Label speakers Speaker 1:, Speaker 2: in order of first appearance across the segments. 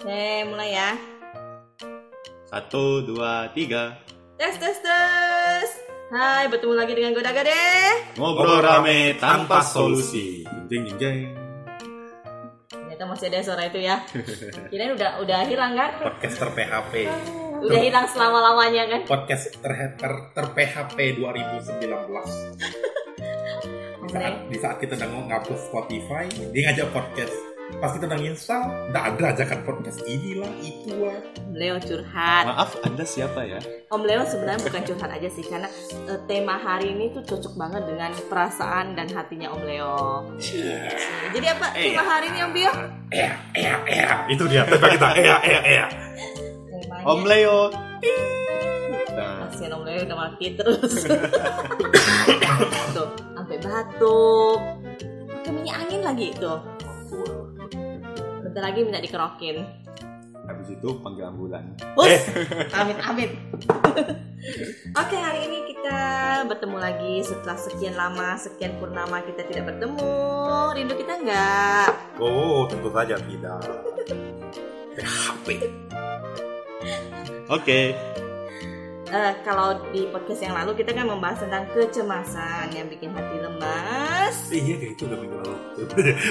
Speaker 1: Oke, mulai ya.
Speaker 2: Satu, dua, tiga.
Speaker 1: Tes, tes, tes. Hai, bertemu lagi dengan gue Daga deh.
Speaker 2: Ngobrol rame tanpa solusi. Ding ding ding.
Speaker 1: Ternyata masih ada suara itu ya. Kirain udah udah hilang kan?
Speaker 3: podcast ter PHP
Speaker 1: Udah hilang selama-lamanya kan?
Speaker 3: podcast ter, ter, ter PHP 2019 di
Speaker 2: Nah.
Speaker 3: saat,
Speaker 1: Oke.
Speaker 3: di saat kita udah ngupload Spotify dia ngajak podcast pas kita udah install nggak ada ajakan podcast inilah itu lah
Speaker 1: Om Leo curhat.
Speaker 2: Maaf, Anda siapa ya?
Speaker 1: Om Leo sebenarnya bukan curhat aja sih karena eh, tema hari ini tuh cocok banget dengan perasaan dan hatinya Om Leo.
Speaker 3: Iya.
Speaker 1: Jadi apa
Speaker 2: Eh,
Speaker 1: tema hari ini Om Bio?
Speaker 3: eh eh eh itu dia tema kita eh eh eh
Speaker 1: Temanya
Speaker 2: Om Leo. Nah,
Speaker 1: Kasihan Om Leo udah mati terus. tuh, sampai batuk. Pakai minyak angin lagi tuh. Bentar lagi minta dikerokin.
Speaker 2: habis itu panggil ambulan.
Speaker 1: Bus, amit amit. Oke hari ini kita bertemu lagi setelah sekian lama sekian purnama kita tidak bertemu. Rindu kita nggak?
Speaker 3: oh tentu saja tidak PHP
Speaker 2: Oke.
Speaker 1: Eh, kalau di podcast yang lalu kita kan membahas tentang kecemasan yang bikin hati lemas.
Speaker 3: iya kayak itu udah minggu lalu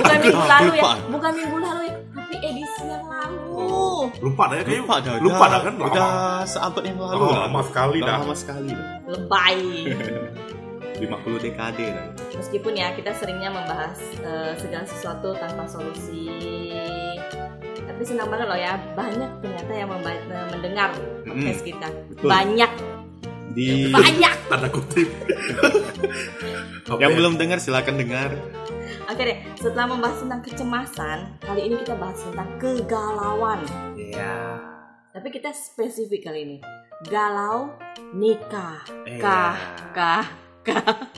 Speaker 1: Bukan
Speaker 2: Aku
Speaker 1: minggu lalu ya,
Speaker 2: lupa.
Speaker 1: bukan minggu lalu ya, tapi edisi yang lalu.
Speaker 3: lupa dah ya kayaknya
Speaker 2: Lupa dah.
Speaker 3: lupa
Speaker 2: dah
Speaker 3: dah kan
Speaker 2: Udah seabad yang lalu
Speaker 3: Oh,
Speaker 2: lah.
Speaker 3: lama sekali
Speaker 2: Udah
Speaker 3: dah
Speaker 2: Lama sekali dah.
Speaker 1: Lebay.
Speaker 2: 50 dekade dah.
Speaker 1: Meskipun ya kita seringnya membahas eh, segala sesuatu tanpa solusi. Tapi senang banget loh ya, banyak ternyata yang memba- eh, mendengar
Speaker 2: Mm,
Speaker 1: podcast kita.
Speaker 2: betul. Iya.
Speaker 1: Banyak,
Speaker 2: Di
Speaker 1: banyak.
Speaker 3: tanda kutip
Speaker 2: yang belum dengar silakan dengar.
Speaker 1: Oke deh, setelah membahas tentang kecemasan, kali ini kita bahas tentang kegalauan.
Speaker 3: ya
Speaker 1: Tapi kita spesifik kali ini. Galau nikah.
Speaker 3: Eh,
Speaker 1: Kah, kah.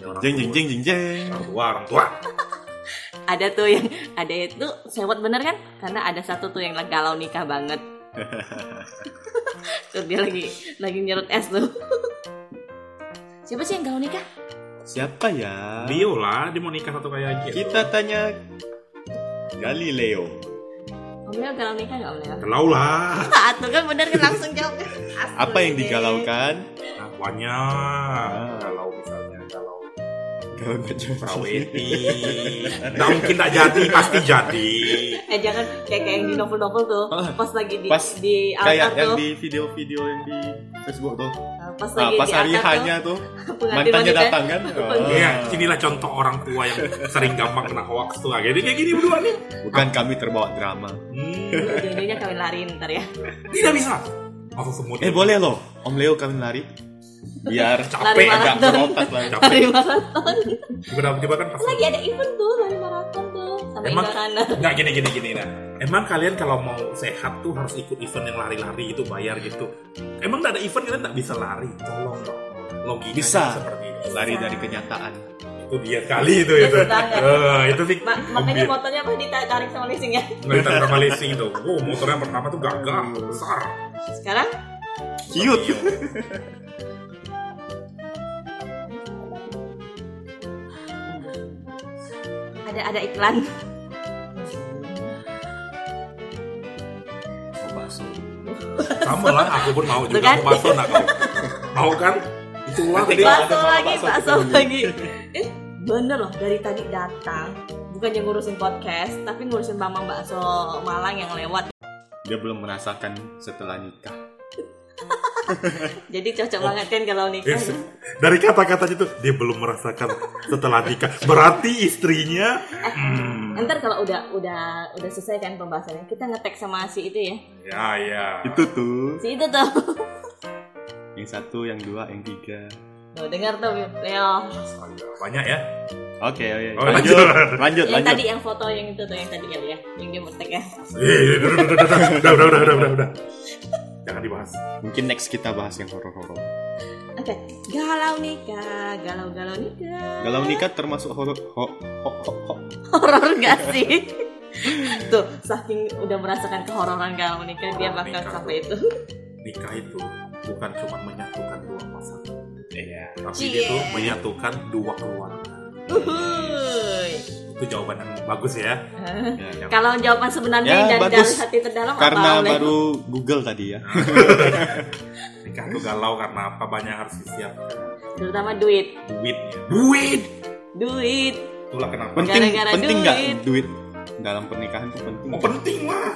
Speaker 3: ya orang
Speaker 2: Jeng jeng
Speaker 3: tua.
Speaker 2: jeng jeng jeng.
Speaker 3: orang tua orang tua
Speaker 1: Ada tuh yang ada itu sewot bener kan? Karena ada satu tuh yang galau nikah banget. tuh dia lagi lagi nyerut es tuh. Siapa sih yang galau nikah?
Speaker 2: Siapa ya?
Speaker 3: Dio lah dia mau nikah satu kayak gitu
Speaker 2: Kita tanya Galileo.
Speaker 1: Om Leo galau nikah gak Om Leo?
Speaker 3: galau lah
Speaker 1: Ah, tuh kan bener kan langsung jawab kan? Asli
Speaker 2: Apa yang
Speaker 1: deh.
Speaker 2: digalaukan?
Speaker 3: Nah, banyak kalau misalnya kalau
Speaker 2: Galau macam
Speaker 3: praweti nggak mungkin tak jadi pasti jadi
Speaker 1: Eh jangan kayak kayak yang di novel-novel tuh
Speaker 2: Ah,
Speaker 1: Pas lagi di,
Speaker 2: pas
Speaker 1: di altar
Speaker 2: kayak yang
Speaker 1: tuh
Speaker 2: di video-video yang di Facebook tuh.
Speaker 1: Ah, Pas
Speaker 2: Ah,
Speaker 1: lagi
Speaker 2: pas
Speaker 1: di
Speaker 2: hari
Speaker 1: altar
Speaker 2: hanya tuh
Speaker 1: tuh pengantin
Speaker 2: mantannya
Speaker 1: wanita.
Speaker 2: datang kan.
Speaker 1: Pengantin.
Speaker 2: Ah.
Speaker 3: Iya, inilah contoh orang tua yang sering gampang kena hoax tuh. Jadi kayak gini berdua nih.
Speaker 2: Bukan kami terbawa drama.
Speaker 3: Hmm,
Speaker 1: Ujung-ujungnya kawin lari ntar ya
Speaker 3: tidak bisa. Langsung semut.
Speaker 2: Eh boleh loh, Om Leo kami lari. Biar
Speaker 1: Lari
Speaker 3: capek
Speaker 2: agak
Speaker 1: maraton.
Speaker 2: berotot lah. ya.
Speaker 3: Capek.
Speaker 1: Lari maraton
Speaker 3: Tiba-tiba kan pas
Speaker 1: Lagi ada event tuh lari maraton tuh Sama
Speaker 3: Emang-
Speaker 1: Indah Rana
Speaker 3: Nggak gini gini gini nah. Emang kalian kalau mau sehat tuh harus ikut event yang lari-lari itu bayar gitu. Emang nggak ada event kalian nggak bisa lari. Tolong dong. Logikanya
Speaker 2: Bisa.
Speaker 3: seperti itu.
Speaker 2: Lari dari kenyataan.
Speaker 3: Itu Oh, dia kali itu
Speaker 1: Dia
Speaker 3: itu.
Speaker 1: tangan.
Speaker 3: Eh, itu sih.
Speaker 1: Iya, ya. Ma- Makanya motornya apa ditarik sama leasing ya
Speaker 3: Ngelihat sama leasing itu. Wow, motornya pertama tuh gagah, besar. Iya.
Speaker 1: Sekarang
Speaker 2: Cute.
Speaker 1: ada ada iklan
Speaker 2: Oh, bakso.
Speaker 3: Sama lah, aku pun mau
Speaker 1: Tuh
Speaker 3: juga
Speaker 1: kan?
Speaker 3: aku bakso nah kau. Mau kan? Itulah tadi.
Speaker 2: Ba-
Speaker 1: Bakso
Speaker 2: ada
Speaker 1: lagi,
Speaker 2: bakso
Speaker 1: bakso
Speaker 2: kita
Speaker 1: lagi Eh bener loh dari tadi datang Bukannya ngurusin podcast Tapi ngurusin Bambang Bakso Malang yang lewat
Speaker 2: Dia belum merasakan setelah nikah.
Speaker 1: Jadi cocok
Speaker 2: Oh.
Speaker 1: banget kan kalau nikah
Speaker 3: Yes. Eh, Dari kata-katanya itu dia belum merasakan setelah nikah. Berarti istrinya
Speaker 1: Eh,
Speaker 3: hmm,
Speaker 1: Ntar kalau udah udah udah selesai kan pembahasannya, kita ngetek sama si itu ya.
Speaker 3: ya ya.
Speaker 2: Itu tuh.
Speaker 1: Si itu tuh.
Speaker 2: Yang satu, yang dua, yang tiga.
Speaker 1: Tuh dengar tuh Leo.
Speaker 3: Astaga, banyak ya.
Speaker 2: Oke, oke.
Speaker 3: Oh,
Speaker 2: Lanjut,
Speaker 3: lanjut.
Speaker 2: lanjut,
Speaker 1: Yang
Speaker 2: lanjut.
Speaker 1: tadi yang foto yang itu tuh yang tadi kali ya, yang dia ngetek ya.
Speaker 3: Eh, udah, udah, udah, udah, udah, udah, udah, udah, udah, udah. Jangan dibahas.
Speaker 2: Mungkin next kita bahas yang horor-horor.
Speaker 1: Oke, galau nikah, galau-galau nikah.
Speaker 2: Galau nikah termasuk horor ho- ho- ho- ho-
Speaker 1: Horor gak sih? tuh, saking udah merasakan kehororan galau nikah dia
Speaker 3: Horor
Speaker 1: bakal
Speaker 3: nikah.
Speaker 1: sampai itu.
Speaker 3: Nikah itu bukan cuma menyatukan dua pasangan,
Speaker 2: Iya.
Speaker 3: tapi itu menyatukan dua keluarga.
Speaker 1: Uhuy.
Speaker 3: Itu jawaban yang bagus ya.
Speaker 2: Ya, ya.
Speaker 1: Kalau jawaban sebenarnya
Speaker 2: Ya,
Speaker 1: yang dari
Speaker 2: bagus.
Speaker 1: dalam hati terdalam
Speaker 2: Karena
Speaker 1: apa? Oleh?
Speaker 2: baru Google tadi ya.
Speaker 3: Nikah tuh galau karena apa banyak harus disiapkan
Speaker 1: Terutama duit.
Speaker 3: duitnya. Duit.
Speaker 1: Duit.
Speaker 3: Itulah kenapa.
Speaker 2: Penting
Speaker 1: Gara-gara
Speaker 2: penting nggak
Speaker 1: duit.
Speaker 2: duit dalam pernikahan itu penting.
Speaker 3: Oh, penting lah.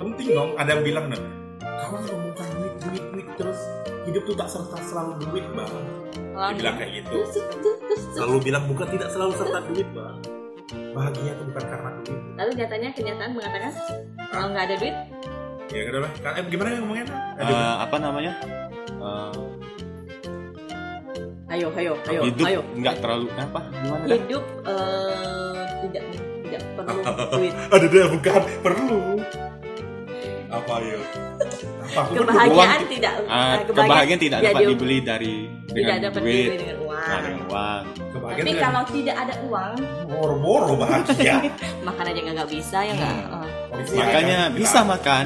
Speaker 3: Penting dong. Ada yang bilang nih, kamu kalau mau cari duit, duit, duit terus hidup tuh tak serta selalu duit bang.
Speaker 1: Kalau
Speaker 3: Dia bilang kayak gitu.
Speaker 1: Terus, terus, terus, terus.
Speaker 3: Selalu bilang bukan tidak selalu serta duit bang. Bahagia tuh bukan karena duit.
Speaker 1: Lalu nyatanya kenyataan mengatakan kalau nggak ada duit,
Speaker 3: Ya udah lah. Kak, eh, gimana yang ngomongnya? Nak?
Speaker 2: Eh,
Speaker 3: Aduh.
Speaker 2: apa namanya? Eh,
Speaker 1: ayo, ayo, ayo,
Speaker 2: hidup
Speaker 1: ayo. Iya.
Speaker 2: nggak terlalu apa? Gimana? dah?
Speaker 1: Hidup eh, tidak tidak perlu duit.
Speaker 3: Aduh, aduh, bukan perlu. Apa yuk? Apa aku kan
Speaker 1: Kebahagiaan tidak eh,
Speaker 2: Ah, kebahagiaan tidak
Speaker 1: ya,
Speaker 2: dapat
Speaker 1: dia-
Speaker 2: dibeli dari
Speaker 1: tidak
Speaker 2: dengan
Speaker 1: dapat
Speaker 2: duit,
Speaker 1: dibeli dengan uang.
Speaker 2: nah, dengan uang.
Speaker 3: kebahagiaan
Speaker 1: Tapi
Speaker 3: dengan
Speaker 1: kalau tidak ada uang,
Speaker 3: boro-boro bahagia.
Speaker 1: makan aja nggak nggak bisa ya nggak.
Speaker 3: Hmm.
Speaker 1: Eh,
Speaker 3: Polisi
Speaker 2: Makanya
Speaker 3: akan
Speaker 2: bisa
Speaker 3: bilang,
Speaker 2: makan,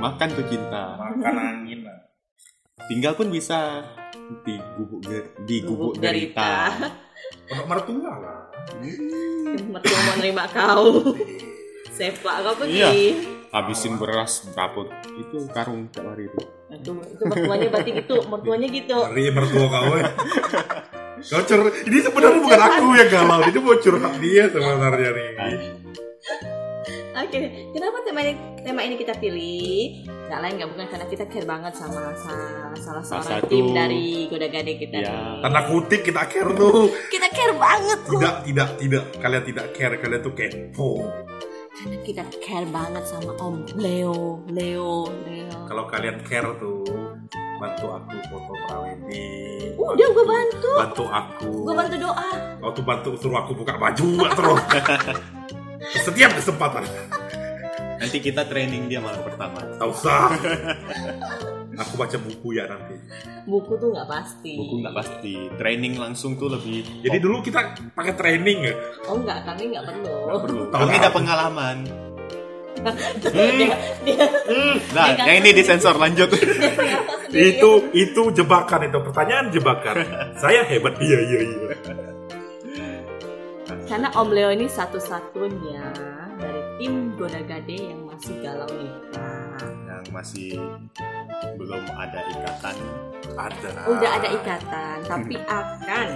Speaker 2: makan tuh cinta.
Speaker 3: makan angin lah.
Speaker 2: Tinggal pun bisa di gubuk ger- di
Speaker 1: Gubuk
Speaker 2: gubuk derita.
Speaker 3: Untuk mertua lah.
Speaker 1: mertua mau nerima kau. Sepak kau pergi.
Speaker 2: Iya. Habisin beras berapa itu karung tiap hari itu.
Speaker 1: Aduh, itu mertuanya berarti gitu, mertuanya gitu.
Speaker 3: Ngeri mertua kau ya. Kau cur- ini sebenarnya bukan aku yang galau, ini mau curhat dia sebenarnya nih.
Speaker 2: Iya.
Speaker 1: Oke, kenapa tema ini, tema ini kita pilih? Gak lain gak bukan karena kita care banget sama sa- salah
Speaker 2: Salah
Speaker 1: seorang
Speaker 2: satu.
Speaker 1: tim dari Goda Gade kita.
Speaker 2: Ya.
Speaker 1: nih.
Speaker 3: Tanda kutip kita care tuh.
Speaker 1: Kita care banget loh.
Speaker 3: Tidak, tidak, tidak. Kalian tidak care, kalian tuh kepo.
Speaker 1: Kita care banget sama Om Leo, Leo, Leo.
Speaker 3: Kalau kalian care tuh, bantu aku foto prawedding.
Speaker 1: Udah gue bantu,
Speaker 3: Bantu aku.
Speaker 1: gue bantu doa.
Speaker 3: Kau tuh bantu suruh aku buka baju nggak terus. Setiap kesempatan.
Speaker 2: Nanti kita training dia malam pertama.
Speaker 3: Tak usah. Aku baca buku ya nanti.
Speaker 1: Buku tuh nggak pasti.
Speaker 2: Buku nggak pasti. Training langsung tuh lebih.
Speaker 3: Jadi dulu kita pakai training ya.
Speaker 1: Oh nggak, kami nggak perlu.
Speaker 2: Nggak perlu.
Speaker 3: Tahu
Speaker 2: Kami
Speaker 3: lah.
Speaker 2: ada pengalaman. Hmm,
Speaker 1: dia, dia,
Speaker 2: Nah,
Speaker 1: Dia
Speaker 2: yang ini disensor lanjut.
Speaker 1: dia ngaku sendiri.
Speaker 3: Itu itu jebakan itu pertanyaan jebakan. Saya hebat iya iya iya.
Speaker 1: Karena Om Leo ini satu-satunya dari tim Goda Gade yang masih galau nikah.
Speaker 2: yang masih belum ada ikatan.
Speaker 3: Ada.
Speaker 1: Udah ada ikatan, tapi akan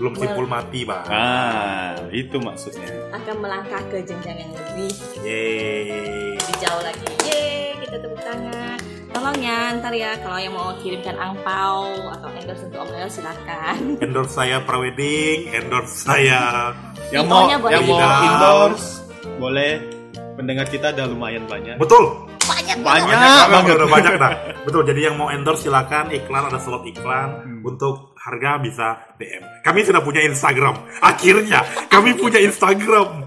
Speaker 3: Belum simpul mati bang.
Speaker 2: Ah, itu maksudnya.
Speaker 1: akan melangkah ke jenjang yang lebih
Speaker 3: Yeay.
Speaker 1: lebih jauh lagi. Yeay, kita tepuk tangan. Tolong ya, ntar ya kalau yang mau kirimkan angpau atau endorse untuk Om Leo silakan.
Speaker 3: Endorse saya prawedding, endorse saya.
Speaker 2: Yang mau
Speaker 1: Infonya boleh
Speaker 2: yang mau
Speaker 3: di-down.
Speaker 2: endorse boleh. Pendengar kita ada lumayan banyak.
Speaker 3: Betul.
Speaker 1: Banyak
Speaker 2: Banyak
Speaker 3: Bang,
Speaker 2: banget.
Speaker 3: udah banyak dah. Betul. Jadi yang mau endorse silakan iklan ada slot iklan
Speaker 2: Hmm.
Speaker 3: untuk harga bisa DM. Kami sudah punya Instagram. Akhirnya kami punya Instagram.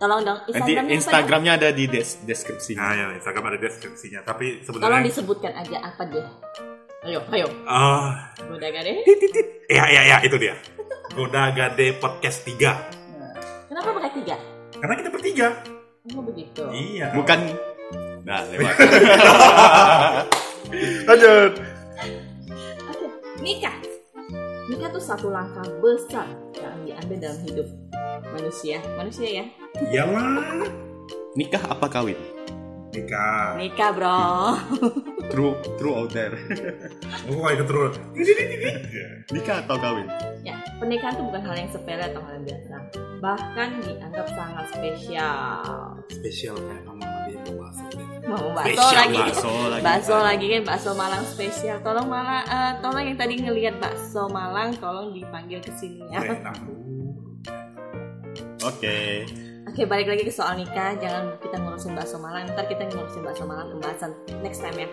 Speaker 1: Tolong dong
Speaker 2: Nanti
Speaker 1: Instagramnya apa ya?
Speaker 2: Instagramnya ada di des- deskripsi.
Speaker 3: Nah, ya, Instagram ada deskripsinya. Tapi
Speaker 1: Tolong
Speaker 3: sebenarnya
Speaker 1: disebutkan aja apa deh. Ayo, ayo.
Speaker 3: ah,
Speaker 1: Goda Gade.
Speaker 3: Iya, iya, iya, itu dia. Goda Gade Podcast 3.
Speaker 1: Kenapa pakai tiga?
Speaker 3: Karena kita bertiga.
Speaker 1: Oh begitu.
Speaker 3: Iya.
Speaker 2: Bukan Nah, lewat.
Speaker 3: Lanjut.
Speaker 1: Oke, nikah. Nikah tuh satu langkah besar yang diambil dalam hidup manusia. Manusia ya.
Speaker 3: Iya, Iyalah.
Speaker 2: Nikah apa kawin?
Speaker 3: Nikah.
Speaker 1: Nikah, Bro.
Speaker 2: True true out there.
Speaker 3: Gue kok Oh, ikut terus.
Speaker 2: Nikah atau kawin?
Speaker 1: Ya, pernikahan itu bukan hal yang sepele atau hal yang biasa. Bahkan dianggap sangat spesial.
Speaker 3: Spesial kayak kamu dia mau masuk.
Speaker 1: Mau bakso
Speaker 3: Spesial
Speaker 1: lagi.
Speaker 2: Bakso lagi.
Speaker 1: Bakso lagi kan bakso Malang spesial. Tolong Malang eh, tolong yang tadi ngelihat bakso Malang tolong dipanggil ke sini ya.
Speaker 3: Enak.
Speaker 2: Oke.
Speaker 1: Oke, balik lagi ke soal nikah. Jangan kita ngurusin bakso Malang. Ntar kita ngurusin bakso Malang pembahasan next time ya.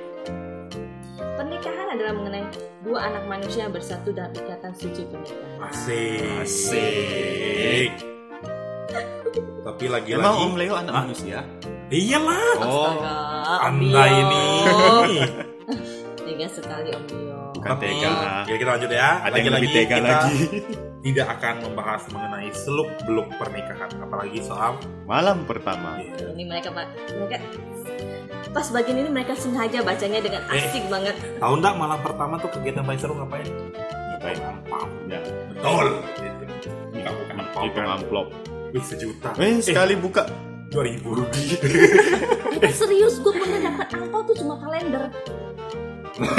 Speaker 1: Pernikahan adalah mengenai dua anak manusia yang bersatu dalam ikatan suci pernikahan.
Speaker 3: Asik.
Speaker 2: Asik.
Speaker 3: Tapi lagi-lagi.
Speaker 2: Emang Om Leo anak manusia?
Speaker 3: Iyalah.
Speaker 2: Oh,
Speaker 1: Astaga, Om
Speaker 3: Anda
Speaker 1: Dio.
Speaker 3: ini.
Speaker 1: Tega sekali Om Dio.
Speaker 2: bukan
Speaker 3: Tapi-
Speaker 2: tega.
Speaker 3: Jadi kita lanjut ya.
Speaker 2: Ada yang lebih tega
Speaker 3: kita
Speaker 2: lagi.
Speaker 3: Tidak akan membahas mengenai seluk beluk pernikahan, apalagi soal
Speaker 2: Malam pertama.
Speaker 1: Ini mereka Pak. mereka pas bagian ini mereka sengaja bacanya dengan
Speaker 3: Eh.
Speaker 1: asik banget.
Speaker 3: Tahu nggak malam pertama tuh kegiatan paling seru ngapain?
Speaker 2: Ngapain?
Speaker 3: Ngapain?
Speaker 2: Ya.
Speaker 3: Betul. Gitu. bukan
Speaker 2: Itu amplop.
Speaker 3: Wih sejuta.
Speaker 2: Eh, sekali buka
Speaker 3: dua ribu.
Speaker 1: Eh, serius gue pernah dapat angpau tuh cuma kalender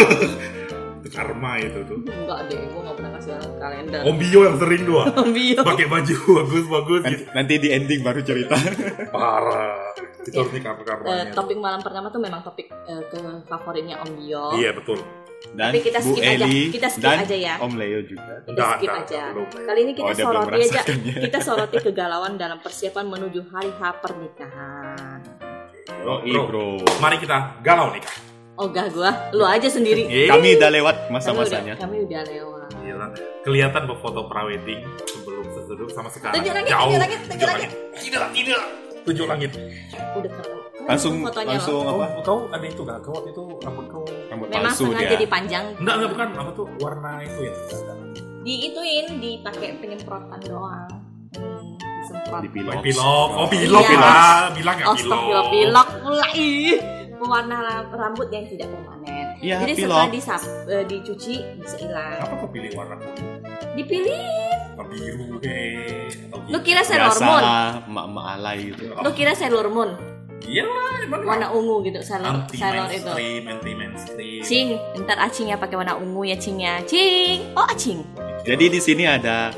Speaker 3: Karma itu tuh.
Speaker 1: enggak deh gue nggak pernah kasih orang kalender
Speaker 3: Om Bio yang sering dua.
Speaker 1: Bio
Speaker 3: Pakai baju bagus bagus gitu.
Speaker 2: nanti, nanti di ending baru cerita.
Speaker 3: Parah. Itu harus nih karma
Speaker 1: Eh,
Speaker 3: karmanya.
Speaker 1: topik malam pertama tuh memang topik eh, ke favoritnya Om Bio
Speaker 3: Iya betul.
Speaker 2: Dan
Speaker 1: Tapi kita
Speaker 2: Bu
Speaker 1: skip aja,
Speaker 2: Eli
Speaker 1: kita skip
Speaker 2: dan
Speaker 1: aja ya.
Speaker 2: Om Leo juga.
Speaker 3: Enggak,
Speaker 1: skip
Speaker 3: enggak,
Speaker 1: aja.
Speaker 3: enggak, belum.
Speaker 1: Kali ini kita
Speaker 2: Oh, dia belum
Speaker 1: soroti aja,
Speaker 2: merasakannya.
Speaker 1: kita soroti kegalauan dalam persiapan menuju hari H pernikahan.
Speaker 2: Oh,
Speaker 3: Bro,
Speaker 2: bro.
Speaker 3: Mari kita galau nih. Kak.
Speaker 1: Ogah gua, lu aja sendiri.
Speaker 3: Eh,
Speaker 2: Kami udah lewat
Speaker 1: Kami udah,
Speaker 2: masa-masanya.
Speaker 1: kami udah lewat.
Speaker 3: Gila. Kelihatan berfoto prawedding sebelum sesudah sama sekarang.
Speaker 1: Tujuh langit,
Speaker 3: Jauh.
Speaker 1: tujuh langit, tujuh langit.
Speaker 3: Tidak, tidak. Tujuh langit.
Speaker 1: Udah ketemu.
Speaker 2: Langsung
Speaker 1: fotonya
Speaker 2: langsung
Speaker 1: loh.
Speaker 2: apa?
Speaker 3: Kau, kau ada itu gak? Kau waktu itu rambut kau
Speaker 2: Rambut
Speaker 1: Memang
Speaker 2: palsu
Speaker 1: sengaja
Speaker 2: dia.
Speaker 1: dipanjang.
Speaker 3: Enggak, enggak bukan. Apa tuh warna itu ya?
Speaker 1: Diituin, dipakai penyemprotan doang. Hmm, disemprot.
Speaker 2: Dipilok.
Speaker 3: Oh, pilok. Oh, pilok.
Speaker 1: Iya.
Speaker 3: Bilang, bilang enggak
Speaker 1: Oh,
Speaker 3: pilok.
Speaker 1: stop pilok, pilok mulai. Pewarna rambut yang tidak permanen.
Speaker 2: Iya,
Speaker 1: Jadi
Speaker 2: pilok.
Speaker 1: setelah disap, eh, dicuci bisa hilang.
Speaker 3: Apa kau pilih warna kuning?
Speaker 1: Dipilih.
Speaker 3: Apa biru eh atau
Speaker 1: Lu kira Sailor
Speaker 2: Iya, Biasa
Speaker 1: Moon?
Speaker 2: lah, emak-emak alay gitu.
Speaker 1: Lu kira Sailor Moon?
Speaker 3: Iya lah, emang
Speaker 1: warna ungu gitu Sailor
Speaker 3: anti
Speaker 1: Sailor itu
Speaker 3: mainstream, anti mainstream.
Speaker 1: Cing, ntar acingnya pakai warna ungu ya Cing ya Cing, oh acing
Speaker 2: Jadi di sini ada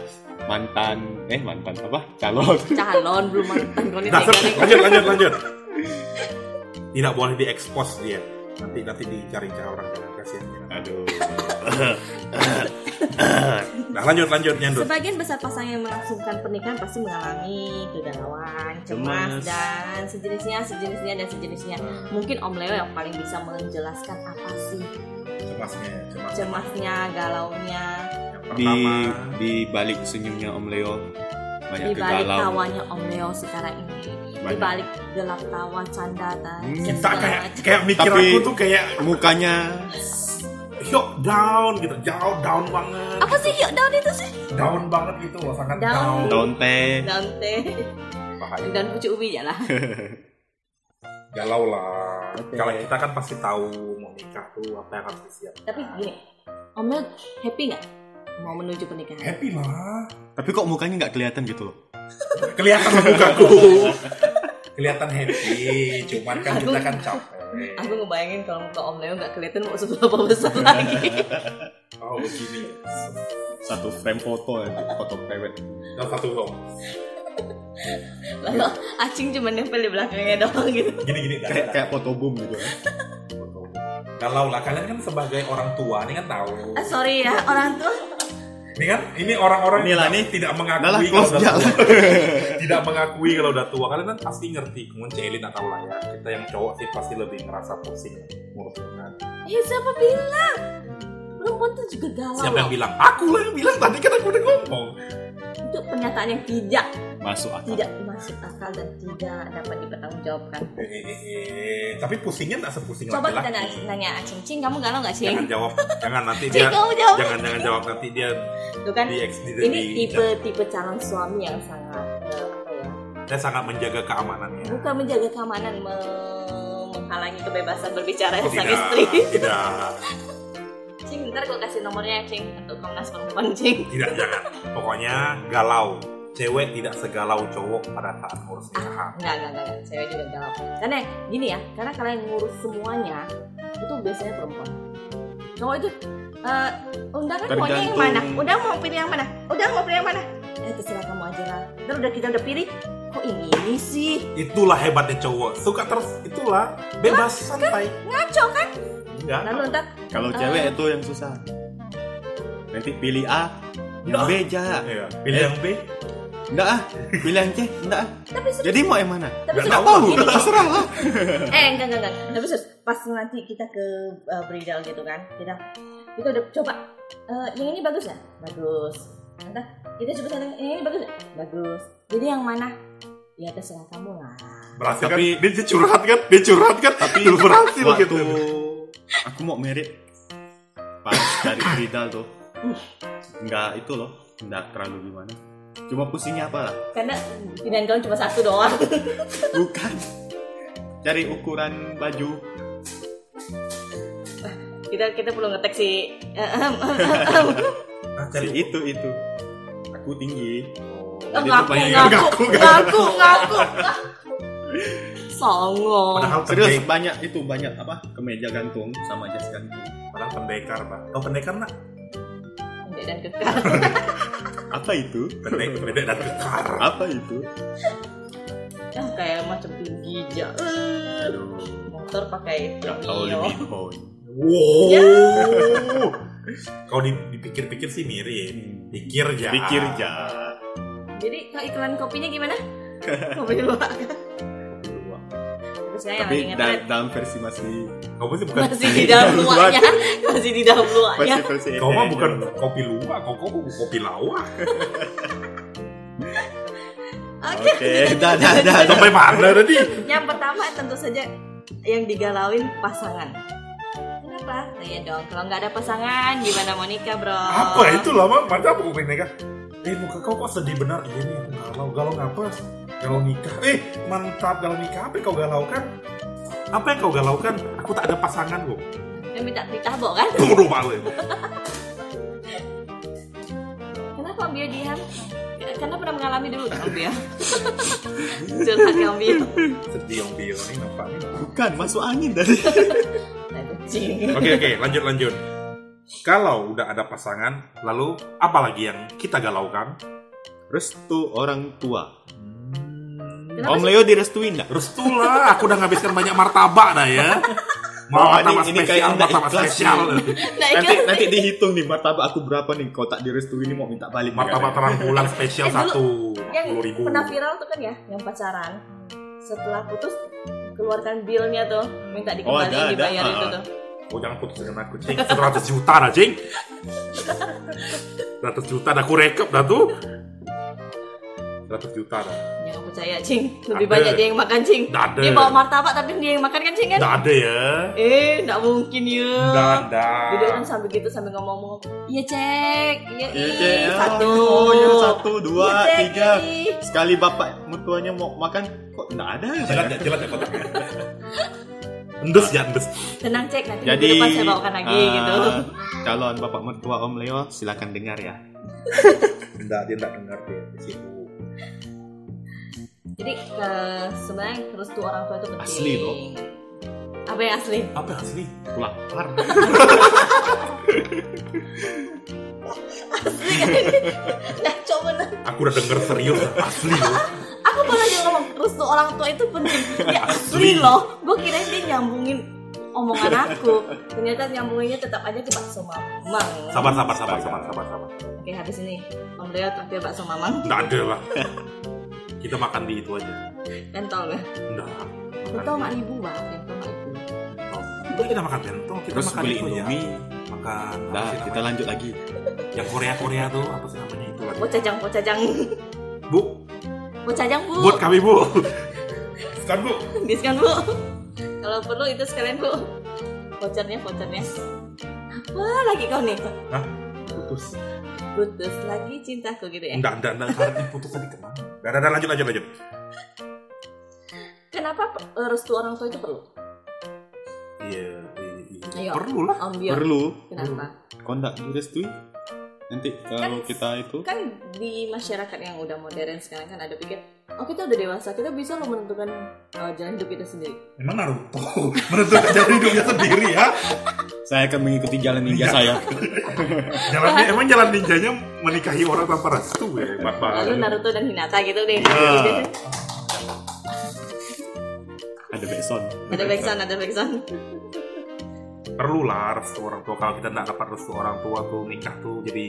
Speaker 2: mantan eh mantan apa? Calon.
Speaker 1: Calon belum mantan kalau ini
Speaker 3: Nah,
Speaker 1: tega
Speaker 3: ser-
Speaker 1: nih.
Speaker 3: lanjut, lanjut, lanjut. Tidak boleh diekspos dia. Nanti nanti dicari-cari orang jangan kasihan.
Speaker 2: Aduh.
Speaker 3: Nah, lanjut, lanjut, nyandut.
Speaker 1: Sebagian besar pasangan yang melangsungkan pernikahan pasti mengalami kegalauan, cemas,
Speaker 2: Cemas. Hmm.
Speaker 1: dan sejenisnya, sejenisnya, dan sejenisnya Mungkin Om Leo yang paling bisa menjelaskan apa sih
Speaker 3: Cemasnya, cemas.
Speaker 1: cemasnya, galaunya,
Speaker 3: Yang
Speaker 2: Di
Speaker 3: pertama,
Speaker 2: di balik senyumnya Om Leo banyak
Speaker 3: Ya,
Speaker 1: di balik
Speaker 2: kegalauan.
Speaker 1: tawanya Om Leo sekarang ini Di
Speaker 2: Banyak.
Speaker 1: balik gelap tawa, canda, dan
Speaker 2: Hmm,
Speaker 1: segala
Speaker 3: kita kayak
Speaker 1: macam.
Speaker 3: kayak mikir
Speaker 2: Tapi-
Speaker 3: aku tuh kayak
Speaker 2: Mukanya
Speaker 3: yo down gitu, jauh down banget,
Speaker 1: Apa sih yuk daun itu sih?
Speaker 3: down banget gitu loh, sangat
Speaker 1: Down.
Speaker 3: down.
Speaker 2: daun
Speaker 3: Eh.
Speaker 2: teh.
Speaker 1: Daun teh,
Speaker 3: Bahaya.
Speaker 1: daun pucuk ubi ya lah
Speaker 3: Galau lah.
Speaker 2: Oke.
Speaker 3: Kalau kita kan pasti tahu mau nikah tuh apa yang harus disiapkan.
Speaker 1: Tapi gini, Om Leo happy nggak mau menuju pernikahan?
Speaker 3: happy lah.
Speaker 2: Tapi kok mukanya nggak kelihatan gitu loh.
Speaker 3: kelihatan lah mukaku kelihatan happy cuman kan kita kan capek
Speaker 1: Aku ngebayangin kalau muka Om Leo nggak kelihatan mau seberapa besar lagi.
Speaker 3: oh begini
Speaker 2: Satu frame foto ya, foto prewed.
Speaker 3: dan satu dong
Speaker 1: Lalu acing cuma nempel di belakangnya doang gitu.
Speaker 3: gini gini dah,
Speaker 2: Kayak
Speaker 3: dah.
Speaker 2: kayak foto boom gitu ya.
Speaker 3: kalau lah kalian kan sebagai orang tua ini kan tahu
Speaker 1: Ah, sorry ya orang tua.
Speaker 3: ini kan ini orang-orang
Speaker 2: Inilah
Speaker 3: tidak-
Speaker 2: nih.
Speaker 3: tidak
Speaker 2: Udah lah,
Speaker 3: mengakui kalau
Speaker 2: close
Speaker 3: udah
Speaker 2: jalan.
Speaker 3: tua tidak mengakui kalau udah tua kalian kan pasti ngerti mungkin Celin atau lah ya kita yang cowok sih pasti lebih ngerasa pusing Nah,
Speaker 1: Eh siapa bilang? Perempuan tuh juga galau.
Speaker 3: siapa yang
Speaker 1: loh.
Speaker 3: bilang aku lah yang bilang tadi kan aku udah ngomong
Speaker 1: Itu pernyataan yang tidak
Speaker 2: Masuk akal.
Speaker 1: tidak masuk akal dan tidak dapat dipertanggungjawabkan.
Speaker 3: Eh, eh, eh, eh. tapi pusingnya nggak sepusing
Speaker 1: Coba kita
Speaker 3: laki-laki.
Speaker 1: nanya, nanya acing, cing kamu galau nggak
Speaker 3: Iya, jangan
Speaker 1: cing?
Speaker 3: jawab jangan nanti
Speaker 1: Cing
Speaker 3: dia
Speaker 1: kamu jawab.
Speaker 3: jangan Iya, jangan jawab nanti dia
Speaker 1: Tuh kan
Speaker 3: di ex- di,
Speaker 1: ini
Speaker 3: di-
Speaker 1: tipe tipe calon suami yang sangat eh, apa ya?
Speaker 3: dia sangat menjaga keamanannya
Speaker 1: bukan menjaga keamanan me- menghalangi kebebasan berbicara
Speaker 3: Oh,
Speaker 1: sang
Speaker 3: tidak,
Speaker 1: istri
Speaker 3: tidak
Speaker 1: cing ntar gue kasih nomornya cing untuk komnas perempuan cing
Speaker 3: tidak jangan pokoknya galau cewek tidak segalau cowok pada saat ngurus nikahan
Speaker 1: enggak enggak enggak enggak. cewek juga galau karena gini ya karena kalian ngurus semuanya itu biasanya perempuan cowok itu eh undangan
Speaker 2: Kan
Speaker 1: maunya yang
Speaker 2: Tergantung.
Speaker 1: mana udah mau pilih yang mana udah mau pilih yang mana eh terserah kamu aja lah ntar udah kita udah pilih kok ini ini sih
Speaker 3: itulah hebatnya cowok suka terus itulah bebas santai Iya.
Speaker 1: ngaco kan
Speaker 3: enggak
Speaker 1: lalu ntar
Speaker 2: Kalau
Speaker 1: Eh.
Speaker 2: cewek itu yang susah. Nanti pilih A, yang
Speaker 3: Nggak.
Speaker 2: B aja.
Speaker 3: Iya, pilih
Speaker 2: Eh.
Speaker 3: yang B
Speaker 2: Enggak ah, pilih yang C, enggak ah.
Speaker 1: tapi serius
Speaker 2: Jadi mau yang mana?
Speaker 1: tapi
Speaker 3: Nggak
Speaker 1: serius,
Speaker 2: Tahu,
Speaker 1: gini.
Speaker 2: terserah lah.
Speaker 1: eh enggak enggak enggak tapi terus pas nanti kita ke uh, bridal gitu kan kita kita udah coba eh, yang ini bagus ya bagus entah kita coba sana yang ini bagus ya bagus jadi yang mana ya terserah kamu lah
Speaker 3: berhasil
Speaker 2: Tapi-
Speaker 3: kan dia curhat kan dia curhat kan tapi berhasil gitu
Speaker 2: Waktu aku mau merit pas dari Fridal tuh. Enggak itu loh, enggak terlalu gimana. Cuma pusingnya apa lah?
Speaker 1: karena pilihan kamu cuma satu doang
Speaker 2: Bukan cari ukuran baju.
Speaker 1: kita kita perlu ngetek si eh, eh,
Speaker 3: Nah,
Speaker 2: Si
Speaker 3: cari
Speaker 2: itu itu. aku tinggi
Speaker 1: Eh,
Speaker 2: Jadi itu
Speaker 1: ngaku,
Speaker 2: banyak-
Speaker 1: ngaku, ngaku, ngaku, Songong.
Speaker 3: Padahal
Speaker 2: serius
Speaker 3: pendekar,
Speaker 2: banyak itu banyak apa kemeja gantung sama jas gantung
Speaker 3: padahal pendekar, Pak. Oh, pendekar nak?
Speaker 1: Pendek dan kekar.
Speaker 2: apa itu
Speaker 3: Pendek, pendek dan kekar.
Speaker 2: apa itu
Speaker 1: Yang kayak macam tinggi aja. Eh,
Speaker 2: aduh
Speaker 1: Motor pakai oh.
Speaker 2: nggak tahu
Speaker 1: Mio.
Speaker 2: lebih poin
Speaker 3: Wow.
Speaker 1: Ya.
Speaker 3: Kalau di- dipikir-pikir sih mirip. Pikir ya.
Speaker 2: pikir ja
Speaker 1: Jadi kalau iklan kopinya gimana? Kopi dulu pak. Terus saya lagi
Speaker 2: tapi
Speaker 1: ngetren.
Speaker 2: da- dalam versi masih
Speaker 1: Oh,
Speaker 3: Kamu sih bukan
Speaker 1: Masih di dalam luaknya. Masih di dalam luaknya.
Speaker 2: versi versi
Speaker 3: Kau mah
Speaker 2: eh,
Speaker 3: bukan
Speaker 2: eh,
Speaker 3: kopi luwak, kau kau kopi lawak.
Speaker 1: Oke.
Speaker 2: oke dah dah dah dah.
Speaker 3: Sampai mana tadi?
Speaker 1: Yang pertama tentu saja yang digalauin pasangan. Kenapa? Iya dong. Kalau nggak ada pasangan, gimana mau nikah bro?
Speaker 3: Apa itu lama? Masa aku pengen nikah? Eh muka kau kok sedih benar? Iya nih aku galau, galau ngapa? Galau nikah. Eh mantap galau nikah. Apa yang kau galaukan? Apa yang kau galaukan? Aku tak ada pasangan kok.
Speaker 1: Yang minta nikah bo kan?
Speaker 3: Bodoh banget.
Speaker 1: Kenapa Om Bio diam? Karena pernah mengalami dulu kan Om Bio? Curhat ya Om Bio.
Speaker 3: Sedih yang bio nih nampaknya.
Speaker 2: bukan masuk angin dari
Speaker 1: Tai kucing.
Speaker 3: Oke oke lanjut lanjut. Kalau udah ada pasangan, lalu apa lagi yang kita galaukan?
Speaker 2: restu orang tua
Speaker 1: Kenapa
Speaker 2: Om
Speaker 1: sih?
Speaker 2: Leo direstuin dah
Speaker 3: Hmm, Restulah, aku udah nghabiskan banyak martabak dah ya. Mau
Speaker 2: Wah, Oh,
Speaker 3: martabak
Speaker 2: ini- ini
Speaker 3: spesial,
Speaker 2: kayak
Speaker 3: martabak
Speaker 2: nggak ikhlas
Speaker 3: spesial.
Speaker 1: Nah,
Speaker 2: nanti
Speaker 1: ikan-
Speaker 2: nanti dihitung nih martabak aku berapa nih kalau tak direstui ini mau minta balik
Speaker 3: Martabak terang bulan
Speaker 1: Eh,
Speaker 3: spesial
Speaker 1: dulu-
Speaker 3: satu,
Speaker 1: yang
Speaker 3: puluh ribu.
Speaker 1: pernah viral tuh kan ya, yang pacaran. Setelah putus keluarkan bilnya tuh, minta dikembaliin
Speaker 2: Oh, ada, ada.
Speaker 1: dibayar itu
Speaker 2: Ah.
Speaker 1: tuh.
Speaker 3: Oh jangan putus dengan aku, cing. 100 juta dah, cing. 100 juta dah, aku rekap dah tuh. 100 juta dah.
Speaker 1: Jangan percaya, Cing. Lebih
Speaker 3: Ada.
Speaker 1: banyak dia yang makan, Cing.
Speaker 3: Nggak ada.
Speaker 1: Dia bawa martabak tapi dia yang makan kan, Cing kan?
Speaker 3: Nggak ada ya.
Speaker 1: Eh, nggak mungkin ya.
Speaker 3: Nggak ada.
Speaker 1: Jadi kan sambil gitu sambil ngomong-ngomong, iya cek, iya
Speaker 2: Iya,
Speaker 1: ih,
Speaker 2: Cek.
Speaker 1: satu,
Speaker 2: Oh, iya, satu, dua,
Speaker 1: Iya, Cek,
Speaker 2: tiga.
Speaker 1: ih.
Speaker 2: Sekali bapak mertuanya mau makan, kok nggak ada ya?
Speaker 3: Jelas ya, jelas ya kotaknya. Endes ya, endes.
Speaker 1: Tenang cek nanti minggu
Speaker 2: Jadi,
Speaker 1: depan saya bawakan lagi
Speaker 2: eh,
Speaker 1: gitu.
Speaker 2: calon bapak mertua Om Leo silakan dengar ya.
Speaker 3: Enggak, dia enggak dengar dia. Dia sibuk.
Speaker 1: Jadi ke sebenarnya restu orang tua itu penting.
Speaker 2: Asli, loh.
Speaker 1: Apa yang asli?
Speaker 3: Apa asli?
Speaker 2: Aku lapar.
Speaker 1: Nah coba nah.
Speaker 3: Aku udah denger serius, asli loh.
Speaker 1: Aku malah yang ngomong restu orang tua itu penting. Ya asli loh. Gue kira dia nyambungin omongan aku. Ternyata nyambunginnya tetap aja ke bakso mamang.
Speaker 3: Sabar, sabar, sabar, sabar, sabar, sabar.
Speaker 1: Oke habis ini Om Leo tampil bakso mamang.
Speaker 3: Nggak ada lah. Kita makan di itu aja.
Speaker 1: Bentol nggak?
Speaker 3: Nggak.
Speaker 1: Bentol ya. mak ibu bang. Bentol mak ibu.
Speaker 3: Itu kita makan bento, kita
Speaker 2: Terus
Speaker 3: makan
Speaker 2: beli
Speaker 3: itu aja.
Speaker 2: Indomie.
Speaker 3: Makan apa
Speaker 2: Nah,
Speaker 3: sih
Speaker 2: kita
Speaker 3: namanya?
Speaker 2: lanjut lagi.
Speaker 3: Yang Korea Korea tuh apa sih namanya itu lagi?
Speaker 1: Bocajang, bocajang,
Speaker 3: Bu,
Speaker 1: bocajang bu.
Speaker 3: buat kami bu. Bukan bu.
Speaker 1: diskon bu kalau perlu itu sekalian bu vouchernya vouchernya apa lagi kau nih
Speaker 3: Hah? Putus.
Speaker 1: putus lagi cintaku gitu ya
Speaker 3: Enggak, enggak, enggak. Harus putus tadi kemana? Enggak, enggak, lanjut, lanjut, lanjut.
Speaker 1: kenapa eh, restu orang tua itu perlu
Speaker 3: Iya,
Speaker 1: Ayo.
Speaker 3: iya. Perlu lah.
Speaker 1: om Bio
Speaker 2: Perlu.
Speaker 1: kenapa
Speaker 2: Kau nggak direstui? Nanti kalau
Speaker 1: Kan-
Speaker 2: kita itu
Speaker 1: kan di masyarakat yang udah modern sekarang kan ada pikir oh kita udah dewasa kita bisa lo menentukan eh, jalan hidup kita sendiri
Speaker 3: Emang Naruto menentukan jalan hidupnya sendiri ya?
Speaker 2: saya akan mengikuti jalan ninja
Speaker 3: Iya.
Speaker 2: saya.
Speaker 3: Jalannya emang jalan ninjanya menikahi orang tanpa restu ya,
Speaker 2: Ah,
Speaker 3: Bapak.
Speaker 2: iya.
Speaker 1: lalu Naruto dan Hinata gitu deh
Speaker 3: Iya.
Speaker 2: Ada backsound.
Speaker 1: ada backsound ada backsound
Speaker 3: perlu lah restu orang tua kalau kita nggak dapat restu orang tua tuh nikah tuh jadi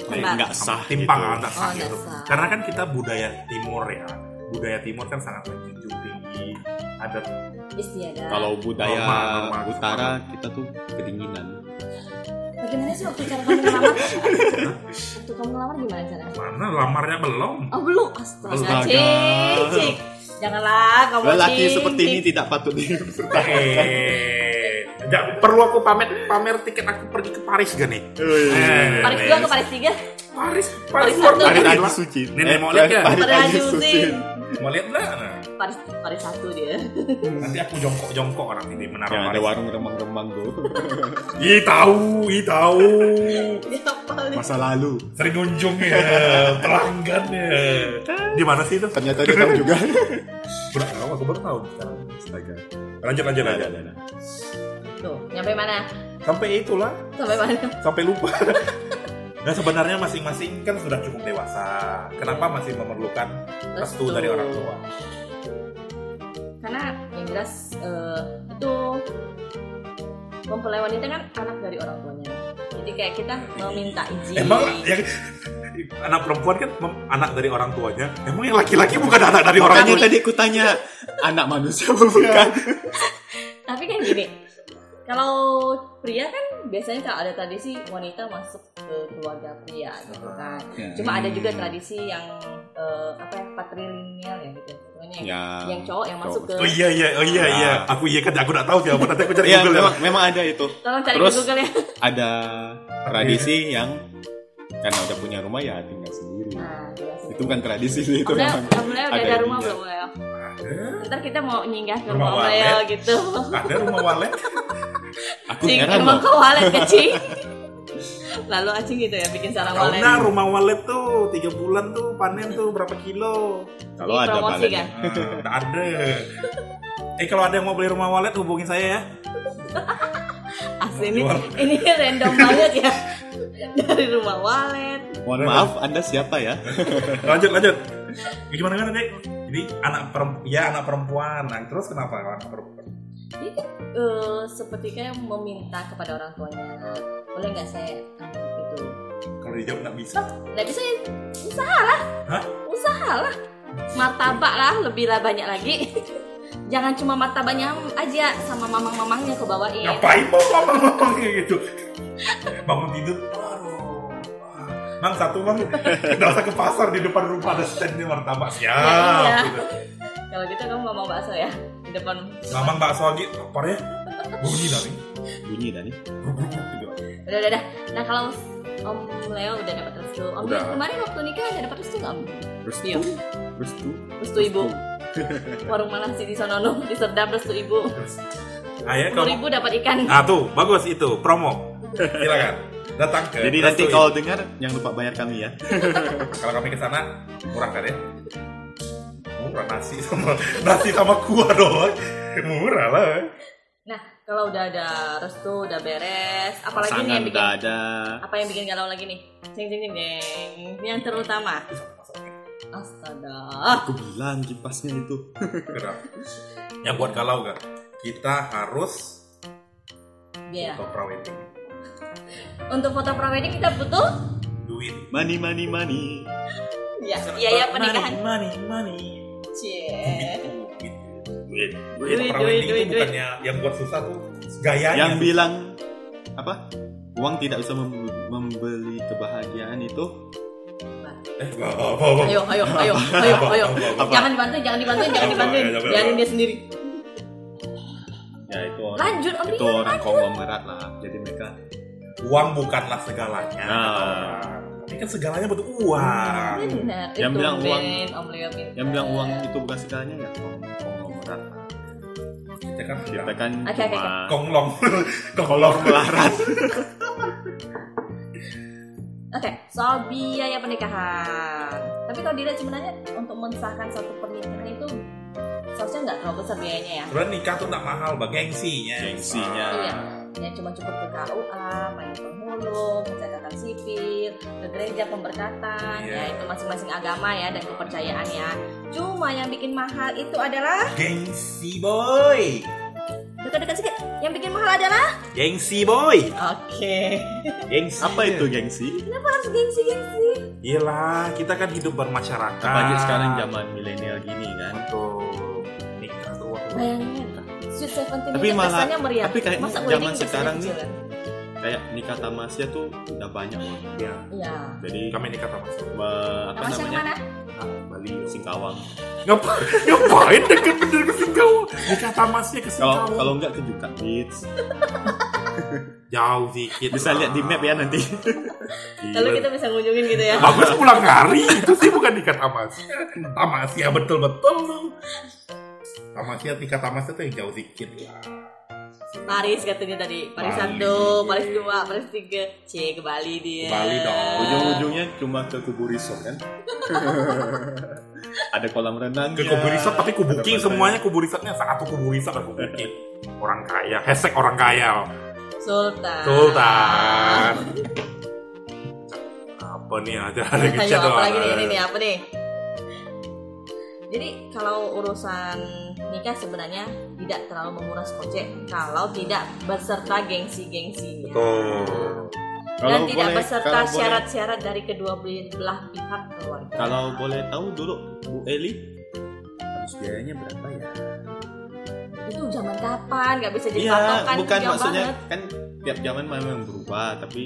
Speaker 2: Kayak
Speaker 1: Mbak.
Speaker 2: nggak sah
Speaker 3: timpang
Speaker 2: gitu.
Speaker 3: nggak
Speaker 1: Oh,
Speaker 3: sah
Speaker 1: nggak
Speaker 3: gitu.
Speaker 1: sah.
Speaker 3: karena kan kita budaya timur ya budaya timur kan sangat menjunjung tinggi adat
Speaker 1: istiadat
Speaker 2: Kalau budaya
Speaker 3: Normal, normal.
Speaker 2: utara kita tuh kedinginan.
Speaker 1: bagaimana sih waktu cara kamu ngelamar waktu kamu ngelamar gimana caranya
Speaker 3: mana lamarnya belum
Speaker 1: Oh belum, astaga,
Speaker 2: Astaga.
Speaker 1: Cik, Cik. Janganlah kamu
Speaker 2: Lelaki
Speaker 1: Cik,
Speaker 2: seperti ini
Speaker 1: Cik.
Speaker 2: tidak patut dipertahankan.
Speaker 3: Eh, nggak perlu aku pamer pamer tiket aku pergi ke Paris gak nih
Speaker 2: Oh, iya.
Speaker 1: Paris 2 ke Paris 3?
Speaker 3: Paris, Paris
Speaker 1: Paris
Speaker 3: luar
Speaker 1: satu.
Speaker 2: Parit
Speaker 3: negeri
Speaker 2: Aji
Speaker 3: lah.
Speaker 2: Sucin.
Speaker 3: Nenek
Speaker 2: Eh,
Speaker 3: mau lihat ya?
Speaker 2: Parit
Speaker 1: Parit
Speaker 2: Aji
Speaker 1: Aji
Speaker 2: Sucin.
Speaker 3: Mau lihat nggak? Nah,
Speaker 1: Paris Paris satu dia.
Speaker 3: nanti aku jongkok-jongkok nanti di Menara
Speaker 2: Yang ada
Speaker 3: Paris.
Speaker 2: warung remang-remang tuh.
Speaker 3: Ih tahu, ih tahu.
Speaker 1: Dia paling.
Speaker 2: Masa lalu.
Speaker 3: Sering unjung ya, pelanggan ya. Di mana sih itu?
Speaker 2: Ternyata dia tahu juga.
Speaker 3: Kurang tahu, aku baru tahu sekarang.
Speaker 2: Astaga.
Speaker 3: Lanjut, lanjut,
Speaker 2: Ada,
Speaker 3: lanjut.
Speaker 2: ada, ada.
Speaker 1: Tuh, nyampe mana?
Speaker 3: Sampai itulah,
Speaker 1: Sampai mana?
Speaker 3: sampai lupa. Nah sebenarnya masing-masing kan sudah cukup dewasa. Kenapa masih memerlukan
Speaker 1: Restu.
Speaker 3: restu dari orang tua?
Speaker 1: Karena yang jelas eh, itu mempelai wanita kan anak dari orang tuanya. Jadi kayak kita meminta izin.
Speaker 3: Emang
Speaker 2: ya.
Speaker 3: yang anak perempuan kan mem- anak dari orang tuanya. Emang yang laki-laki bukan anak dari orang Iya.
Speaker 2: Makanya
Speaker 3: tuanya.
Speaker 2: tadi aku tanya anak manusia apa bukan?
Speaker 1: Tapi kan gini, kalau pria kan biasanya kalau ada tradisi wanita masuk ke keluarga pria gitu kan. Cuma ada
Speaker 2: Hmm.
Speaker 1: juga tradisi yang eh, apa ya patrilineal ya gitu. Pokoknya yang, yang cowok yang masuk ke
Speaker 3: Oh iya iya, oh iya
Speaker 2: Nah.
Speaker 3: iya. Aku iya kan aku nggak tahu siapa. Nanti aku cari
Speaker 2: Iya,
Speaker 3: Google. ya.
Speaker 2: memang, memang ada itu.
Speaker 1: Tolong cari
Speaker 2: Terus-
Speaker 1: di Google ya.
Speaker 2: Ada tradisi yang karena udah punya rumah ya tinggal sendiri.
Speaker 1: Nah, iya sih.
Speaker 2: Itu bukan tradisi sih, itu
Speaker 1: Alhamdulillah,
Speaker 2: memang.
Speaker 1: alhamdulillah udah
Speaker 2: ada
Speaker 1: ada rumah
Speaker 2: ininya.
Speaker 1: belum ya?
Speaker 3: Ada,
Speaker 1: Ntar kita mau nyinggah ke
Speaker 3: Rumah
Speaker 1: rumah, Om Leo
Speaker 3: walet.
Speaker 1: gitu.
Speaker 3: ada rumah walet.
Speaker 2: Aku
Speaker 1: Cing,
Speaker 2: heran
Speaker 1: emang
Speaker 2: loh.
Speaker 1: ke walet kecil. Lalu acing gitu ya bikin sarang
Speaker 3: Tahu
Speaker 1: walet.
Speaker 3: nah rumah walet tuh tiga bulan tuh panen tuh berapa kilo?
Speaker 2: Kalau
Speaker 1: Ini
Speaker 2: ada
Speaker 1: promosi
Speaker 2: balet.
Speaker 1: kan?
Speaker 3: Nah, nggak ada. Eh kalau ada yang mau beli rumah walet hubungin saya ya.
Speaker 1: Asli ini,
Speaker 3: Keluar.
Speaker 1: ini random banget ya. Dari rumah walet.
Speaker 2: Mohon maaf, Anda siapa ya?
Speaker 3: lanjut lanjut Ya, gimana gimana dek jadi anak perempuan ya anak perempuan nah, terus kenapa anak perempuan
Speaker 1: Jadi eh, seperti kayak meminta kepada orang tuanya, boleh nggak saya ambil itu?
Speaker 3: kalau dijawab nggak bisa
Speaker 1: Nggak bisa ya, usaha lah.
Speaker 3: Hah?
Speaker 1: Usaha lah. Martabak lah, lebih lah banyak lagi. Jangan cuma martabaknya aja sama mamang-mamangnya kebawain.
Speaker 3: ngapain mau mama mama kayak gitu bangun tidur aduh Mang satu bang, nggak usah ke pasar di depan rumah ada standnya martabak siap.
Speaker 1: Iya, iya.
Speaker 3: gitu.
Speaker 1: Kalau gitu kamu ngomong bakso ya di depan.
Speaker 3: Mamang bakso lagi, lapar ya? Bunyi lah nih.
Speaker 2: Bunyi tadi.
Speaker 3: Bruk, bruk, bruk, gitu.
Speaker 1: Udah, udah, udah. Nah kalau Om Leo udah dapat restu. Om
Speaker 2: Udah.
Speaker 1: Leo kemarin waktu nikah udah dapat restu nggak Om?
Speaker 2: Restu.
Speaker 1: Iya.
Speaker 2: Restu.
Speaker 1: Restu ibu. Warung mana sih di Sonono di Serdam restu ibu.
Speaker 3: Terus, ayah
Speaker 1: Sepuluh
Speaker 3: kamu.
Speaker 1: ribu dapat ikan.
Speaker 3: Ah tuh bagus itu promo. Silakan datang ke.
Speaker 2: Jadi nanti
Speaker 3: Restu.
Speaker 2: kalau dengar jangan lupa bayar kami ya.
Speaker 3: kalau kami ke sana murah kan ya murah nasi sama nasi sama kuah doang murah lah
Speaker 1: Nah kalau udah ada restu udah beres. Apalagi nih
Speaker 2: Pasangan
Speaker 1: yang bikin
Speaker 2: udah ada.
Speaker 1: apa yang bikin galau lagi nih? Jeng jeng jeng jeng. Ini yang terutama. Astaga.
Speaker 2: Aku bilang kipasnya itu.
Speaker 3: Kenapa? yang buat galau kan kita harus
Speaker 1: Iya.
Speaker 3: foto prawedding
Speaker 1: Untuk foto prawedding kita butuh.
Speaker 3: duit
Speaker 2: Money, money, money.
Speaker 1: Ya, biaya pernikahan.
Speaker 3: money money
Speaker 1: Cie.
Speaker 3: duit duit duit
Speaker 1: Duit, duit,
Speaker 3: prawedding itu
Speaker 1: duit, duit.
Speaker 3: bukannya yang buat susah tuh gayanya
Speaker 2: Yang bilang apa? Uang tidak bisa mem- membeli kebahagiaan itu
Speaker 3: eh apa apa apa
Speaker 1: Ayo, ayo, ayo, ayo, ayo. Jangan dibantuin, jangan dibantuin, jangan
Speaker 3: Apa?
Speaker 1: dibantuin.
Speaker 3: Apa? Apa?
Speaker 1: Biarin dia sendiri.
Speaker 2: ya itu orang
Speaker 1: Lanjut, Om
Speaker 2: itu
Speaker 1: Rio.
Speaker 2: orang konglomerat lah. Jadi mereka
Speaker 3: uang bukanlah segalanya
Speaker 2: Nah.
Speaker 3: ini kan segalanya butuh uang
Speaker 1: Iya, Benar.
Speaker 2: Yang
Speaker 1: itu
Speaker 2: bilang uang-
Speaker 1: Ben, Om Leo pintar.
Speaker 2: yang bilang uang itu bukan segalanya ya kong- konglomerat. lah.
Speaker 3: kita kan
Speaker 2: Kita kan
Speaker 1: Oke, oke,
Speaker 2: cuma
Speaker 3: konglong konglong
Speaker 2: konglomerat.
Speaker 1: Oke, soal biaya pernikahan. Tapi kalau dilihat sebenarnya untuk mensahkan satu pernikahan itu seharusnya nggak terlalu besar biayanya ya.
Speaker 3: Sebenarnya nikah tuh nggak mahal, bang gengsinya.
Speaker 2: Gengsinya.
Speaker 1: Iya. Ya cuma cukup ke KUA, panggil penghulu, pencatatan sipil, ke gereja pemberkatan,
Speaker 3: Iya.
Speaker 1: ya itu masing-masing agama ya dan kepercayaan ya. Cuma yang bikin mahal itu adalah
Speaker 3: Gengsi boy,
Speaker 1: dekat-dekat sedikit. Yang bikin mahal adalah
Speaker 3: gengsi boy,
Speaker 1: Oke.
Speaker 3: gengsi.
Speaker 2: Apa itu gengsi?
Speaker 1: Kenapa harus gengsi-gengsi?
Speaker 3: Iyalah, kita kan hidup bermasyarakat.
Speaker 2: Apalagi sekarang zaman milenial gini kan.
Speaker 3: Untuk nikah tuh waktu.
Speaker 1: Bayangin Kak. Sweet Seventeen
Speaker 2: Tapi
Speaker 1: itu
Speaker 2: malah-
Speaker 1: pesannya meriah.
Speaker 2: tapi kayaknya
Speaker 1: Masa
Speaker 2: zaman
Speaker 1: wedding pesannya
Speaker 2: sekarang nih-
Speaker 1: kecil? ya?
Speaker 2: Kayak nikah tamasya tuh udah banyak. loh.
Speaker 3: Ya,
Speaker 1: Iya.
Speaker 2: Jadi
Speaker 3: kami nikah sama
Speaker 2: me- apa
Speaker 1: Tamasya yang mana?
Speaker 2: namanya?
Speaker 3: Bali.
Speaker 2: Ah, Singkawang.
Speaker 3: Ngapain? Ngapain deket bener ke Singkawang? Nikah tamasnya ke
Speaker 2: Kalau
Speaker 3: Singkawang.
Speaker 2: kalau enggak ke Jukat Beach.
Speaker 3: jauh dikit.
Speaker 2: Bisa lihat di map ya nanti.
Speaker 1: Lalu kita bisa ngunjungin gitu ya.
Speaker 3: Bagus pulang hari itu sih bukan nikah tamasya. Tamasya betul-betul lu. Tamasya nikah tamasya tuh yang jauh dikit lah.
Speaker 1: Paris katanya tadi, Paris
Speaker 3: Bali.
Speaker 1: satu, Paris dua, Paris tiga, c ke Bali dia.
Speaker 3: Ke Bali dong.
Speaker 2: Ujung-ujungnya cuma ke Kubu Resort kan? ada kolam renang. Iya.
Speaker 3: Ke kubu resort tapi kubu king semuanya kubu resortnya satu kubu resort dan kubu king. Orang kaya, hashtag orang kaya.
Speaker 1: Sultan.
Speaker 3: Sultan. Apa nih ada ada
Speaker 1: Ayo,
Speaker 3: gecet
Speaker 1: apa
Speaker 3: doang.
Speaker 1: lagi nih, ini nih, apa nih? Jadi kalau urusan nikah sebenarnya tidak terlalu menguras kocek kalau tidak beserta gengsi-gengsinya.
Speaker 3: Betul.
Speaker 1: Dan tidak beserta syarat-syarat dari kedua belah pihak keluarga.
Speaker 2: Kalau boleh tahu dulu Bu Eli harus biayanya berapa ya?
Speaker 1: Itu zaman kapan? Gak bisa jadi
Speaker 2: Iya,
Speaker 1: patokan.
Speaker 2: bukan
Speaker 1: jauh
Speaker 2: maksudnya
Speaker 1: banget.
Speaker 2: kan tiap zaman memang berubah, tapi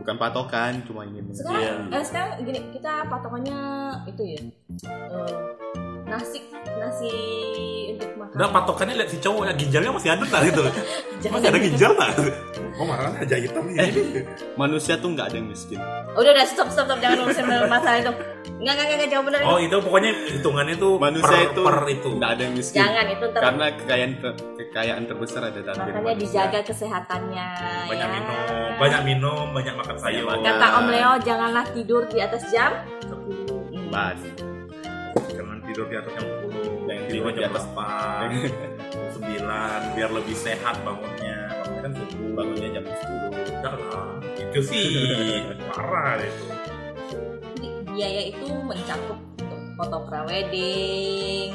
Speaker 2: bukan patokan, cuma ingin
Speaker 1: Sekarang,
Speaker 2: Iya.
Speaker 1: eh, sekarang gini kita patokannya itu ya eh, nasi nasi untuk makan.
Speaker 3: Nah patokannya lihat si cowok ya ginjalnya masih ada nggak gitu?
Speaker 1: Jangan.
Speaker 3: Masih ada ginjal nggak? Oh malah aja hitam ini.
Speaker 2: Manusia tuh nggak ada yang miskin.
Speaker 1: Udah udah stop stop stop jangan urusin masalah itu. Enggak enggak enggak jauh bener.
Speaker 3: Oh itu pokoknya hitungannya tuh
Speaker 2: Manusia
Speaker 3: per,
Speaker 2: itu
Speaker 3: per itu.
Speaker 2: nggak ada yang miskin.
Speaker 1: jangan itu ter
Speaker 3: Kan-
Speaker 2: Karena kekayaan ter- kekayaan terbesar ada dalam diri
Speaker 1: makanya
Speaker 2: manusia.
Speaker 1: dijaga kesehatannya.
Speaker 3: ya. Banyak
Speaker 1: ya.
Speaker 3: minum, banyak minum, banyak makan sayur.
Speaker 2: Banyak
Speaker 1: Kata Om Leo janganlah tidur di atas jam 10.
Speaker 2: Mas,
Speaker 3: Jangan tidur di atas jam 10,
Speaker 2: Jangan
Speaker 3: tidur
Speaker 2: tidur di
Speaker 3: jam
Speaker 2: atas-
Speaker 3: 8, jam 9, biar lebih sehat bangunnya. Bangunnya kan subuh.
Speaker 2: bangunnya jam 10.
Speaker 3: Enggak lah, itu sih parah itu.
Speaker 1: Jadi, biaya itu mencakup untuk foto prewedding,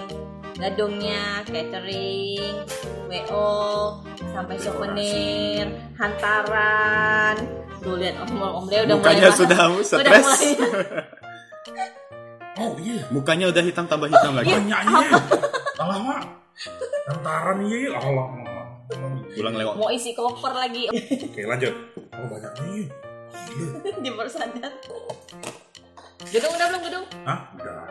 Speaker 1: gadongnya, catering, WO, sampai souvenir, hantaran. Tuh lihat Om Om Leo udah
Speaker 2: Mukanya
Speaker 1: mulai
Speaker 2: sudah
Speaker 1: udah
Speaker 2: stres.
Speaker 1: mulai
Speaker 3: Oh iya,
Speaker 2: Mukanya udah hitam tambah hitam lagi.
Speaker 3: banyak iya. Alamak, tentaran iya, alamak.
Speaker 2: Pulang lewat.
Speaker 1: mau isi koper lagi
Speaker 3: Oke lanjut. Oh banyak iya.
Speaker 1: di persadar. Gedung udah belum gedung?
Speaker 3: Hah? Udah. Udah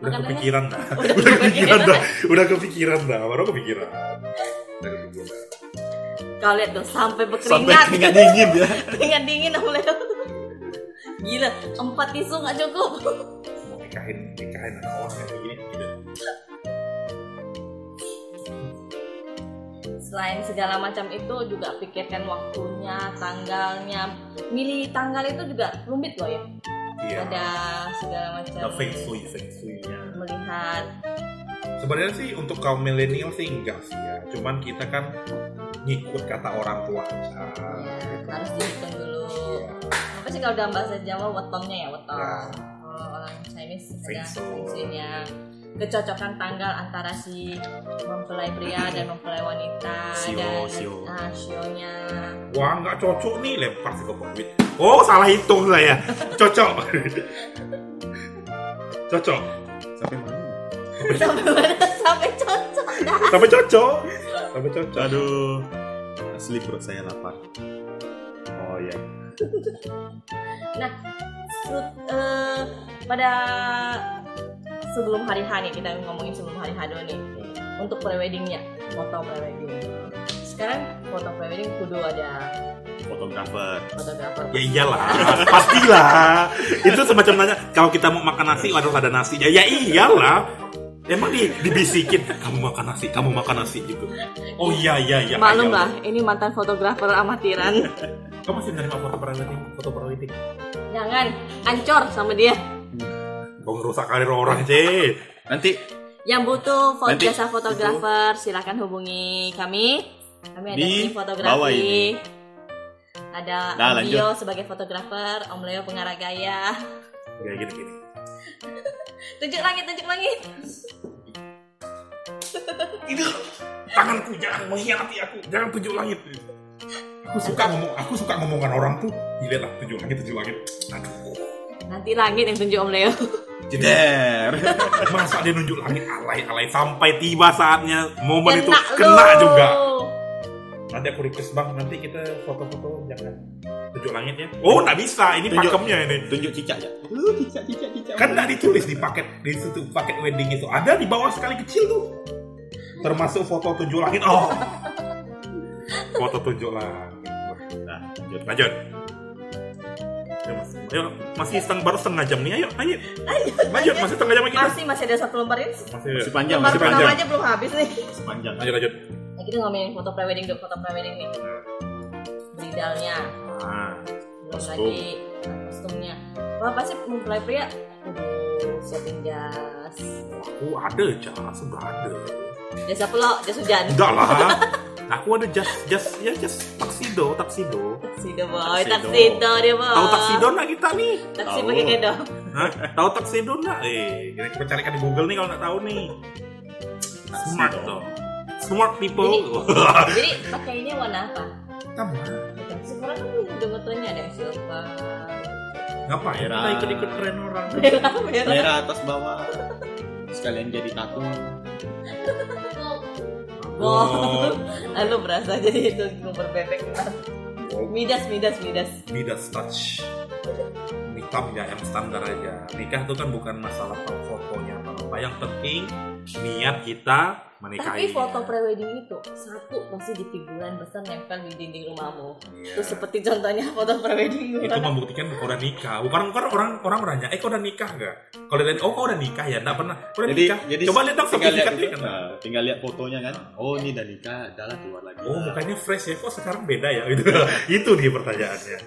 Speaker 1: Makanannya?
Speaker 3: kepikiran dah.
Speaker 1: Udah
Speaker 3: Udah kepikiran
Speaker 1: kepikiran.
Speaker 3: dah. Udah kepikiran dah. Baru kepikiran. Udah kepikiran.
Speaker 1: Kau lihat dong sampai
Speaker 2: Sampai
Speaker 1: berkeringat.
Speaker 2: keringat dingin ya.
Speaker 1: Keringat dingin Om Leo. Gila, empat tisu nggak cukup.
Speaker 3: Mau nikahin, nikahin anak orang kayak begini. Gitu.
Speaker 1: Selain segala macam itu juga pikirkan waktunya, tanggalnya. Milih tanggal itu juga rumit loh ya.
Speaker 3: Iya.
Speaker 1: Ada segala
Speaker 3: Ada
Speaker 1: macam.
Speaker 3: feng shui, feng shui-nya.
Speaker 1: Melihat
Speaker 3: Sebenarnya sih untuk kaum milenial sih enggak sih ya. Cuman kita kan ngikut kata orang tua kita. gitu.
Speaker 1: harus dihitung dulu.
Speaker 3: Iya.
Speaker 1: Apa sih kalau dalam bahasa Jawa wetongnya ya wetong.
Speaker 3: Nah.
Speaker 1: Kalau orang Chinese
Speaker 3: Feng
Speaker 1: ada
Speaker 3: shui.
Speaker 1: fungsinya kecocokan tanggal antara si mempelai pria dan mempelai wanita
Speaker 2: Sio,
Speaker 1: dan
Speaker 2: sio.
Speaker 1: ah, sionya.
Speaker 3: Wah nggak cocok nih lempar sih ke bawah. Oh salah hitung saya. Cocok. cocok.
Speaker 2: Sampai mana?
Speaker 1: sampai mana? sampai cocok dah.
Speaker 3: Sampai cocok. Sampai cocok.
Speaker 2: Aduh. Asli perut saya lapar. Oh iya.
Speaker 1: Su- Nah, eh, pada sebelum hari H nih kita ngomongin sebelum hari H dulu nih untuk preweddingnya foto prewedding sekarang foto prewedding kudu ada
Speaker 2: Fotografer.
Speaker 1: fotografer
Speaker 3: Ya iyalah, pastilah. Itu semacam nanya, kalau kita mau makan nasi harus ada nasi. Ya, ya iyalah. Emang di, dibisikin, kamu makan nasi, kamu makan nasi gitu. Oh iya iya
Speaker 2: Ya,
Speaker 3: iya.
Speaker 1: Maklum
Speaker 3: ayo.
Speaker 1: lah, ini mantan fotografer amatiran.
Speaker 3: Kamu masih menerima foto peralitik, foto peralitik.
Speaker 1: Jangan ancor sama dia.
Speaker 3: Kau ngerusak karir orang sih.
Speaker 2: Nanti
Speaker 1: Yang butuh foto
Speaker 2: Nanti-
Speaker 1: jasa fotografer, silakan hubungi kami. Kami ada
Speaker 2: Di
Speaker 1: tim
Speaker 2: bawah
Speaker 1: fotografi.
Speaker 2: ini.
Speaker 1: Ada
Speaker 2: Nah,
Speaker 1: Om
Speaker 2: lanjut.
Speaker 1: Dio sebagai fotografer, Om Leo pengarah gaya.
Speaker 3: Ya gini gini.
Speaker 1: Tunjuk langit, tunjuk langit.
Speaker 3: Itu tanganku jangan mengkhianati aku, jangan tunjuk langit. Aku suka ngomong, aku suka ngomongan orang tuh. Dilihatlah tunjuk langit, tunjuk langit. Aduh,
Speaker 1: Nanti langit yang tunjuk Om Leo. Iya.
Speaker 2: jeder.
Speaker 3: masa dia nunjuk langit alay alay sampai tiba saatnya momen itu
Speaker 1: Kena
Speaker 3: kena
Speaker 1: lu.
Speaker 3: juga. Nanti aku request bang, nanti kita foto-foto jangan tunjuk langit ya. Oh, nggak bisa, ini
Speaker 2: Tunjuk.
Speaker 3: pakemnya ini.
Speaker 2: Tunjuk cicak ya. Lu cicak cicak cicak.
Speaker 3: Kan nggak ditulis di paket di situ paket wedding itu ada di bawah sekali kecil tuh. Termasuk foto tunjuk langit. Oh, foto tunjuk langit.
Speaker 2: Nah, lanjut.
Speaker 3: Lanjut. Ayo, masih setengah baru setengah jam nih. Ayo, lanjut.
Speaker 1: Ayo,
Speaker 3: Lanjut, masih setengah jam lagi kita.
Speaker 1: Masih masih ada satu lembar ini.
Speaker 3: Masih,
Speaker 2: Masih panjang,
Speaker 1: Lembar
Speaker 2: masih
Speaker 1: pertama
Speaker 2: panjang.
Speaker 1: aja belum habis nih.
Speaker 2: Masih panjang.
Speaker 3: lanjut, lanjut.
Speaker 1: Nah, kita ngomongin foto prewedding dong, foto prewedding nih. Bridalnya,
Speaker 2: Nah,
Speaker 3: Ah.
Speaker 1: belum
Speaker 2: Kostum.
Speaker 1: lagi nah, kostumnya. Wah pasti mempelai pria kudu siapin jas,
Speaker 3: Aku ada jas, udah ada.
Speaker 1: jas apa lo? Jas hujan.
Speaker 3: Enggak lah. Aku ada jas, jas, ya jas taksido, taksido.
Speaker 1: Taksido boy,
Speaker 2: Tuxedo.
Speaker 1: taksido dia boy.
Speaker 3: Tahu taksido nggak kita nih?
Speaker 1: Taksi
Speaker 2: Tahu.
Speaker 1: pakai kedo.
Speaker 3: Hah? Tahu taksido nggak? Eh, kita coba carikan di Google nih kalau nggak tahu nih. Smart
Speaker 2: Tuxedo.
Speaker 3: dong. Smart people.
Speaker 1: Jadi pakainya warna apa?
Speaker 3: Kamu
Speaker 1: Sekarang kan udah betulnya ada yang silver,
Speaker 3: ngapain?
Speaker 2: Merah.
Speaker 3: ya, Kita ikut-ikut tren orang.
Speaker 1: merah, merah.
Speaker 2: daerah atas bawah. Sekalian jadi tato.
Speaker 1: Oh. Lalu berasa jadi itu ngubur bebek Midas, Midas, Midas.
Speaker 3: Midas touch nikah ya yang standar aja nikah itu kan bukan masalah fotonya atau apa yang penting niat kita
Speaker 1: Tapi
Speaker 3: menikahi
Speaker 1: foto prewedding itu satu pasti di figuran besar nempel di dinding rumahmu.
Speaker 3: Iya.
Speaker 1: Itu seperti contohnya foto prewedding gue.
Speaker 3: itu membuktikan kau udah nikah bukan bukan orang orang nanya eh kau udah nikah gak kalau lihat oh kau udah nikah ya nggak pernah kau udah
Speaker 2: Jadi,
Speaker 3: nikah
Speaker 2: jadi
Speaker 3: coba lihat dong
Speaker 2: tinggal lihat,
Speaker 3: sertifikatnya
Speaker 2: itu, nah, tinggal lihat fotonya kan. Oh, ini udah nikah, adalah keluar lagi.
Speaker 3: oh mukanya fresh ya kok sekarang beda ya gitu itu dia pertanyaannya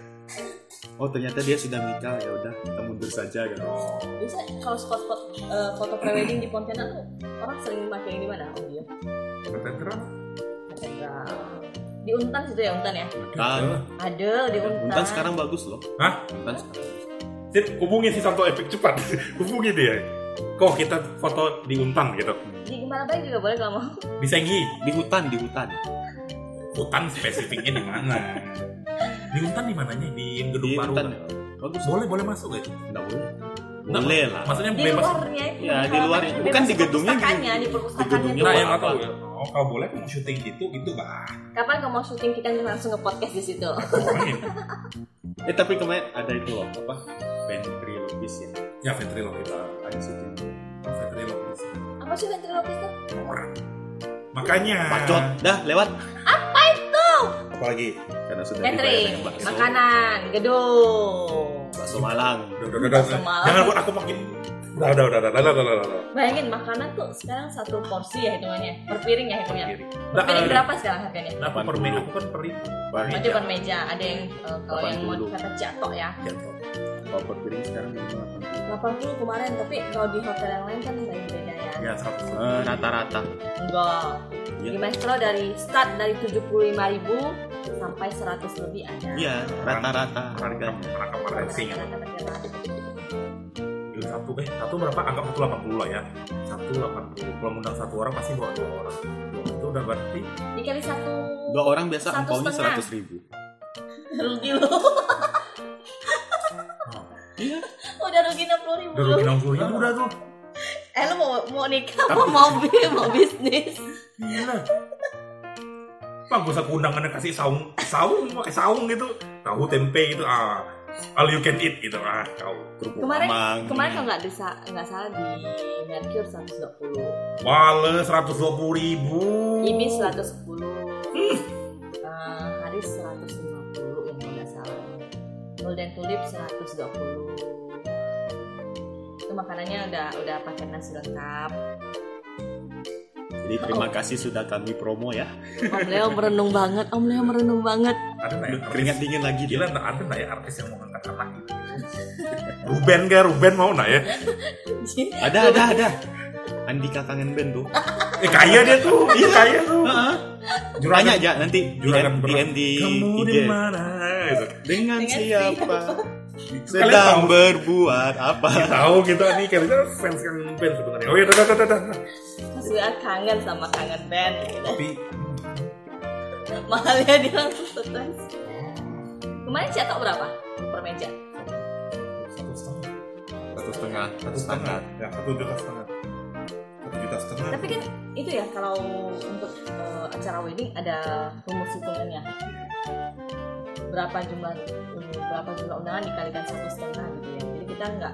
Speaker 2: Oh, ternyata dia sudah nikah. Ya udah, kita mundur saja kan.
Speaker 3: Oh,
Speaker 1: Bisa kalau spot-spot eh, foto prewedding di Pontianak tuh orang sering pakai di mana? Oh iya.
Speaker 3: Ketenteran.
Speaker 1: Ada. Di Untan situ ya Untan ya.
Speaker 2: Tan.
Speaker 1: Ada di Untan.
Speaker 2: Iya, Untan sekarang bagus loh.
Speaker 3: Hah?
Speaker 2: Untan sekarang.
Speaker 3: Sip, hubungi si Santo Epic cepat hubungi dia kok kita foto di Untan gitu
Speaker 1: di gimana baik juga boleh kalau mau.
Speaker 3: di Senggi
Speaker 2: Di hutan, di hutan.
Speaker 3: hutan spesifiknya di mana? Di hutan di mananya? Di gedung
Speaker 2: di
Speaker 3: baru.
Speaker 2: hutan.
Speaker 3: kan?
Speaker 2: ya. Bagus.
Speaker 3: Boleh boleh masuk ya?
Speaker 2: Enggak boleh.
Speaker 3: Nggak
Speaker 2: Boleh lah.
Speaker 3: Maksudnya
Speaker 1: Di
Speaker 3: bebas. Nah,
Speaker 1: luarnya itu.
Speaker 2: Ya, di
Speaker 1: halamannya
Speaker 2: luarnya. Bukan di
Speaker 1: bebas
Speaker 2: gedungnya, di-
Speaker 1: perpustakaannya, di
Speaker 2: di
Speaker 1: perpustakaannya.
Speaker 2: gedungnya
Speaker 1: tuh.
Speaker 3: Nah,
Speaker 2: Nggak
Speaker 3: yang nggak tahu
Speaker 2: apa-apa.
Speaker 3: ya. Oh, kalau boleh mau syuting gitu, itu bah.
Speaker 1: Kapan kamu mau syuting kita langsung ke podcast di situ?
Speaker 3: Main.
Speaker 2: Eh tapi kemarin ada itu loh apa ventriloquist ya.
Speaker 3: ya ventriloquist.
Speaker 2: Nah, Ada situ.
Speaker 3: Ah. Ventriloquist.
Speaker 1: Apa sih ventriloquist tuh?
Speaker 3: Orang. Makanya.
Speaker 2: Bacot, dah lewat.
Speaker 3: Apalagi.
Speaker 2: Karena sudah dibayar
Speaker 1: Catering,
Speaker 2: dengan bakso.
Speaker 1: makanan, gedung.
Speaker 2: Bakso Malang.
Speaker 3: Udah udah udah. udah.
Speaker 1: Semalam.
Speaker 3: Jangan buat aku makin. Udah udah udah udah udah udah udah. udah.
Speaker 1: Bayangin makanan tuh sekarang satu porsi ya hitungannya, per piring ya hitungnya. Per
Speaker 3: Udah,
Speaker 1: piring
Speaker 3: udah.
Speaker 1: berapa sekarang harganya?
Speaker 3: Nah, aku permen, aku kan perin.
Speaker 2: Bang,
Speaker 1: Itu per meja, ada yang eh, kalau yang mau
Speaker 2: 80.
Speaker 1: kata jatok ya.
Speaker 3: Iya,
Speaker 2: Bapak piring sekarang minimal
Speaker 1: 80 kemarin, tapi kalau di hotel yang lain kan nggak beda ya.
Speaker 3: Ya, seratus.
Speaker 2: 80. Eh, Rata-rata.
Speaker 1: Enggak.
Speaker 2: Iya.
Speaker 1: Di Maestro dari start dari 75.000 sampai 100 lebih ada.
Speaker 2: Iya, rata-rata harganya.
Speaker 3: Rangkap racing.
Speaker 1: Rata-rata harganya.
Speaker 3: Yuk, ya. satu eh satu berapa anggap satu delapan puluh lah ya satu delapan puluh kalau ngundang satu orang pasti bawa dua orang dua orang itu udah berarti
Speaker 1: Dikali satu
Speaker 2: Dua orang biasa
Speaker 1: Satu
Speaker 2: angpaunya
Speaker 1: setengah.
Speaker 2: seratus ribu.
Speaker 1: rugi lu. Udah rugi 60 ribu
Speaker 3: udah dua enam puluh ribu udah tuh
Speaker 1: Eh lu mau, mau nikah
Speaker 3: Tapi-
Speaker 1: mau mau, bi- mau bisnis
Speaker 3: gila bang gue aku undangan yang kasih saung saung pakai saung gitu tahu tempe gitu ah all you can eat gitu ah kau
Speaker 2: Kerupuk
Speaker 1: Kemarin-
Speaker 2: mamang.
Speaker 1: Kemarin kalau nggak desa- nggak salah di Mercure 120
Speaker 3: wale seratus dua puluh ribu
Speaker 1: Ini 110 Eh, Haris 150 yang nggak salah Golden Tulip 120 itu makanannya udah udah pakai nasi lengkap.
Speaker 2: Jadi
Speaker 1: Oh.
Speaker 2: terima kasih sudah kami promo ya.
Speaker 1: Om Leo merenung banget, Om Leo merenung banget.
Speaker 3: ada nggak
Speaker 2: Aduh,
Speaker 3: ya artis
Speaker 2: keringat dingin lagi.
Speaker 3: gila nggak ada nggak ya artis yang mau ngangkat anak gitu Ruben gak Ruben mau nggak ya
Speaker 2: Ada, ada, ada. Andika kangen band tuh.
Speaker 3: eh kaya dia tuh iya kaya tuh
Speaker 2: Heeh.
Speaker 3: Juragan
Speaker 2: Tanya aja nanti
Speaker 3: Juragan
Speaker 2: DM,
Speaker 3: berat.
Speaker 2: DM di
Speaker 3: Kamu di
Speaker 2: IG.
Speaker 3: mana? Gitu.
Speaker 2: Dengan
Speaker 1: Dengan
Speaker 2: siapa?
Speaker 3: Kalian tahu?
Speaker 2: Sedang berbuat apa?
Speaker 3: Nggak tahu gitu nih kita fans kan fans sebenarnya. Oh iya, dah dah dah dah.
Speaker 1: Terus gue kangen sama kangen band. gitu.
Speaker 3: Tapi
Speaker 1: Mahalnya dia langsung stres.
Speaker 3: Oh.
Speaker 1: Kemarin cetak berapa per meja?
Speaker 3: satu setengah,
Speaker 2: Satu setengah,
Speaker 3: satu setengah, ya satu juta setengah, satu juta setengah.
Speaker 1: Tapi kan itu ya kalau untuk eh, acara wedding ada rumus hitungannya. Berapa jumlah berapa jumlah undangan dikalikan satu setengah gitu ya. Jadi kita nggak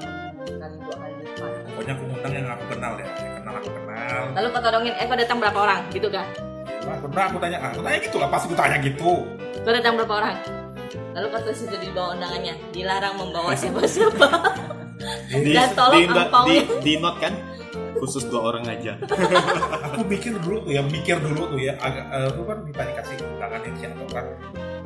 Speaker 1: eh, kali dua kali lipat.
Speaker 3: Pokoknya aku ngundang yang aku kenal ya, yang kenal aku kenal.
Speaker 1: Lalu kau todongin, eh kau datang berapa orang gitu kan?
Speaker 3: Lah, aku pernah aku tanya, ah, aku tanya gitu lah, pasti aku tanya gitu.
Speaker 1: Kau datang berapa orang? Lalu kata setuju di bawah undangannya, dilarang membawa siapa-siapa.
Speaker 2: di,
Speaker 1: Dan tolong
Speaker 2: di,
Speaker 1: angpau.
Speaker 2: di, di note kan khusus dua orang aja
Speaker 3: aku mikir dulu tuh ya mikir dulu tuh ya agak eh, aku kan ditanya kasih undangan yang siapa kan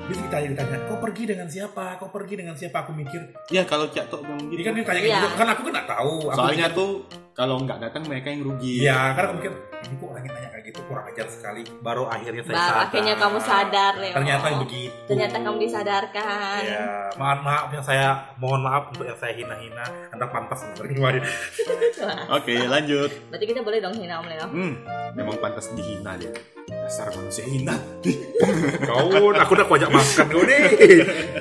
Speaker 3: dia ditanya ditanya kau pergi dengan siapa kau pergi dengan siapa aku mikir
Speaker 2: ya kalau cak tok ngomong
Speaker 3: ini
Speaker 2: gitu
Speaker 3: kan dia tanya kayak
Speaker 1: Iya.
Speaker 3: gitu kan aku kan nggak tahu aku
Speaker 2: soalnya tuh kalau nggak datang mereka yang rugi
Speaker 3: Iya, karena aku mikir ini kok orangnya nanya kayak gitu kurang ajar sekali. Baru akhirnya saya
Speaker 1: Baru
Speaker 3: sadar.
Speaker 1: akhirnya kamu sadar, Leo.
Speaker 3: Ternyata begitu.
Speaker 1: Ternyata kamu disadarkan.
Speaker 2: Iya.
Speaker 3: Ya, maaf maaf yang saya mohon maaf untuk yang saya hina-hina. Anda pantas untuk ini.
Speaker 1: Wah,
Speaker 2: oke lanjut
Speaker 1: Berarti kita boleh dong hina Om Leo.
Speaker 2: hmm memang pantas dihina dia dasar manusia hina
Speaker 3: Kau, aku udah kuajak makan kau nih.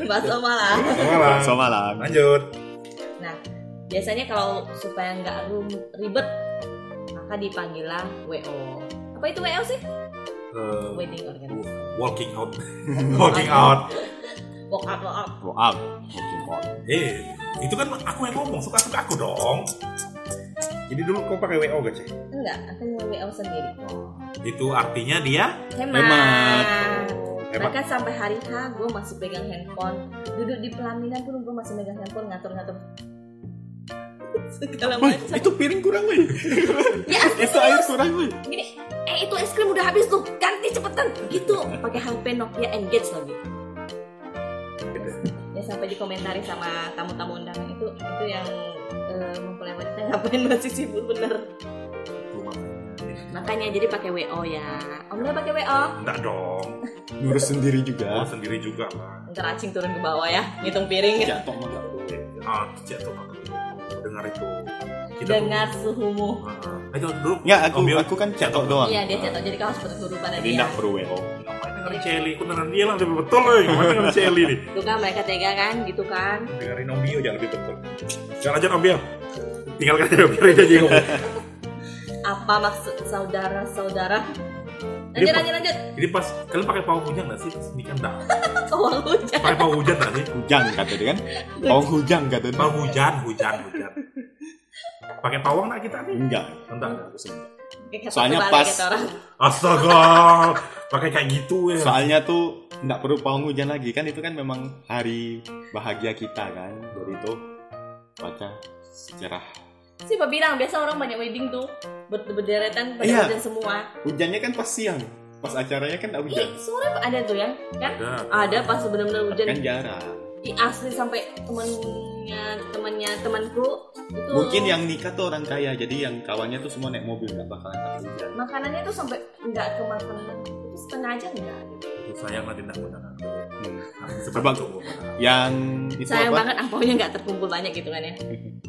Speaker 1: Bakso malah.
Speaker 3: Malam.
Speaker 2: so malam
Speaker 3: Lanjut.
Speaker 1: Biasanya kalau supaya nggak rum- ribet, maka dipanggillah WO. Apa itu WO sih?
Speaker 3: Eh,
Speaker 1: Wedding organizer.
Speaker 3: walking out. walking out.
Speaker 1: Walk up, walk up.
Speaker 2: go up Oke, go up.
Speaker 3: Eh, itu kan aku yang ngomong suka suka aku dong. Jadi dulu kau pakai WO gak sih?
Speaker 1: Enggak, aku mau WO sendiri.
Speaker 3: Itu artinya dia
Speaker 1: Hemat.
Speaker 2: Hemat.
Speaker 3: hebat.
Speaker 1: Bahkan sampai hari H gue masih pegang handphone Duduk di pelaminan pun gue masih megang handphone ngatur-ngatur Segala
Speaker 2: Woy,
Speaker 1: macam
Speaker 2: itu piring kurang woy
Speaker 1: Ya
Speaker 2: itu air kurang woy
Speaker 1: gini Eh itu es krim udah habis tuh Ganti cepetan Gitu pakai HP Nokia Engage lagi Ya sampai dikomentari sama tamu-tamu undangan itu Itu yang eh, mempelai wanita ngapain masih sibuk bener Makanya jadi pakai WO ya Om Leo pakai WO
Speaker 3: Enggak dong.
Speaker 2: ngurus sendiri
Speaker 3: Aku
Speaker 2: juga
Speaker 3: Oh, sendiri juga lah.
Speaker 1: Ntar acing turun ke bawah ya Ngitung piring
Speaker 2: cak tok mah
Speaker 3: Ah, jatuh banget. Dengar itu.
Speaker 1: Dengar suhumu
Speaker 3: Nah, itu dulu.
Speaker 2: nggak aku
Speaker 3: Om Yul.
Speaker 2: aku kan cak tok doang
Speaker 1: Iya dia cetak jadi kamu harus berguru pada
Speaker 2: jadi
Speaker 1: dia.
Speaker 2: nggak perlu wo
Speaker 3: Ngapain dengerin Celi? Aku dengerin dia lah lebih betul loh. Gimana dengerin Celi nih?
Speaker 1: Tuh kan mereka tega kan gitu kan.
Speaker 3: Dengerin Om Bio jangan lebih betul. Jangan aja Om Bio. Tinggalkan aja Om Bio aja dia ngomong.
Speaker 1: Apa maksud saudara saudara? Lanjut
Speaker 3: Dia pa-
Speaker 1: lanjut lanjut.
Speaker 3: Jadi pas kalian pakai pawang hujan nggak sih? Ini kan dah.
Speaker 1: Uang hujan.
Speaker 3: Pakai pawang hujan nggak sih?
Speaker 2: hujan kata dia kan oh hujan kata dia
Speaker 3: Pawang hujan, hujan, hujan. Pakai pawang nggak kita nih?
Speaker 2: enggak
Speaker 3: Enggak.
Speaker 1: Kayak kata
Speaker 2: Soalnya
Speaker 1: kebalik
Speaker 2: pas-
Speaker 1: kata orang.
Speaker 3: Astaga. Pakai kayak gitu ya.
Speaker 2: soalnya tuh nggak perlu pawang hujan lagi kan itu kan memang hari bahagia kita kan dari itu baca sejarah
Speaker 1: Siapa bilang biasa orang banyak wedding tuh ber- berderetan pada
Speaker 2: Iya.
Speaker 1: hujan semua.
Speaker 2: hujannya kan pas siang pas acaranya kan nggak hujan
Speaker 1: Ih, sore ada tuh ya kan?
Speaker 3: Ada.
Speaker 1: Ada pas benar-benar Iya, hujan.
Speaker 2: kan jarang
Speaker 1: Ih, asli sampai temennya temennya temanku itu
Speaker 2: mungkin ya. yang nikah tuh orang kaya jadi yang kawannya tuh semua naik mobil nggak bakalan pakai hujan
Speaker 1: makanannya tuh sampai nggak kemakan itu setengah aja enggak
Speaker 3: Sayang lah tindak undangan.
Speaker 2: Hmm.
Speaker 3: Sebab
Speaker 2: Coba- yang itu
Speaker 1: sayang
Speaker 2: apa
Speaker 1: banget angpaunya nggak terkumpul banyak gitu kan ya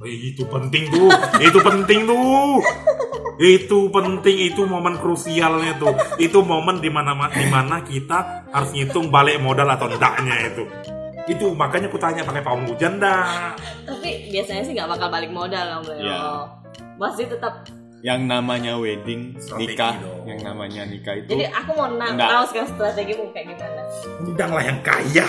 Speaker 3: Eh, itu penting tuh, itu penting tuh, itu penting, itu momen krusialnya tuh, itu momen dimana dimana kita harus ngitung balik modal atau enggaknya itu. Itu makanya aku tanya pakai pawang hujan dah.
Speaker 1: tapi biasanya sih nggak bakal balik modal om Leo
Speaker 2: Iya.
Speaker 1: masih tetap
Speaker 2: yang namanya wedding
Speaker 3: Strategi
Speaker 2: nikah
Speaker 3: dong.
Speaker 2: yang namanya nikah itu
Speaker 1: jadi aku mau na-
Speaker 2: Nggak.
Speaker 1: tahu sekarang strategimu kayak gimana
Speaker 3: Undanglah yang kaya.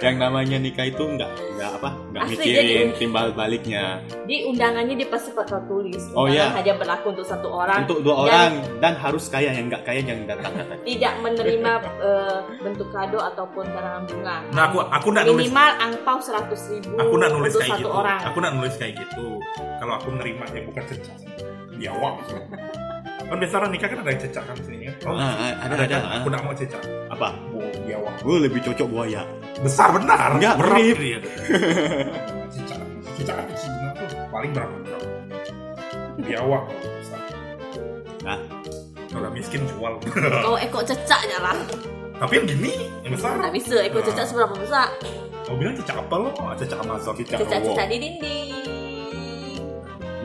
Speaker 2: yang namanya nikah itu nggak nggak apa nggak
Speaker 1: Asli,
Speaker 2: mikirin
Speaker 1: jadi-
Speaker 2: timbal baliknya
Speaker 1: di undangannya dia pasti bakal tulis undangan
Speaker 2: Oh, iya.
Speaker 1: hanya berlaku untuk satu orang
Speaker 2: untuk dua orang dan harus kaya yang nggak kaya jangan datang katanya.
Speaker 1: tidak menerima eh, bentuk kado ataupun karangan bunga
Speaker 3: Nah aku aku nggak nulis,
Speaker 1: minimal angpau seratus ribu
Speaker 3: aku nggak nulis
Speaker 1: untuk
Speaker 3: kayak
Speaker 1: satu
Speaker 3: gitu.
Speaker 1: orang
Speaker 3: Aku nggak nulis kayak gitu. Kalau aku nerima ya bukan cecak, biawak. Kan biasa orang nikah kan ada yang cecak kan sini. Oh,
Speaker 2: Ah, ah, ada ada,
Speaker 3: kan?
Speaker 2: ah.
Speaker 3: Aku nggak mau cecak.
Speaker 2: apa
Speaker 3: Mau biawak.
Speaker 2: gue lebih cocok buaya
Speaker 3: besar benar
Speaker 2: Enggak,
Speaker 3: berat
Speaker 2: mirip.
Speaker 3: dia cicak cicak kecil benar tuh paling berapa gram biawak kalau besar
Speaker 2: Nah.
Speaker 3: kalau miskin jual
Speaker 1: kalau ekor cecak aja lah
Speaker 3: tapi yang gini yang besar Ah.
Speaker 1: nggak bisa ekor cecak seberapa besar
Speaker 3: kau bilang cicak apa lo cicak Amazon cicak
Speaker 1: cecak
Speaker 2: wow.
Speaker 1: cecak di dinding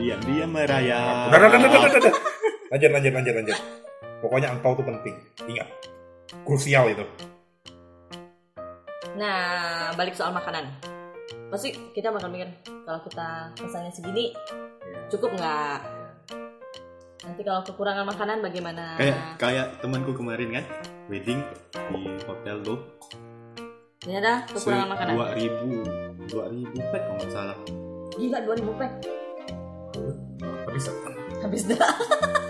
Speaker 2: diam diam merayap
Speaker 3: udah udah udah udah udah, udah lanjut lanjut lanjut lanjut pokoknya angpau tuh penting ingat krusial itu
Speaker 1: nah balik soal makanan pasti kita bakal mikir kalau kita pesannya segini cukup nggak nanti kalau kekurangan makanan bagaimana
Speaker 3: Eh.
Speaker 2: kayak kayak temanku kemarin kan wedding di hotel tuh
Speaker 1: ternyata kekurangan makanan
Speaker 2: dua ribu dua ribu pack kalau nggak salah
Speaker 1: gila 2000 pack
Speaker 3: tapi setan
Speaker 1: habis dah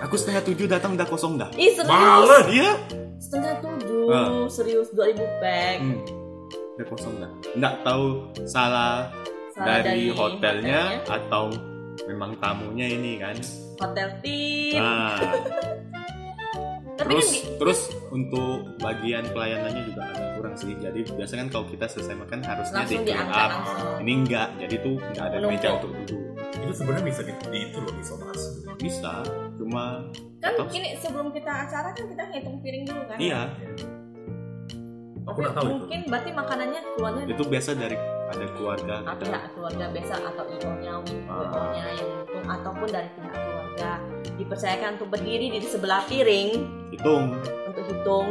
Speaker 2: aku setengah tujuh datang udah kosong dah
Speaker 1: ih serius
Speaker 3: malah
Speaker 2: iya
Speaker 1: setengah tujuh
Speaker 2: Ah.
Speaker 1: serius 2000 pack
Speaker 2: hmm. hotel kosong dah nggak tahu salah dari, hotelnya, atau memang tamunya ini kan
Speaker 1: hotel tim
Speaker 2: nah
Speaker 1: tapi
Speaker 2: terus
Speaker 1: kan gi-
Speaker 2: terus untuk bagian pelayanannya juga agak kurang sih jadi biasanya kan kalau kita selesai makan harusnya di
Speaker 1: langsung
Speaker 2: clean
Speaker 1: diangkat
Speaker 2: up
Speaker 1: langsung
Speaker 2: ini enggak jadi tuh nggak ada
Speaker 1: Menumpuk.
Speaker 2: meja untuk duduk
Speaker 3: itu sebenarnya bisa di, di itu loh bisa masuk
Speaker 2: bisa cuma
Speaker 1: kan
Speaker 2: atau-
Speaker 1: ini sebelum kita acara kan kita ngitung piring dulu kan
Speaker 2: iya
Speaker 3: aku
Speaker 1: Tapi
Speaker 3: nggak tahu itu
Speaker 1: mungkin berarti makanannya keluarnya
Speaker 2: itu biasa dari ada keluarga
Speaker 1: apa
Speaker 2: kita
Speaker 1: ya keluarga biasa atau io-nya,
Speaker 2: Ah.
Speaker 1: nya yang untung ataupun dari pihak keluarga dipercayakan untuk berdiri di sebelah piring
Speaker 2: hitung
Speaker 1: untuk hitung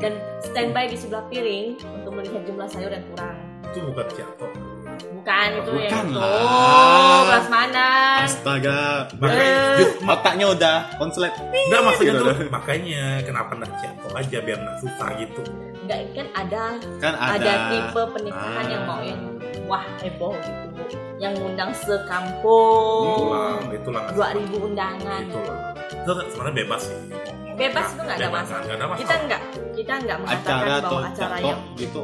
Speaker 1: dan standby di sebelah piring untuk melihat jumlah sayur yang kurang.
Speaker 3: itu bukan piato
Speaker 1: Bukan itu yang
Speaker 2: Bukan
Speaker 1: itu
Speaker 2: lah.
Speaker 1: prasmanan.
Speaker 2: astaga
Speaker 3: makanya
Speaker 1: Eh.
Speaker 3: yuk, ma-
Speaker 2: otaknya udah konslet
Speaker 3: nggak maksudnya
Speaker 2: Gitu
Speaker 3: tuh
Speaker 2: loh.
Speaker 3: makanya kenapa nggak piato aja biar nggak susah gitu
Speaker 1: Enggak kan ada
Speaker 2: kan
Speaker 1: ada,
Speaker 2: ada
Speaker 1: tipe pernikahan
Speaker 2: Ah.
Speaker 1: yang mau yang wah heboh gitu. Yang ngundang sekampung.
Speaker 3: itulah itulah
Speaker 1: 2000 undangan.
Speaker 3: itulah itu sebenarnya bebas sih
Speaker 1: Bebas itu nggak ada
Speaker 3: Bebas,
Speaker 1: masalah.
Speaker 3: nggak ada
Speaker 1: Kita
Speaker 3: masalah
Speaker 1: enggak kita enggak mengatakan
Speaker 2: acara atau
Speaker 1: bahwa acara
Speaker 2: jatuh
Speaker 1: yang
Speaker 2: gitu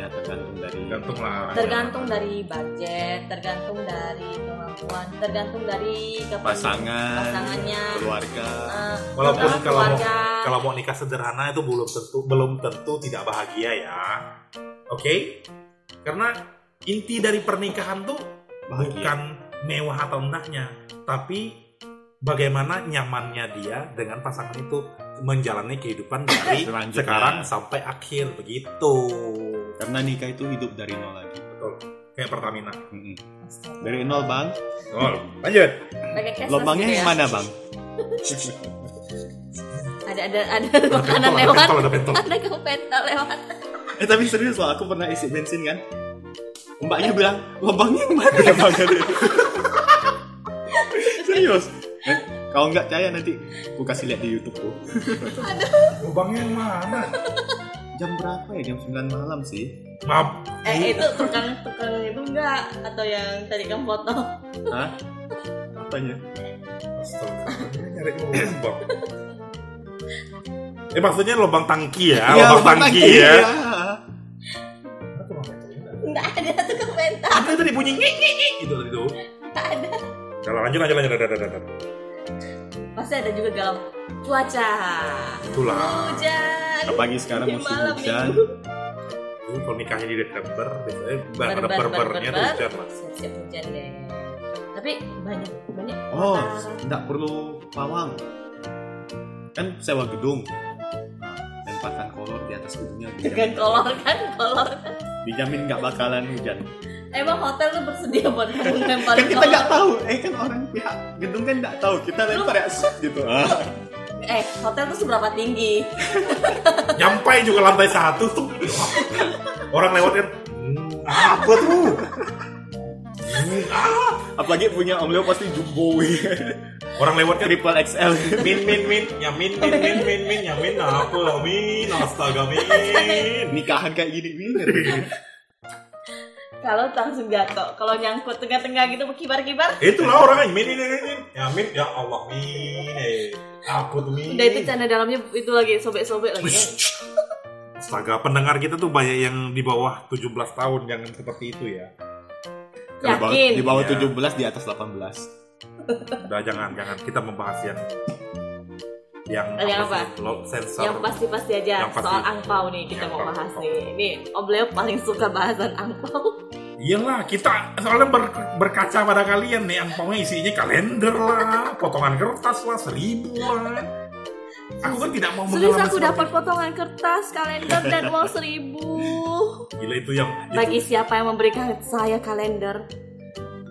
Speaker 2: ya tergantung dari
Speaker 3: tergantung lah
Speaker 1: tergantung dari budget, tergantung dari kemampuan, tergantung dari kepen-
Speaker 2: pasangan
Speaker 1: pasangannya.
Speaker 2: keluarga
Speaker 1: eh, keluarga,
Speaker 3: Walaupun kalau mau-
Speaker 1: keluarga.
Speaker 3: kalau mau nikah sederhana itu belum tentu belum tentu tidak bahagia ya oke karena inti dari pernikahan tuh
Speaker 2: Bahagia.
Speaker 3: bukan mewah atau enaknya tapi bagaimana nyamannya dia dengan pasangan itu menjalani kehidupan dari
Speaker 2: Selanjutnya.
Speaker 3: sekarang sampai akhir begitu
Speaker 2: karena nikah itu hidup dari nol lagi
Speaker 3: betul kayak Pertamina
Speaker 2: Mm-mm. dari nol bang
Speaker 3: oh, lanjut
Speaker 1: Pakai cashless
Speaker 2: lobangnya
Speaker 1: gitu
Speaker 2: yang
Speaker 1: ya.
Speaker 2: mana bang
Speaker 1: Ada ada ada
Speaker 3: ada
Speaker 1: makanan
Speaker 3: pentol, ada
Speaker 1: lewat.
Speaker 3: pentol, ada pentol.
Speaker 1: Ada kamu pentol lewat.
Speaker 2: eh tapi serius loh aku pernah isi bensin kan mbaknya bilang lobangnya yang mana
Speaker 3: Iya,
Speaker 2: ya bang serius Eh, kalau nggak percaya nanti aku kasih lihat di YouTube ku.
Speaker 3: lubangnya yang mana
Speaker 2: Jam berapa ya? Jam 9 malam sih.
Speaker 3: maaf
Speaker 1: Eh itu tukang tukang itu enggak atau yang tadi kamu foto.
Speaker 2: Hah? Apanya?
Speaker 3: Astaga, nyari lubang. Eh maksudnya lubang tangki ya,
Speaker 2: Ya,
Speaker 3: lubang tangki ya.
Speaker 2: iya.
Speaker 1: Enggak ada tukang pentol.
Speaker 3: Apa tadi bunyi nyik nyik nyik gitu tadi tuh.
Speaker 1: Enggak ada.
Speaker 3: Kalau lanjut lanjut lanjut lanjut lanjut.
Speaker 1: Pasti ada juga galau cuaca.
Speaker 3: Itulah.
Speaker 1: Hujan.
Speaker 2: Apalagi sekarang
Speaker 1: Di
Speaker 2: musim
Speaker 1: malam
Speaker 2: hujan.
Speaker 1: minggu.
Speaker 3: Itu kalau nikahnya di Desember biasanya bar ada
Speaker 1: Bar-bar,
Speaker 3: bar-barnya tuh
Speaker 1: bar-bar.
Speaker 3: hujan mas.
Speaker 1: Siap-siap hujan deh. Tapi banyak banyak.
Speaker 2: Oh,
Speaker 1: kota.
Speaker 2: nggak perlu pawang. Kan sewa gedung. Nah, Lempatan kolor di atas gedungnya.
Speaker 1: Dengan
Speaker 2: dijamin-
Speaker 1: kolor kan kolor
Speaker 2: Dijamin nggak bakalan hujan.
Speaker 1: Emang hotel tuh bersedia buat kamu lempar
Speaker 2: Kan kita
Speaker 1: kolor?
Speaker 2: nggak tahu. Eh kan orang pihak gedung kan nggak tahu. Kita lempar ya set gitu. Ah.
Speaker 1: Eh, hotel tuh seberapa tinggi?
Speaker 3: Nyampai juga lantai satu tuh. Orang lewat kan. "Hmm,
Speaker 2: Ah,
Speaker 3: Apa tuh? Hmm, ah.
Speaker 2: Apalagi punya Om Leo pasti jumbo.
Speaker 3: Orang lewat kan
Speaker 2: Triple XL.
Speaker 3: min min min nyamin min min min Ya, min nyamin apa min astaga min
Speaker 2: Nikahan kayak gini. gini.
Speaker 1: Kalau langsung jatuh, kalau nyangkut tengah-tengah gitu berkibar-kibar,
Speaker 3: Itulah orangnya min min min min. Ya min ya Allah min. Eh, Takut min.
Speaker 1: udah itu canda dalamnya itu lagi sobek-sobek lagi.
Speaker 3: Wish. Astaga, pendengar kita tuh banyak yang di bawah 17 tahun jangan seperti itu ya.
Speaker 2: Di bawah-
Speaker 1: Eh, Yakin?
Speaker 2: Di bawah
Speaker 3: Iya.
Speaker 2: 17 di atas 18.
Speaker 3: Udah jangan jangan kita membahas yang yang
Speaker 1: Eh, yang apa?
Speaker 3: sih? Load sensor.
Speaker 1: Yang pasti-pasti aja
Speaker 3: Yang pasti.
Speaker 1: soal angpau nih kita
Speaker 3: Yang
Speaker 1: mau
Speaker 3: pasti.
Speaker 1: bahas nih. Nih, Om Leo paling suka bahasan angpau.
Speaker 3: Iyalah, kita soalnya ber- berkaca pada kalian nih, angpaunya isinya kalender lah, potongan kertas lah, seribu lah. Aku kan tidak mau
Speaker 1: Serius
Speaker 3: mengalami
Speaker 1: aku
Speaker 3: seperti
Speaker 1: dapat
Speaker 3: itu.
Speaker 1: potongan kertas, kalender dan uang seribu.
Speaker 3: Gila itu yang
Speaker 1: Bagi
Speaker 3: itu,
Speaker 1: siapa yang memberikan saya kalender?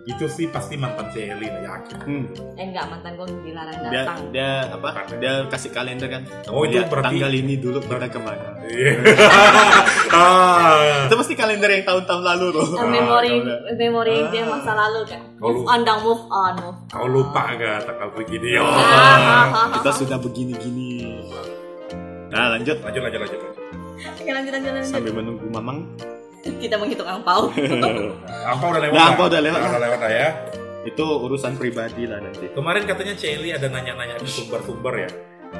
Speaker 3: itu sih pasti mantan Celi lah yakin.
Speaker 2: Hmm.
Speaker 1: Eh enggak mantan gue dilarang
Speaker 2: dia
Speaker 1: datang.
Speaker 2: dia apa dia kasih kalender kan
Speaker 3: Oh, itu
Speaker 2: Lihat
Speaker 3: berarti-
Speaker 2: tanggal ini dulu kita kemana
Speaker 3: Iya. Ah.
Speaker 2: itu pasti kalender yang tahun-tahun lalu tuh
Speaker 1: Eh, memori
Speaker 2: Ah,
Speaker 1: memori dia masa lalu kan.
Speaker 3: Kau
Speaker 1: Move
Speaker 3: lupa.
Speaker 1: on dong, move on, move.
Speaker 3: Kau lupa gak tanggal begini?
Speaker 2: Ah,
Speaker 3: Oh.
Speaker 2: kita sudah begini-gini nah lanjut
Speaker 3: Lanjut, lanjut, lanjut.
Speaker 1: Oke, lanjut lanjut lanjut.
Speaker 2: sambil menunggu mamang
Speaker 1: Kita menghitung angpau.
Speaker 3: Apa udah lewat?
Speaker 2: Nah,
Speaker 3: Kak?
Speaker 2: apa udah lewat,
Speaker 3: Nah,
Speaker 2: Kak?
Speaker 3: udah lewat lah ya.
Speaker 2: itu urusan pribadi lah nanti
Speaker 3: Kemarin katanya Celi ada nanya-nanya ke sumber-sumber ya.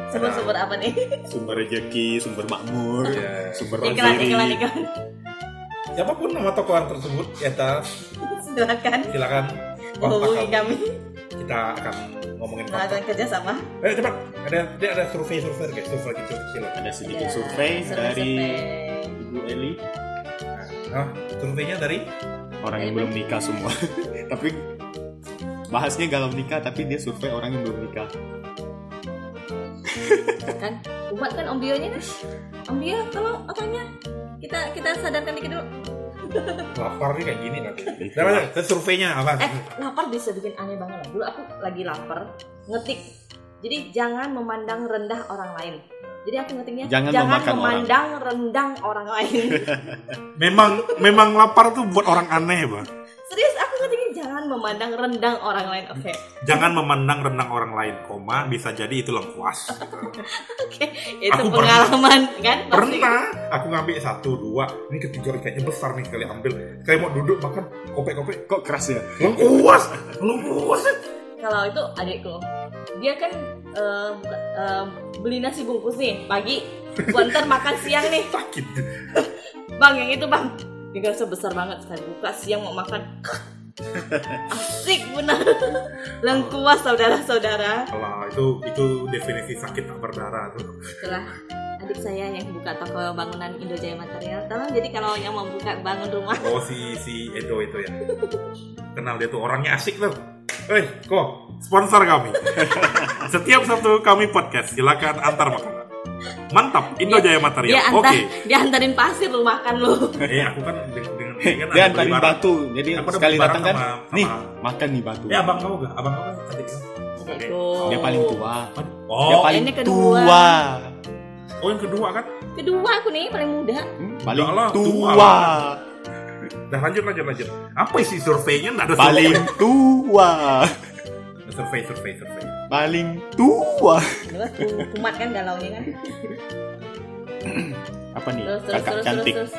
Speaker 1: Sumber-sumber apa nih?
Speaker 2: sumber rejeki sumber makmur
Speaker 3: Iya.
Speaker 2: sumber
Speaker 1: Iklan
Speaker 2: rezeki
Speaker 1: iklan iklan.
Speaker 3: siapapun nama tokoh tersebut ya ta,
Speaker 1: silakan
Speaker 3: silakan
Speaker 1: hubungi
Speaker 3: kontak
Speaker 1: kami
Speaker 3: kita akan ngomongin
Speaker 2: Nah,
Speaker 3: kontak.
Speaker 1: melakukan kerjasama
Speaker 3: Eh cepat, ada dia ada survei survei kayak survei gitu kecil.
Speaker 2: Ada sedikit
Speaker 1: Ya,
Speaker 2: survei dari
Speaker 1: survei-survei.
Speaker 2: Ibu Eli
Speaker 3: Nah, surveinya dari
Speaker 2: orang yang belum nikah semua. tapi bahasnya galau nikah tapi dia survei orang yang belum nikah.
Speaker 1: kan umat kan Om Bionya kan Om Bio kalau apanya kita kita sadarkan dikit dulu
Speaker 3: lapar nih kayak gini nanti.
Speaker 2: Itu.
Speaker 3: Nah, nah, nah, surveinya apa?
Speaker 1: eh lapar bisa bikin aneh banget loh dulu aku lagi lapar ngetik jadi jangan memandang rendah orang lain jadi aku ngetiknya
Speaker 2: Jangan memakan orang."
Speaker 1: memandang rendang orang lain
Speaker 3: Memang memang lapar tuh buat orang aneh, Bang.
Speaker 1: serius aku ngetiknya jangan memandang rendang orang lain oke
Speaker 3: Jangan memandang renang orang lain, koma bisa jadi itu lengkuas.
Speaker 1: itu
Speaker 3: Aku pernah-
Speaker 1: pengalaman kan pasti.
Speaker 3: Pernah aku ngambil satu dua, ini ketiga kayaknya besar nih sekali ambil. Sekali mau duduk makan kopek-kopek
Speaker 2: Kok keras ya?
Speaker 3: lengkuas, lengkuas.
Speaker 1: kalau itu adikku dia kan eh, buka- eh, beli nasi bungkus nih pagi buat ntar makan siang nih
Speaker 3: Sakit.
Speaker 1: Bang yang itu bang Dia rasa besar banget sekali buka siang mau makan Asik benar
Speaker 2: Oh.
Speaker 1: Lengkuas saudara-saudara
Speaker 3: Alah, itu itu definisi sakit tak berdarah tuh.
Speaker 1: Setelah adik saya yang buka toko bangunan Indojaya Material Tolong jadi kalau yang mau buka bangun rumah
Speaker 3: Oh si si Edo itu ya. Kenal dia tuh orangnya asik tuh. Eh, kok sponsor kami. Setiap Sabtu kami podcast, silakan antar makanan. Mantap, Indo Jaya Material.
Speaker 1: Dia
Speaker 3: Oke.
Speaker 1: antar, dia antarin pasir lu makan lu
Speaker 3: Eh, aku kan dengan dengan dengan
Speaker 2: dia
Speaker 3: ada beli
Speaker 2: Ya, antarin
Speaker 3: barang.
Speaker 2: batu. Jadi
Speaker 3: Iya, Aku udah
Speaker 2: sekali
Speaker 3: beli barang
Speaker 2: datang kan,
Speaker 3: sama- sama-
Speaker 2: nih makan nih batu.
Speaker 3: Ya abang kau gak? Abang kau kan cantik kan?
Speaker 1: Adikku.
Speaker 2: Dia paling tua.
Speaker 3: Oh,
Speaker 2: Dia paling
Speaker 1: ini kedua.
Speaker 2: tua.
Speaker 3: oh yang kedua kan?
Speaker 1: Kedua aku nih paling muda
Speaker 2: Hmm, paling
Speaker 3: Enggak lah, tua.
Speaker 2: tua.
Speaker 3: Dah lanjut lanjut lanjut. Apa isi surveinya? Nggak ada
Speaker 2: Paling tua.
Speaker 3: survei. survei survei survei.
Speaker 2: Paling tua.
Speaker 1: Dua kumat kan galau nya kan
Speaker 2: Apa nih?
Speaker 1: Terus terus
Speaker 2: Kakak
Speaker 1: terus
Speaker 2: cantik. Iya.
Speaker 1: terus terus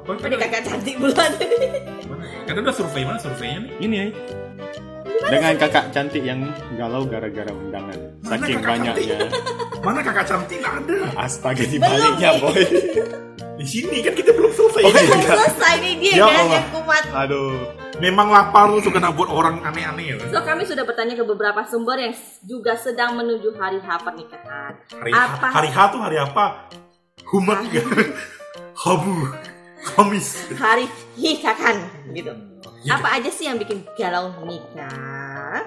Speaker 3: Apa
Speaker 1: Oh, dia kakak cantik bulan
Speaker 3: Kan udah survei mana surveinya nih?
Speaker 2: Ini ya. Dengan kakak cantik yang galau gara-gara undangan.
Speaker 3: Mana
Speaker 2: Saking
Speaker 3: kakak
Speaker 2: banyaknya.
Speaker 3: Mana kakak cantik nggak ada?
Speaker 2: Astaga dibaliknya
Speaker 1: Belum,
Speaker 2: boy.
Speaker 3: Di sini kan kita belum survei.
Speaker 2: Oh, iya.
Speaker 1: Belum selesai nih dia
Speaker 2: Ya
Speaker 1: kan
Speaker 2: Allah.
Speaker 1: yang kumat
Speaker 2: Aduh.
Speaker 3: Memang lapar lu suka nak buat orang aneh-aneh ya. kan?
Speaker 1: So kami sudah bertanya ke beberapa sumber yang s- juga sedang menuju hari H pernikahan.
Speaker 3: Hari
Speaker 1: Apa?
Speaker 3: hari H tuh hari apa? Humat ya. Habu. Kamis.
Speaker 1: Hari hikakan gitu. Apa aja sih yang bikin galau nikah?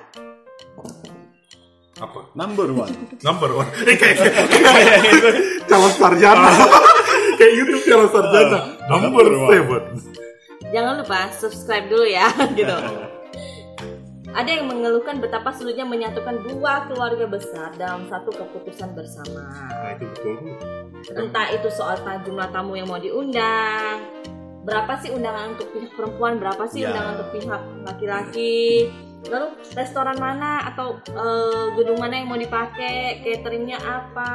Speaker 3: Apa?
Speaker 2: Number one.
Speaker 3: Number one. Eh kayak calon sarjana. kayak YouTube calon sarjana. Number
Speaker 2: Number one.
Speaker 3: seven.
Speaker 1: Jangan lupa subscribe dulu ya gitu. Ada yang mengeluhkan betapa sulitnya menyatukan dua keluarga besar dalam satu keputusan bersama.
Speaker 3: Nah itu betul tuh.
Speaker 1: Entah itu soal ta- jumlah tamu yang mau diundang, berapa sih undangan untuk pihak perempuan, berapa sih
Speaker 2: Ya.
Speaker 1: undangan untuk pihak laki-laki, lalu restoran mana atau eh, gedung mana yang mau dipakai, cateringnya apa,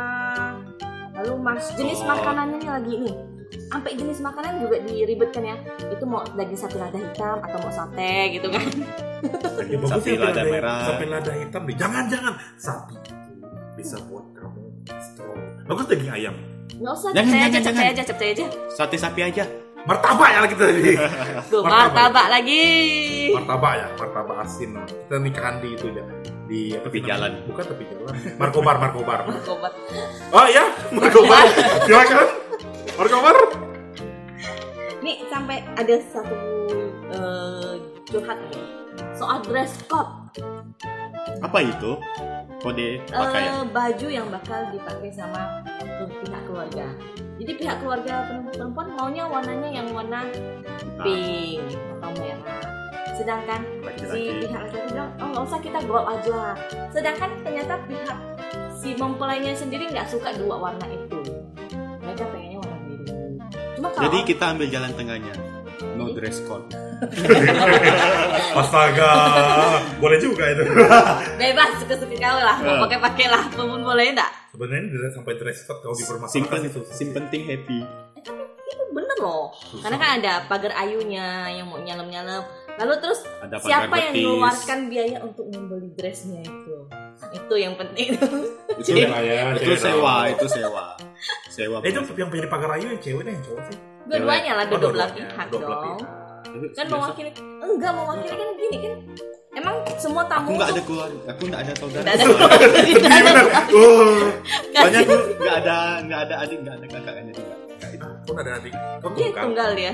Speaker 1: lalu mas jenis
Speaker 2: Betul.
Speaker 1: makanannya nih lagi ini, sampai jenis makanan juga diribetkan ya, itu mau daging sapi lada hitam atau mau sate gitu kan?
Speaker 3: Ya, bagus
Speaker 2: Sapi
Speaker 3: ya,
Speaker 2: lada merah.
Speaker 3: Sapi lada hitam deh. Jangan jangan. Sapi itu bisa buat kamu strong. Bagus daging ayam.
Speaker 1: Nggak usah,
Speaker 2: Jangan,
Speaker 1: capcay aja,
Speaker 2: jangan,
Speaker 1: capcay
Speaker 2: jangan.
Speaker 1: aja, capcay aja.
Speaker 2: Sate sapi aja.
Speaker 3: Martabak ya kita tadi.
Speaker 2: Nah,
Speaker 1: Duh,
Speaker 3: Martabak.
Speaker 1: martabak lagi.
Speaker 3: Martabak ya, martabak asin. Kita nikahan di itu ya. Di apa
Speaker 2: Tepi
Speaker 3: sih
Speaker 2: jalan.
Speaker 3: namanya? Bukan tepi jalan. Markobar, Markobar.
Speaker 1: Martabak.
Speaker 3: Oh iya, Markobar. Silakan. Markobar.
Speaker 1: Nih sampai ada satu eh, curhat nih soal dress code
Speaker 2: Apa itu?
Speaker 1: eh,
Speaker 2: Kode pakaian.
Speaker 1: baju yang bakal dipakai sama pihak keluarga. Jadi pihak keluarga perempuan maunya warnanya yang warna pink atau merah. Sedangkan si
Speaker 2: laki-laki.
Speaker 1: pihak laki-laki bilang oh nggak usah kita gold aja. Sedangkan ternyata pihak si mempelainya sendiri nggak suka dua warna itu. Mereka pengennya warna biru. Cuma kalau
Speaker 2: Jadi kita ambil jalan tengahnya. No dress code.
Speaker 3: Astaga, boleh juga itu.
Speaker 1: bebas suka-suka kau lah
Speaker 2: Eh.
Speaker 1: mau pakai-pakai lah pemun boleh enggak
Speaker 3: Sebenarnya dia sampai dress code kalau
Speaker 2: Simpen,
Speaker 3: dipermasalahkan itu.
Speaker 2: simpen ting happy.
Speaker 1: Eh, tapi itu bener loh karena kan ada pagar ayunya yang mau nyalem-nyalem lalu terus
Speaker 2: Ada pagar
Speaker 1: siapa yang
Speaker 2: betis.
Speaker 1: mengeluarkan biaya untuk membeli dressnya itu itu yang penting
Speaker 2: Itu,
Speaker 3: Cewek lah Eh, ya,
Speaker 2: itu
Speaker 3: cewek lah.
Speaker 2: sewa, itu sewa. Sewa.
Speaker 3: Eh, itu yang pilih pagar ayu yang cewek dan yang cowok sih.
Speaker 1: Dua-duanya lah,
Speaker 3: Oh,
Speaker 1: dua belah
Speaker 3: dua-duanya,
Speaker 1: pihak
Speaker 3: dua belah
Speaker 1: dong.
Speaker 3: pihak.
Speaker 1: Kan mewakili, enggak mewakili kan gini kan. Emang semua
Speaker 2: aku
Speaker 1: tamu
Speaker 2: nggak ada
Speaker 1: tuh-
Speaker 2: keluar aku nggak ada saudara
Speaker 1: Nggak ada keluarga, tidak
Speaker 3: Iya
Speaker 1: ada
Speaker 3: benar. Oh,
Speaker 1: keluarga.
Speaker 2: banyak tuh nggak ada nggak ada adik nggak ada kakak kan ya? nggak ada juga
Speaker 3: pun ada adik. Kau
Speaker 1: Dia
Speaker 3: bukan.
Speaker 1: tunggal ya. dia.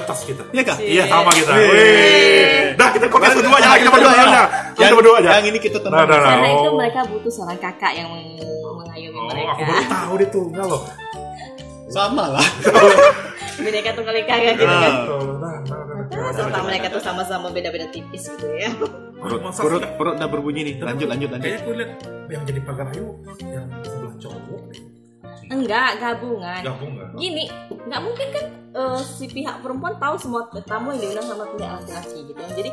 Speaker 3: Atas kita.
Speaker 2: iya kak
Speaker 1: Sih.
Speaker 3: Iya sama kita.
Speaker 2: Wih.
Speaker 3: Wih. Dah kita podcast berdua aja, kita berdua aja. Kita
Speaker 2: yang,
Speaker 3: berdua aja.
Speaker 2: yang ini kita tenang
Speaker 3: Nah, nah, nah.
Speaker 1: Karena itu
Speaker 3: oh.
Speaker 1: mereka butuh seorang kakak yang meng- mengayomi
Speaker 3: Oh, aku baru
Speaker 1: mereka.
Speaker 3: tahu dia tunggal loh.
Speaker 2: sama lah
Speaker 1: Mereka tunggal ika kayak gitu kan.
Speaker 2: Ah.
Speaker 3: Tuh, nah, nah, nah, nah.
Speaker 1: Serta mereka tuh sama-sama beda-beda tipis gitu ya.
Speaker 2: perut
Speaker 3: Masa sih?
Speaker 2: perut perut udah berbunyi nih lanjut lanjut lanjut
Speaker 3: Kayaknya aku lihat yang jadi pagar ayu yang sebelah cowok deh.
Speaker 1: Enggak, gabungan.
Speaker 3: Gabung nggak?
Speaker 1: gini nggak mungkin kan eh, si pihak perempuan tahu semua tamu yang diundang sama pihak laki-laki gitu jadi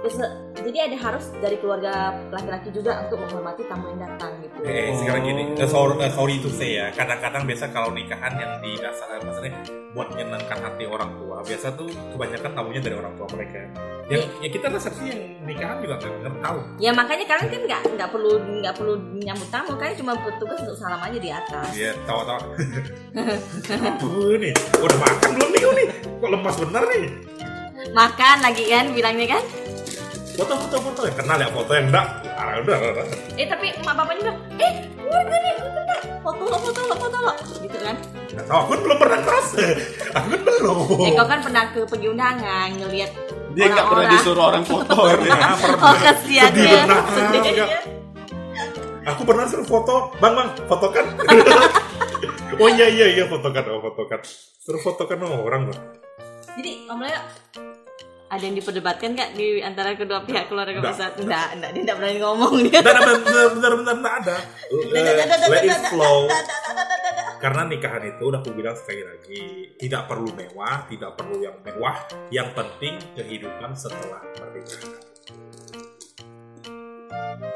Speaker 1: terus- jadi ada harus dari keluarga laki-laki juga untuk menghormati tamu yang datang gitu
Speaker 3: Eh, sekarang gini, eh, sorry, eh, sorry itu saya ya. Kadang-kadang biasa kalau nikahan yang di dasar eh, maksudnya buat menyenangkan hati orang tua, biasa tuh kebanyakan tamunya dari orang tua mereka. Ya, ya kita resepsi yang nikahan juga nggak bener tahu.
Speaker 1: ya makanya kalian kan nggak nggak perlu nggak perlu nyambut tamu kalian cuma bertugas untuk salam aja di atas
Speaker 3: Iya, tawa-tawa. Aduh nih, udah makan belum nih kau nih? Kok lemas bener nih?
Speaker 1: makan lagi kan bilangnya kan
Speaker 3: Foto-foto-foto yang kenal ya foto yang enggak. Ah, udah, udah, udah.
Speaker 1: eh tapi emak bapaknya bilang eh keluarga nih keluarga nih. foto lo foto lo foto lo gitu kan
Speaker 3: Nggak tahu, aku kan belum pernah keras. Aku kan belum.
Speaker 1: eh kau kan pernah ke pengundangan ngelihat
Speaker 2: Oh. dia nggak pernah
Speaker 1: orang-orang.
Speaker 2: disuruh orang foto ya.
Speaker 3: Ya, pernah.
Speaker 1: oh kasihan
Speaker 3: Sedih
Speaker 1: ya
Speaker 3: benar.
Speaker 1: Sedih ya.
Speaker 3: Aku pernah suruh foto, bang bang, fotokan. oh iya iya iya fotokan, oh fotokan. Suruh fotokan sama orang bang.
Speaker 1: Jadi Om Leo ada yang diperdebatkan nggak di antara kedua pihak keluarga
Speaker 3: Nggak.
Speaker 1: besar? Enggak, enggak, dia enggak berani ngomong dia.
Speaker 3: Benar benar benar benar nggak ada. Eh, Let it flow. Karena nikahan itu udah aku bilang sekali lagi tidak perlu mewah, tidak perlu yang mewah. Yang penting kehidupan setelah pernikahan.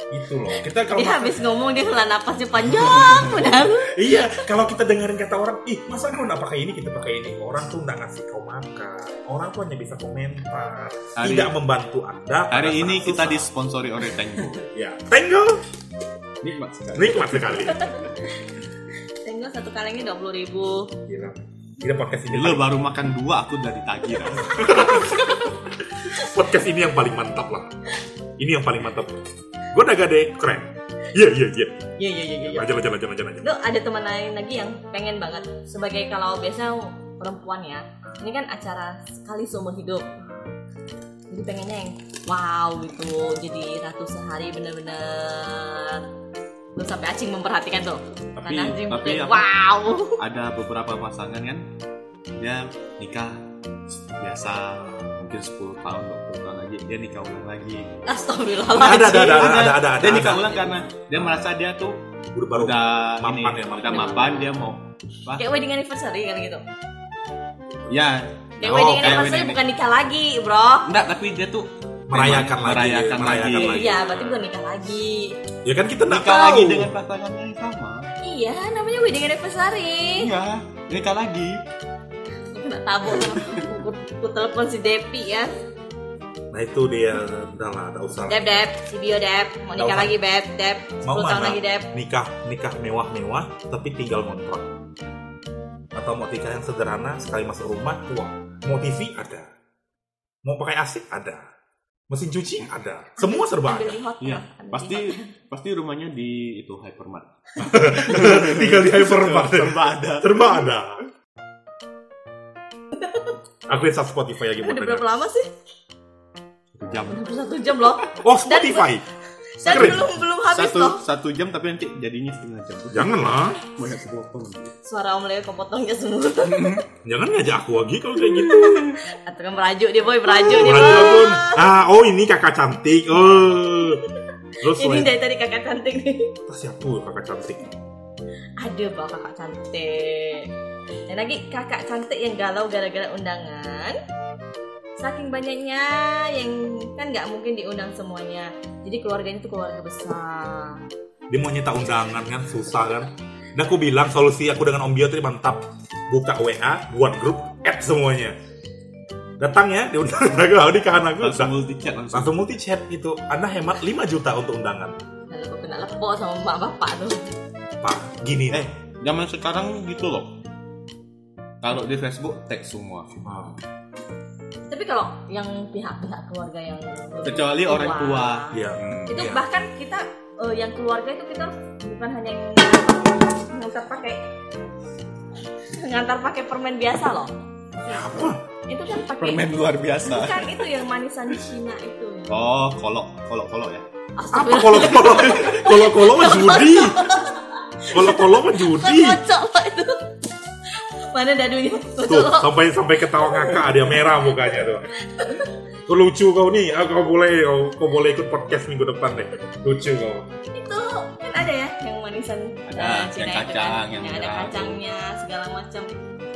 Speaker 3: Itu loh. Kita kalau
Speaker 1: Dia habis ngomong dia hela napasnya panjang benar.
Speaker 3: Iya, kalau kita dengerin kata orang, ih masa kau nggak pakai ini, kita pakai ini. Orang tuh nggak ngasih kau makan, orang tuh hanya bisa komentar,
Speaker 2: Hari-
Speaker 3: tidak membantu anda. pada
Speaker 2: hari
Speaker 3: saat
Speaker 2: ini kita
Speaker 3: susah.
Speaker 2: disponsori oleh Tenggo
Speaker 3: ya, tenggo,
Speaker 2: nikmat sekali
Speaker 3: nikmat sekali.
Speaker 1: Tengok satu kalengnya dua puluh ribu.
Speaker 3: Gila, kita podcast ini,
Speaker 2: lo baru makan dua aku udah ditagih lah.
Speaker 3: podcast ini yang paling mantap lah. Ini yang paling mantap. Gue udah gade, keren. Iya iya iya.
Speaker 1: Iya iya iya iya.
Speaker 3: Lanjut lanjut lanjut lanjut lanjut.
Speaker 1: Lo ada teman lain lagi yang pengen banget sebagai kalau biasa perempuan ya. Ini kan acara sekali seumur hidup. Jadi pengennya yang wow gitu. Jadi ratu sehari bener-bener lo sampai acing memperhatikan tuh.
Speaker 2: Tapi-
Speaker 1: Karena acing
Speaker 2: tapi
Speaker 1: pengen,
Speaker 2: apa-
Speaker 1: wow.
Speaker 2: ada beberapa pasangan kan dia nikah biasa mungkin 10 tahun 20 tahun lagi dia nikah ulang lagi
Speaker 1: Astagfirullahaladzim.
Speaker 3: Ada, ada, ada, ada, ada, ada,
Speaker 2: dia
Speaker 3: ada.
Speaker 2: nikah ulang karena dia merasa dia tuh
Speaker 3: Udah baru.
Speaker 2: udah
Speaker 3: Mapan
Speaker 2: ini,
Speaker 3: ya, mapan.
Speaker 2: udah mapan dia mau apa
Speaker 1: Kayak wedding anniversary kan gitu.
Speaker 2: ya
Speaker 1: Kayak
Speaker 2: oh,
Speaker 1: wedding
Speaker 2: kayak
Speaker 1: anniversary
Speaker 2: wedding. Oh,
Speaker 1: bukan nikah lagi, bro.
Speaker 2: enggak tapi dia tuh memang
Speaker 3: Merayakan lagi,
Speaker 2: merayakan lagi,
Speaker 3: merayakan lagi.
Speaker 1: Iya, berarti bukan nikah lagi.
Speaker 3: Ya kan kita nggak
Speaker 2: nikah
Speaker 3: tahu.
Speaker 2: lagi dengan pasangannya yang sama
Speaker 1: Iya, namanya wedding anniversary.
Speaker 2: iya nikah lagi Iya.
Speaker 1: Kena tabu. Aku- Aku telepon si Depi ya.
Speaker 3: Nah itu dia, udah lah, nggak usah.
Speaker 1: Dep, Dep, si Bio Dep, mau
Speaker 3: Nggak
Speaker 1: nikah
Speaker 3: usah.
Speaker 1: lagi Beb, Dep, 10 tahun lagi Dep.
Speaker 3: nikah nikah mewah-mewah tapi tinggal ngontrak atau mau nikah yang sederhana sekali masuk rumah tua mau TV ada mau pakai AC ada mesin cuci ada semua serba
Speaker 1: Ambil
Speaker 3: ada
Speaker 1: di hotel.
Speaker 2: iya
Speaker 1: ambil di
Speaker 2: pasti
Speaker 1: hotel.
Speaker 2: pasti rumahnya di itu hypermart
Speaker 3: tinggal di hypermart
Speaker 2: serba ada
Speaker 3: serba ada aku lihat sub Spotify lagi buat
Speaker 1: Kan Udah berapa
Speaker 3: dengar
Speaker 1: lama sih?
Speaker 2: Satu jam
Speaker 1: Udah satu jam loh.
Speaker 3: oh Spotify
Speaker 1: Dan
Speaker 3: Keren.
Speaker 1: belum belum habis
Speaker 2: satu
Speaker 1: loh.
Speaker 2: satu jam tapi nanti jadinya setengah jam
Speaker 3: Ya. janganlah
Speaker 2: banyak sepotong
Speaker 1: Suara Om Leo kepotongnya semua.
Speaker 3: jangan ngajak aku lagi kalau kayak gitu
Speaker 1: Atau kan merajuk dia boy, merajuk dia
Speaker 3: Raja
Speaker 1: boy.
Speaker 3: pun ah oh ini kakak cantik oh terus
Speaker 1: Ini
Speaker 3: lihat
Speaker 1: dari tadi kakak cantik nih.
Speaker 3: siapa tuh kakak cantik
Speaker 1: ada bah kakak cantik dan lagi kakak cantik yang galau gara-gara undangan saking banyaknya yang kan nggak mungkin diundang semuanya jadi keluarganya itu keluarga besar
Speaker 3: dia mau nyita undangan kan susah kan dan aku bilang solusi aku dengan Om Bio tadi mantap buka WA buat grup add semuanya datang ya di undangan aku di kanan
Speaker 2: langsung
Speaker 3: aku langsung,
Speaker 2: multi chat langsung
Speaker 3: langsung multi chat gitu anda hemat 5 juta untuk undangan
Speaker 1: lalu aku kena lepok sama emak bapak tuh
Speaker 3: pak gini
Speaker 2: eh zaman sekarang gitu loh Kalau di Facebook tag
Speaker 1: Iya.
Speaker 2: semua.
Speaker 3: Ah,
Speaker 1: Tapi kalau yang pihak-pihak keluarga yang lebih
Speaker 2: Kecuali orang tua.
Speaker 3: Iya.
Speaker 2: Hmm.
Speaker 1: itu
Speaker 3: Iya.
Speaker 1: bahkan kita eh, yang keluarga itu kita bukan hanya yang ngantar pakai ngantar pakai permen biasa loh.
Speaker 3: Apa?
Speaker 1: Itu kan pakai
Speaker 2: Permen luar biasa.
Speaker 1: bukan itu yang manisan Cina itu.
Speaker 2: Oh, kolok, kolok, kolok ya.
Speaker 3: Apa
Speaker 1: Astagfirullah.
Speaker 3: kalau kalau kalau kalau mah judi. Kalau kalau mah judi.
Speaker 1: Kocok Pak, itu. Mana dadunya?
Speaker 3: Tuh,
Speaker 1: Kocok.
Speaker 3: sampai sampai ketawa ngakak dia merah mukanya tuh. Tuh lucu kau nih, ah, kau boleh kau, kau boleh ikut podcast minggu depan deh. Lucu kau.
Speaker 1: itu kan ada ya yang manisan eh,
Speaker 2: Ada, yang
Speaker 1: itu
Speaker 2: kacang, yang
Speaker 1: yang, ada
Speaker 2: merah.
Speaker 1: kacangnya segala macam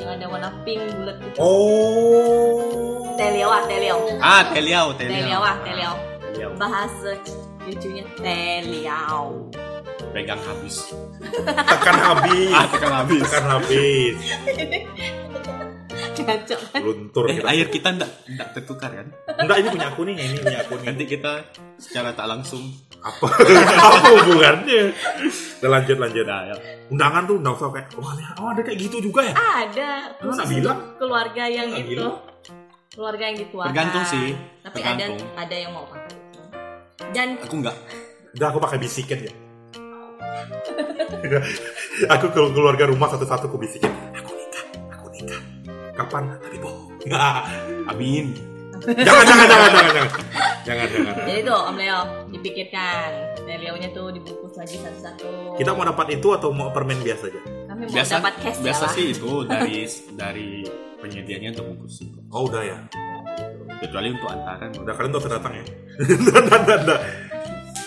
Speaker 1: yang ada warna pink bulat gitu
Speaker 3: Oh.
Speaker 1: teliawa teliau
Speaker 2: Ah, teliau, teliau.
Speaker 1: teliawa teliau
Speaker 2: Teliau.
Speaker 1: ah, bahasa lucunya teliau
Speaker 2: Pegang habis.
Speaker 3: Tekan habis.
Speaker 2: Ah, tekan habis.
Speaker 3: Tekan habis.
Speaker 1: kacau
Speaker 3: Luntur
Speaker 2: Eh,
Speaker 3: kita.
Speaker 2: air kita ndak ndak tertukar kan?
Speaker 3: Enggak ini punya aku nih, ini punya aku nih.
Speaker 2: Nanti kita secara tak langsung
Speaker 3: Apa? Apa hubungannya? Udah lanjut lanjut.
Speaker 2: Nah, ya.
Speaker 3: Undangan tuh enggak usah kayak, wah ini- oh, ada kayak gitu juga ya.
Speaker 1: ada
Speaker 3: Emang
Speaker 1: khusus
Speaker 3: nak bilang?
Speaker 1: untuk keluarga yang
Speaker 3: Nak
Speaker 1: itu
Speaker 3: bilang?
Speaker 1: keluarga yang dituakan
Speaker 2: Tergantung sih,
Speaker 1: tapi
Speaker 2: tergantung.
Speaker 1: ada ada yang mau pakai itu. dan
Speaker 2: aku nggak
Speaker 3: Udah aku pakai bisikin ya. aku ke keluarga rumah satu-satu aku bisikin. Aku nikah, aku nikah. Kapan? Tapi bohong. Nggak.
Speaker 2: amin.
Speaker 3: Jangan, jangan, jangan, jangan, jangan, jangan, jangan.
Speaker 1: jadi tuh Om Leo dipikirkan telionya tuh dibungkus lagi satu-satu
Speaker 3: Kita mau dapat itu atau mau permen biasa aja?
Speaker 1: kami mau
Speaker 2: Biasa
Speaker 1: dapat cash
Speaker 2: biasa
Speaker 1: ya lah.
Speaker 2: sih itu dari dari penyediaannya untuk bungkus sih.
Speaker 3: Oh udah ya.
Speaker 2: Kecuali untuk antaran
Speaker 3: Udah
Speaker 2: udah
Speaker 3: kalian tuh datang ya. Nggak, nggak, nggak, nggak.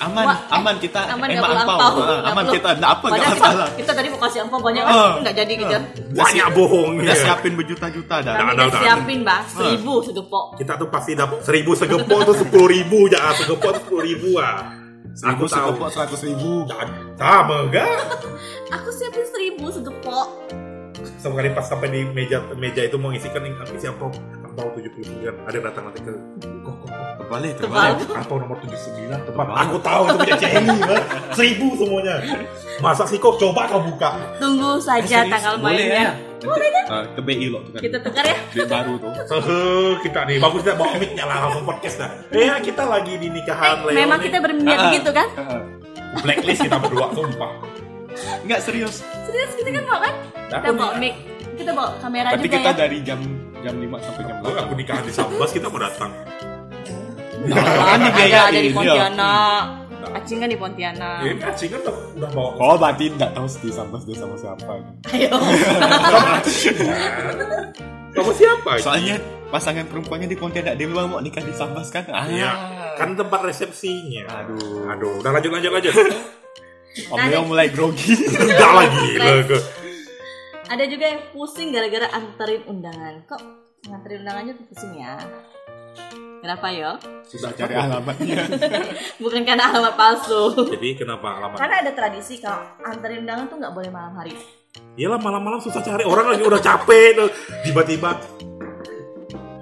Speaker 2: aman,
Speaker 1: Wah, eh,
Speaker 2: aman kita
Speaker 1: aman
Speaker 2: eh,
Speaker 1: nggak
Speaker 2: mak
Speaker 1: perlu
Speaker 2: angpau.
Speaker 1: angpau.
Speaker 2: Ah,
Speaker 1: Nggak
Speaker 2: aman
Speaker 1: perlu.
Speaker 2: kita nggak apa nggak
Speaker 1: Padahal kita,
Speaker 2: masalah.
Speaker 1: kita tadi mau kasih angpau banyak
Speaker 2: Ah.
Speaker 1: kan nggak jadi gitu.
Speaker 3: Banyak bohong.
Speaker 2: Udah siapin berjuta-juta dah.
Speaker 1: Kami
Speaker 3: Ada,
Speaker 1: udah
Speaker 3: ada, ada.
Speaker 1: siapin
Speaker 2: Oh.
Speaker 1: bah seribu segepok.
Speaker 3: kita tuh pasti dapat seribu segepok tuh sepuluh ribu ya segepok tuh sepuluh ribu ah
Speaker 2: Seribu
Speaker 3: aku tahu
Speaker 2: segepok seratus ribu.
Speaker 3: sama enggak
Speaker 1: Aku siapin seribu segepok.
Speaker 3: sekali pas sampai di meja meja itu mau ngisikan yang isi apa angpau tujuh puluh sembilan ada yang datang nanti ke kok kok kok
Speaker 2: Terbalik,
Speaker 1: Terbalik.
Speaker 2: terbalik.
Speaker 3: angpau nomor tujuh sembilan tepat aku tahu itu punya Jenny Bang. seribu semuanya masa sih kok coba kau buka
Speaker 1: Tunggu saja Iya, tanggal mainnya.
Speaker 2: Eh, Boleh ya? Eh, Ke BI loh tuh kan.
Speaker 1: Kita tukar ya.
Speaker 2: Duit baru tuh.
Speaker 3: Sehe, kita nih bagus kita bawa mic-nya lah langsung podcast dah ya kita lagi di nikahan Leo
Speaker 1: Eh, Memang
Speaker 3: nih.
Speaker 1: kita berniat
Speaker 2: Ah, ah.
Speaker 1: gitu kan?
Speaker 2: Heeh.
Speaker 3: blacklist kita berdua sumpah
Speaker 2: Enggak serius.
Speaker 1: Serius kita kan mau kan? Kita
Speaker 3: Aku
Speaker 1: bawa
Speaker 3: nih,
Speaker 1: mic, kita bawa kamera
Speaker 2: Berarti
Speaker 1: juga
Speaker 2: Nah, kita
Speaker 1: ya.
Speaker 2: dari jam jam 5 sampai jam
Speaker 3: Bang, aku
Speaker 2: 8.
Speaker 3: nikahan di Sambas kita mau datang
Speaker 2: Apaan
Speaker 1: ada,
Speaker 2: dibiayain?
Speaker 1: ada di
Speaker 2: Iya.
Speaker 1: Pontianak. Acingan di Pontianak.
Speaker 3: Ini kacingan udah, udah bawa
Speaker 2: Oh, berarti enggak tahu sih sama dia sama siapa.
Speaker 1: Ayo.
Speaker 3: Kamu siapa?
Speaker 2: Soalnya pasangan perempuannya di Pontianak dia memang mau nikah di Sambas kan. Ah.
Speaker 3: Iya, kan tempat resepsinya.
Speaker 2: Aduh.
Speaker 3: Aduh, udah lanjut lanjut lanjut.
Speaker 2: Om Leo
Speaker 1: Nah,
Speaker 2: mulai grogi.
Speaker 3: Enggak lagi, lega.
Speaker 1: ada juga yang pusing gara-gara anterin undangan. Kok nganterin undangannya tuh pusing ya? Kenapa yo?
Speaker 2: Susah cari alamatnya.
Speaker 1: Bukan karena alamat palsu.
Speaker 3: Jadi kenapa alamat?
Speaker 1: Karena ada tradisi kalau anterin undangan tuh nggak boleh malam hari.
Speaker 3: Iyalah Iya malam-malam susah cari orang lagi udah capek tuh. Tiba-tiba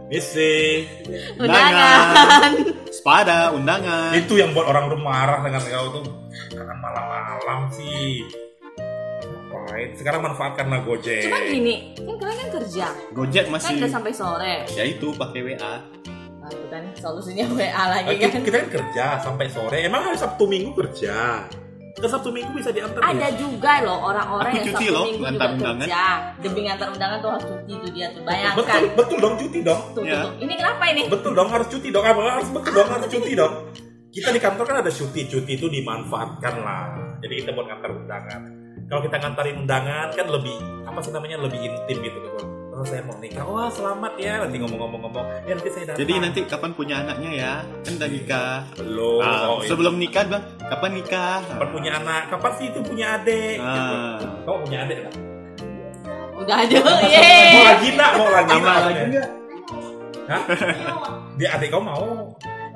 Speaker 3: Misi
Speaker 1: Undangan.
Speaker 2: Sepada undangan.
Speaker 3: Itu yang buat orang tuh marah dengan kau tuh Karena malam-malam sih Ngapain? Sekarang manfaatkanlah Gojek
Speaker 1: Cuma gini, kan kalian kan kerja,
Speaker 2: Gojek
Speaker 1: kan udah
Speaker 2: masih
Speaker 1: sampai sore.
Speaker 2: ya itu pakai WA.
Speaker 1: Nah, itu kan solusinya WA lagi
Speaker 3: Eh,
Speaker 1: kan.
Speaker 3: kita, kita kan kerja sampai sore. Emang hari Sabtu Minggu kerja. Ke Sabtu Minggu bisa diantar. ya?
Speaker 1: Ada juga loh orang-orang
Speaker 2: Aku
Speaker 1: yang
Speaker 2: cuti
Speaker 1: Sabtu
Speaker 2: loh,
Speaker 1: minggu juga
Speaker 2: ngantar undangan.
Speaker 1: kerja. Demi ngantar undangan tuh harus cuti tuh dia tuh.
Speaker 3: ya?
Speaker 1: Bayangkan.
Speaker 3: Betul, betul dong cuti dong.
Speaker 1: Tuh, tuh,
Speaker 2: Ya.
Speaker 1: tuh. Ini kenapa ini?
Speaker 3: Betul dong harus cuti dong. Abang harus betul dong harus cuti dong. Kita di kantor kan ada cuti. Cuti itu dimanfaatkan lah. Jadi kita buat ngantar undangan. Kalau kita ngantarin undangan kan lebih apa sih namanya lebih intim gitu loh. Oh saya mau nikah. Wah selamat ya. Nanti ngomong-ngomong-ngomong. Ya nanti saya datang.
Speaker 2: Jadi nanti kapan punya anaknya ya? Kan udah nikah.
Speaker 3: belum.
Speaker 2: Ah,
Speaker 3: Oh, iya.
Speaker 2: sebelum nikah bang, kapan nikah?
Speaker 3: kapan punya anak? Kapan sih itu punya adik? Gitu.
Speaker 2: Ah.
Speaker 3: Kau punya adik? nggak?
Speaker 1: Eh. Udah ada.
Speaker 3: Mau
Speaker 1: Yeay.
Speaker 3: lagi nak? Mau lagi?
Speaker 2: Sama
Speaker 3: nak?
Speaker 2: lagi nggak?
Speaker 3: Hah? Dia adik kau mau?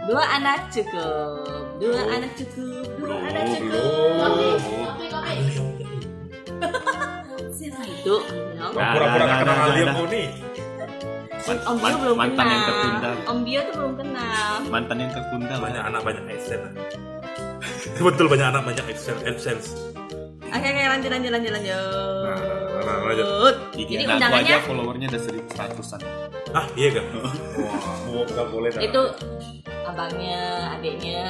Speaker 1: Dua anak cukup. Dua
Speaker 2: Oh.
Speaker 1: anak cukup. Dua
Speaker 2: Belum,
Speaker 1: anak cukup.
Speaker 3: belum.
Speaker 1: Siapa itu? Om Bio?
Speaker 3: Kau pura-pura
Speaker 2: Nah, nah,
Speaker 3: gak kenal
Speaker 2: nah,
Speaker 3: Alia
Speaker 2: nah.
Speaker 3: kau nih.
Speaker 1: Om Bio
Speaker 2: Kan Man-
Speaker 1: belum
Speaker 2: mantan
Speaker 1: kenal.
Speaker 2: yang tertunda.
Speaker 1: Om Bio tuh belum kenal.
Speaker 2: Mantan yang tertunda
Speaker 3: Banyak
Speaker 2: banyak.
Speaker 3: anak banyak absen. Betul banyak anak banyak absen absen.
Speaker 1: Oke oke lanjut lanjut lanjut
Speaker 3: Nah,
Speaker 1: lanjut.
Speaker 3: nah, nah, lanjut.
Speaker 1: Jadi
Speaker 2: nah, aku aja
Speaker 1: undangannya
Speaker 2: followernya udah seribu seratusan.
Speaker 3: Ah, iya kan?
Speaker 2: Oh. Mau nggak boleh
Speaker 1: itu abangnya, adiknya,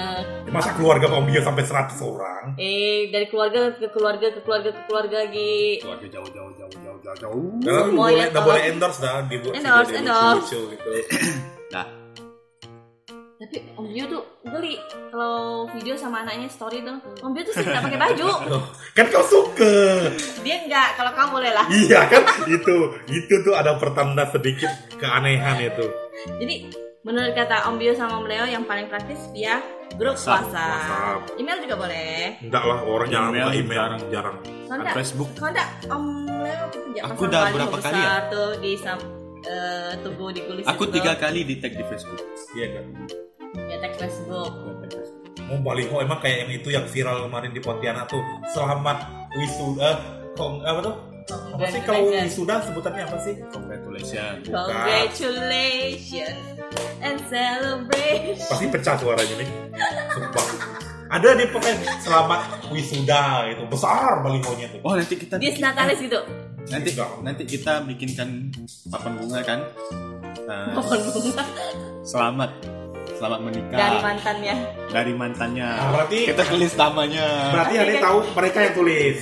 Speaker 3: Masa keluarga Om Dio sampai 100 orang?
Speaker 1: eh dari keluarga ke keluarga ke keluarga ke keluarga lagi.
Speaker 2: Keluarga jauh jauh jauh jauh jauh jauh.
Speaker 3: Nggak
Speaker 1: Semuanya
Speaker 3: boleh, nggak
Speaker 1: tolong.
Speaker 3: boleh endorse dah. Di buat
Speaker 1: Endorse,
Speaker 3: video
Speaker 1: endorse.
Speaker 3: lucu-lucu gitu.
Speaker 1: Tapi Om Dio tuh geli kalau video sama anaknya story tuh. Om Dio tuh sering nggak pakai baju.
Speaker 3: Kan kau suka.
Speaker 1: Dia nggak. Kalau kamu boleh lah.
Speaker 3: Iya kan? Itu, itu tuh ada pertanda sedikit keanehan itu.
Speaker 1: Jadi menurut kata Om Bio sama Om Leo yang paling praktis ya grup
Speaker 2: WhatsApp,
Speaker 1: WhatsApp.
Speaker 3: WhatsApp.
Speaker 1: Email juga boleh.
Speaker 3: Enggak lah, orang jarang
Speaker 2: Email,
Speaker 3: buka email.
Speaker 2: jarang.
Speaker 3: Jarang.
Speaker 1: Soalnya
Speaker 2: Kan Facebook.
Speaker 1: soalnya Om Leo aku punya
Speaker 2: Aku
Speaker 1: pasang
Speaker 2: udah
Speaker 1: paling
Speaker 2: berapa kali ya?
Speaker 1: besar tuh di sam- eh, tubuh di kulis
Speaker 2: Aku
Speaker 1: itu.
Speaker 2: tiga kali di tag di Facebook.
Speaker 3: Iya kan?
Speaker 1: ya tag Facebook.
Speaker 2: Gua tag Facebook.
Speaker 3: Mau baliho emang kayak yang itu yang viral kemarin di Pontianak tuh. Selamat wisuda. Kong, apa tuh? Apa sih kalau
Speaker 1: Congratulations.
Speaker 3: wisuda sebutannya apa sih?
Speaker 2: Congratulations.
Speaker 1: Oh. Congratulations and celebration.
Speaker 3: pasti pecah suaranya nih sumpah ada di pemain selamat wisuda itu besar balihonya tuh
Speaker 2: Oh nanti kita
Speaker 1: Dis Natalis gitu.
Speaker 2: nanti nanti kita bikinkan papan bunga kan. Nah,
Speaker 1: Pohon bunga
Speaker 2: selamat selamat menikah
Speaker 1: dari mantannya.
Speaker 2: dari mantannya.
Speaker 3: Nah, berarti
Speaker 2: Kita tulis namanya.
Speaker 3: berarti ada yang tahu mereka yang tulis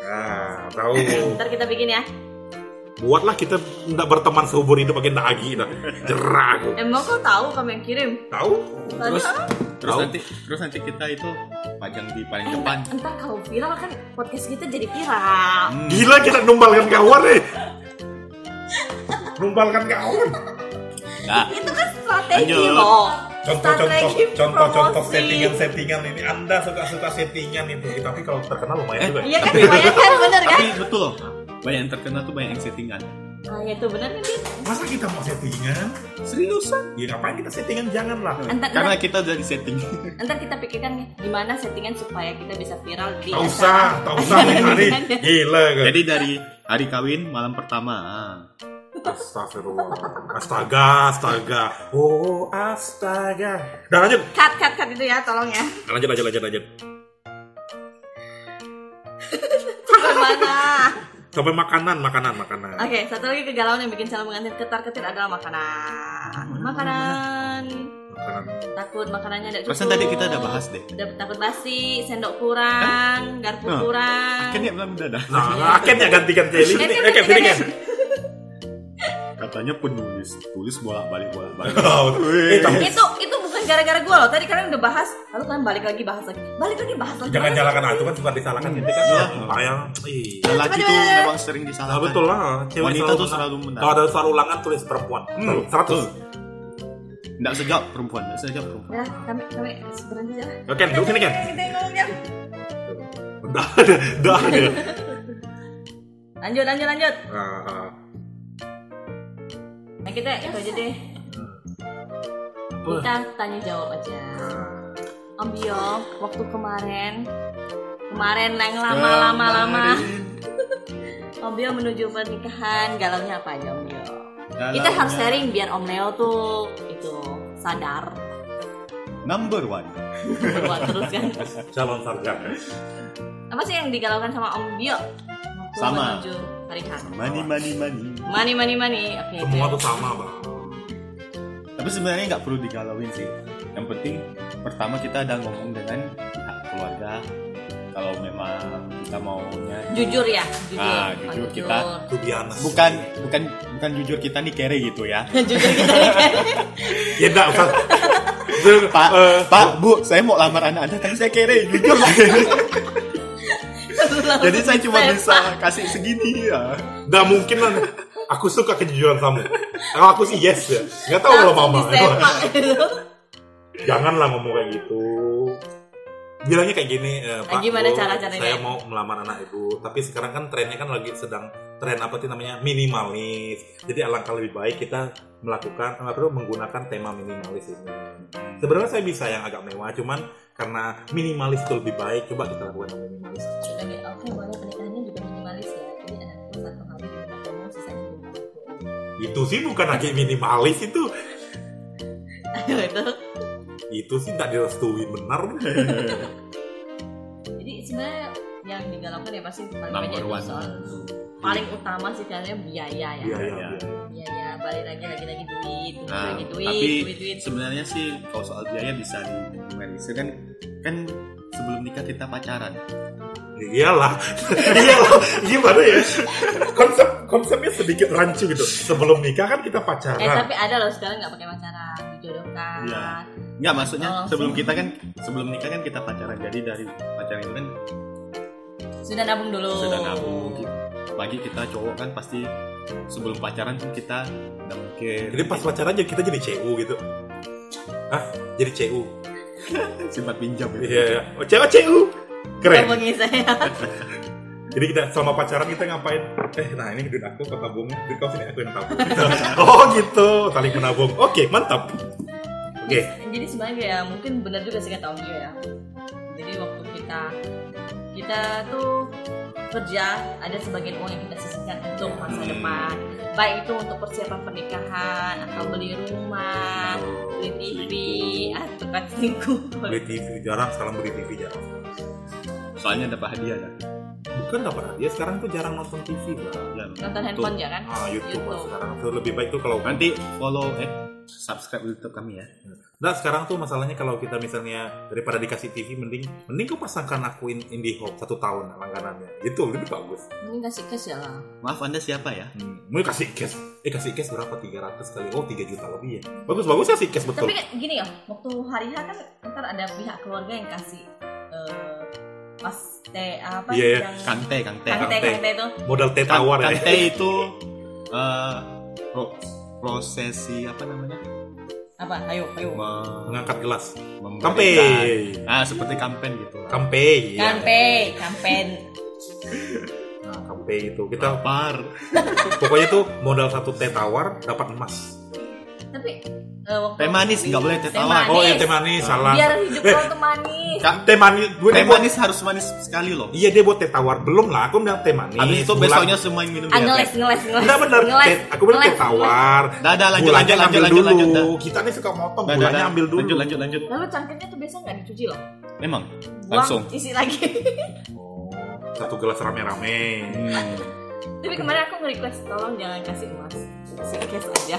Speaker 3: nah tahu
Speaker 1: Ntar kita bikin ya.
Speaker 3: buatlah kita tidak berteman seumur hidup makin lagi nah jerah aku
Speaker 1: Emang kau Eh, tahu kamu yang kirim?
Speaker 3: tahu
Speaker 2: Terus
Speaker 1: Soalnya
Speaker 2: terus
Speaker 3: Tahu.
Speaker 2: nanti terus nanti kita itu pajang di paling depan.
Speaker 1: Entar kalau viral kan podcast kita jadi viral.
Speaker 2: Hmm.
Speaker 3: gila kita numbalkan kawan nih numbalkan kawan
Speaker 2: Nah,
Speaker 1: Itu kan strategi
Speaker 2: Lanjut.
Speaker 1: loh.
Speaker 3: contoh-contoh
Speaker 1: Strategi
Speaker 3: contoh-contoh
Speaker 1: promosi.
Speaker 3: settingan-settingan ini anda suka-suka settingan itu tapi kalau terkenal
Speaker 2: Eh,
Speaker 3: lumayan juga ya.
Speaker 1: Iya kan, banyak kan, bener kan?
Speaker 2: tapi betul loh. Banyak yang terkenal tuh banyak yang kan. settingan.
Speaker 1: Nah, itu bener kan Din?
Speaker 3: masa kita mau settingan
Speaker 2: Seriusan?
Speaker 3: Ya ngapain kita settingan jangan lah.
Speaker 1: Entar,
Speaker 2: Karena kita udah di setting.
Speaker 1: entar, entar kita pikirkan nih, gimana settingan supaya kita bisa viral di
Speaker 3: Tak usah, tak usah nih hari. Gila kan.
Speaker 2: Jadi dari hari kawin malam pertama. ah.
Speaker 3: Astagfirullah. Astaga, astaga. Oh, astaga. Udah lanjut.
Speaker 1: Cut, cut, cut itu ya, tolong ya.
Speaker 3: Udah, lanjut, lanjut, lanjut, lanjut.
Speaker 1: Sampai mana?
Speaker 3: Sampai makanan, makanan, makanan.
Speaker 1: Oke, satu lagi kegalauan yang bikin calon pengantin ketar-ketir adalah makanan. Makanan.
Speaker 3: Makanan.
Speaker 1: Takut makanannya ada cukup.
Speaker 2: Perasaan tadi kita udah bahas deh.
Speaker 1: Udah takut basi, sendok kurang, garpu
Speaker 2: Nah,
Speaker 1: kurang. Kan
Speaker 2: Akhirnya bilang udah dah.
Speaker 3: Nah, akhirnya gantikan Celi.
Speaker 1: Ken, Ken,
Speaker 3: Eh, Ken,
Speaker 1: Ken,
Speaker 3: sini Ken.
Speaker 1: Ken.
Speaker 2: Katanya penulis, tulis bolak-balik bolak-balik.
Speaker 3: Oh, eh, tapi
Speaker 1: itu itu bukan gara-gara gue loh tadi kalian udah bahas lalu kalian balik lagi bahas lagi balik lagi bahas lagi
Speaker 3: jangan
Speaker 1: Balik
Speaker 3: nyalakan
Speaker 1: lagi.
Speaker 3: aku kan suka disalahkan
Speaker 2: Hmm.
Speaker 3: gitu kan. Iya.
Speaker 2: Iya.
Speaker 3: Bayang. Ih.
Speaker 2: Lelaki tuh memang sering disalahkan.
Speaker 3: Nah, betul lah. Cewek
Speaker 2: Wanita tuh Ah, selalu
Speaker 3: Kalau
Speaker 2: benar.
Speaker 3: ada soal ulangan tulis perempuan.
Speaker 2: Hmm.
Speaker 3: Seratus.
Speaker 2: Enggak sejak perempuan, enggak sejak perempuan.
Speaker 1: Udah, kami kami berhenti aja lah.
Speaker 3: Oke, duduk sini Ya, Ken.
Speaker 1: Kita ngomongnya.
Speaker 3: Udah ada, udah ada.
Speaker 1: lanjut lanjut lanjut
Speaker 3: Nah, ah.
Speaker 1: nah kita itu aja deh
Speaker 3: Wah.
Speaker 1: kita tanya jawab aja Om Bio waktu kemarin kemarin yang lama lama lama Om Bio menuju pernikahan galaunya apa aja Om Bio kita harus sharing biar Om Leo tuh itu sadar
Speaker 2: Number one.
Speaker 1: berbuat terus kan
Speaker 3: calon sarjana.
Speaker 1: apa sih yang digalaukan sama Om Bio waktu
Speaker 2: Sama.
Speaker 1: menuju pernikahan
Speaker 2: Money, money, money.
Speaker 1: Mani mani mani. Oke.
Speaker 3: Semua
Speaker 1: oke.
Speaker 3: tuh sama, Bang.
Speaker 2: Tapi sebenarnya nggak perlu digalauin sih. Yang penting pertama kita ada ngomong dengan pihak keluarga. Kalau memang kita maunya
Speaker 1: Jujur ya, jujur. Oh,
Speaker 2: Ah, jujur kita.
Speaker 3: Itu biasa.
Speaker 2: bukan bukan bukan jujur kita nih kere gitu ya.
Speaker 1: jujur kita nih kan.
Speaker 3: Ya enggak usah. Itu,
Speaker 2: Pak,
Speaker 3: eh,
Speaker 2: Pak, Bu, saya mau lamar anak Anda tapi saya kere, jujur Pak. Jadi saya cuma bisa kasih segini ya.
Speaker 3: enggak mungkin lah. Aku suka kejujuran kamu. Kalau aku sih yes ya. Enggak tahu kalau mama.
Speaker 1: Disepak gitu.
Speaker 3: Janganlah ngomong kayak gitu. Bilangnya kayak gini, eh, Pak.
Speaker 1: gimana
Speaker 3: Bu,
Speaker 1: cara-caranya?
Speaker 3: Saya mau melamar anak Ibu, tapi sekarang kan trennya kan lagi sedang tren apa sih namanya? minimalis. Jadi alangkah lebih baik kita melakukan eh, apa tuh, menggunakan tema minimalis ini. Sebenarnya saya bisa yang agak mewah, cuman karena minimalis itu lebih baik, coba kita lakukan yang minimalis.
Speaker 1: Sudah deh, Oke, boleh pernikahannya juga minimalis ya. Jadi anakku satu kali di rumah kamu, sisanya di rumah aku.
Speaker 3: Itu sih bukan lagi minimalis itu.
Speaker 1: Gitu.
Speaker 3: Iya, Itu sih tidak direstui benar.
Speaker 1: Jadi sebenarnya yang digalaukan ya pasti paling banyak
Speaker 2: number
Speaker 1: itu
Speaker 2: one
Speaker 1: soal paling utama sih kayaknya biaya ya.
Speaker 3: Iya, iya,
Speaker 2: Iya.
Speaker 3: iya.
Speaker 1: Biaya balik lagi lagi lagi duit, duit,
Speaker 2: Nah,
Speaker 1: lagi duit,
Speaker 2: tapi
Speaker 1: duit, duit.
Speaker 2: sebenarnya sih kalau soal biaya bisa diminimalisir kan kan sebelum nikah kita pacaran
Speaker 3: Iyalah, iyalah, gimana ya? Konsep konsepnya sedikit rancu gitu. Sebelum nikah kan
Speaker 1: Eh
Speaker 3: kita pacaran.
Speaker 1: tapi ada loh sekarang nggak pakai pacaran, dijodohkan.
Speaker 2: Iya. nggak maksudnya
Speaker 1: Oh, langsung.
Speaker 2: sebelum kita kan sebelum nikah kan kita pacaran jadi dari pacaran itu kan
Speaker 1: Sudah nabung dulu.
Speaker 2: sudah nabung bagi kita cowok kan pasti sebelum pacaran tuh kita udah mikir
Speaker 3: Jadi pas pacaran aja kita jadi CU gitu. Hah? Jadi CU.
Speaker 2: simpan pinjam gitu.
Speaker 3: Iya, iya. Oh, CU, CU. Keren.
Speaker 1: Bagi saya.
Speaker 3: Jadi kita selama pacaran kita ngapain? Eh, nah ini duit aku kau tabung, duit kau sini aku yang tabung. oh gitu, saling menabung. Oke, mantap. Oke,
Speaker 1: Jadi sebenarnya ya mungkin benar juga sih kata Om Gio ya. Jadi waktu kita kita tuh kerja ada sebagian uang yang kita sisihkan untuk masa
Speaker 2: Hmm.
Speaker 1: depan. Baik itu untuk persiapan pernikahan atau beli rumah, beli TV, atau kan selingkuh.
Speaker 3: beli TV jarang, sekarang beli TV jarang.
Speaker 2: soalnya dapat hadiah ya, dah
Speaker 3: Bukan nggak pernah. Dia sekarang tuh jarang nonton TV, Bang.
Speaker 2: Ya,
Speaker 1: Nonton
Speaker 2: tuh.
Speaker 1: handphone ya kan?
Speaker 3: Ah, YouTube, Bang.
Speaker 1: YouTube.
Speaker 3: sekarang tuh lebih baik tuh kalau
Speaker 2: nanti follow eh subscribe YouTube kami ya
Speaker 3: Nah sekarang tuh masalahnya kalau kita misalnya daripada dikasih TV mending mending kau pasangkan akuin IndiHome satu tahun langganannya Gitu, itu lebih bagus.
Speaker 1: Mending kasih cash ya lah.
Speaker 2: maaf anda siapa ya
Speaker 3: Hmm. Mau kasih cash, eh kasih cash berapa? 300 kali, oh 3 juta lebih ya. Bagus bagus kasih cash betul.
Speaker 1: Tapi kan gini ya, waktu hari H kan ntar ada pihak keluarga yang kasih eh, pas teh apa
Speaker 3: Iya, iya.
Speaker 1: yang kan
Speaker 2: Kante Kante
Speaker 1: kante
Speaker 3: Kante.
Speaker 1: kante itu
Speaker 3: Modal teh
Speaker 2: Kan-
Speaker 3: tawar ya.
Speaker 2: Kante itu eh, pro- prosesi apa namanya?
Speaker 1: apa? Ayo, ayo.
Speaker 2: Me-
Speaker 3: Mengangkat gelas.
Speaker 2: memberikan-
Speaker 3: Kampe,
Speaker 2: Ah, seperti kampen gitu. lah.
Speaker 3: kampe,
Speaker 1: Kan
Speaker 3: iya.
Speaker 1: Kampe, kampen.
Speaker 3: Nah, kampe itu kita
Speaker 2: Lapar.
Speaker 3: pokoknya tuh modal satu teh tawar dapat emas.
Speaker 1: Tapi eh, waktu
Speaker 2: Teh manis nggak boleh teh tawar.
Speaker 1: Manis.
Speaker 3: Oh ya teh manis salah.
Speaker 1: biar hidup kau tuh manis.
Speaker 2: Kak,
Speaker 3: Teh manis, gue
Speaker 2: teh
Speaker 3: teh manis.
Speaker 2: Eh, manis harus manis sekali loh.
Speaker 3: Iya dia buat teh tawar belum lah, aku bilang teh manis.
Speaker 2: Habis itu
Speaker 3: bulan-
Speaker 2: besoknya semua yang minum
Speaker 1: Ah, ngeles,
Speaker 2: diabetes.
Speaker 1: ngeles, ngeles.
Speaker 3: Enggak Kan benar.
Speaker 1: Ngeles,
Speaker 3: Teh- aku bilang teh
Speaker 1: ngeles,
Speaker 3: tawar.
Speaker 2: Dah, dah, lanjut, lanjut,
Speaker 3: Gulanya
Speaker 2: lanjut,
Speaker 3: ngambil
Speaker 2: lanjut,
Speaker 3: dulu.
Speaker 2: lanjut, dah.
Speaker 3: Kita nih suka motong,
Speaker 2: Dah, dah,
Speaker 3: gulanya
Speaker 2: dah.
Speaker 3: ambil dulu.
Speaker 2: Lanjut, lanjut, lanjut.
Speaker 1: ngeles. Lalu cangkirnya tuh biasa nggak dicuci loh.
Speaker 2: Memang.
Speaker 1: Buang,
Speaker 2: Langsung.
Speaker 1: isi lagi.
Speaker 3: Oh, satu gelas rame-rame.
Speaker 2: Hmm.
Speaker 1: Tapi kemarin aku nge-request tolong jangan kasih emas. Kasih cash aja.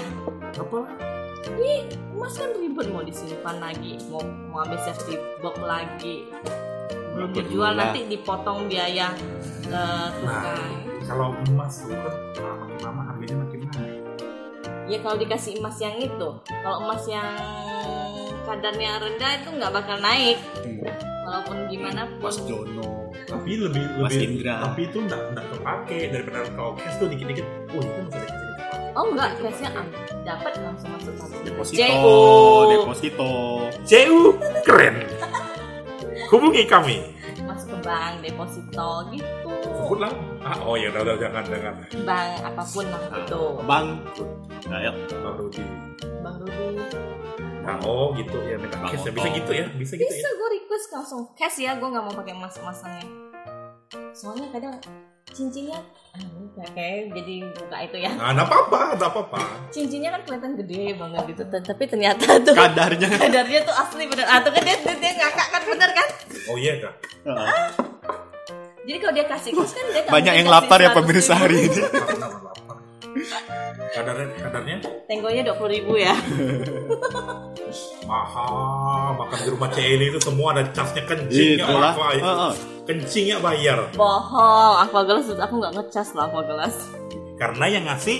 Speaker 3: Apa lah?
Speaker 1: Ini emas kan ribet mau disimpan lagi, mau mau ambil safety box lagi. Belum
Speaker 2: Nggak
Speaker 1: dijual
Speaker 2: perlu lah.
Speaker 1: nanti dipotong biaya eh,
Speaker 3: Nah,
Speaker 1: tunai.
Speaker 3: kalau emas itu kan makin lama harganya makin naik.
Speaker 1: Ya kalau dikasih emas yang itu, kalau emas yang kadarnya rendah itu nggak bakal naik. Walaupun gimana pun.
Speaker 2: Mas Jono.
Speaker 3: Tapi lebih
Speaker 2: Mas
Speaker 3: lebih
Speaker 2: Indra.
Speaker 3: tapi itu enggak enggak kepake daripada kalau cash tuh dikit-dikit. Oh, itu masih ada cash dikit.
Speaker 1: Oh enggak, cashnya am- dapat langsung masuk tabungan.
Speaker 2: Deposito.
Speaker 1: JO.
Speaker 2: Deposito.
Speaker 3: CU keren. Hubungi kami.
Speaker 1: Masuk ke bank, deposito gitu.
Speaker 3: Sebutlah. Ah, oh ya, udah, udah, jangan, jangan.
Speaker 1: Bank apapun lah gitu. itu.
Speaker 2: Bangkrut. Nah, ya.
Speaker 3: Baru di.
Speaker 1: Bank dulu.
Speaker 3: Nah, oh gitu ya, minta
Speaker 2: Bang
Speaker 3: cash ya.
Speaker 2: Otto.
Speaker 3: Bisa gitu ya, bisa gitu ya.
Speaker 1: Bisa gue request langsung cash ya, gue nggak mau pakai emas emasannya. Soalnya kadang cincinnya, ah, ini kayak- kayak jadi buka itu ya.
Speaker 3: Nah, enggak apa-apa, enggak apa-apa.
Speaker 1: Cincinnya kan kelihatan gede banget gitu, T- tapi ternyata tuh
Speaker 2: Kadarnya.
Speaker 1: kadarnya tuh asli bener. Atau kan dia, dia, dia ngakak kan bener kan?
Speaker 3: Oh iya kak.
Speaker 2: Heeh.
Speaker 1: Jadi kalau dia kasih cash kan dia nggak
Speaker 2: Banyak
Speaker 1: mungkin
Speaker 2: yang
Speaker 1: kasih
Speaker 2: lapar ya
Speaker 1: 100.000.
Speaker 2: pemirsa hari ini.
Speaker 3: Karena lapar. Kadarnya, kadarnya
Speaker 1: Tenggonya dua puluh ribu ya.
Speaker 3: mahal. Makan di rumah Celi itu semua ada casnya kencingnya
Speaker 2: Itulah.
Speaker 3: apa itu.
Speaker 2: Heeh.
Speaker 3: Kencingnya bayar.
Speaker 1: Bohong, aquagelas aku nggak ngecas lah aquagelas.
Speaker 3: Karena yang ngasih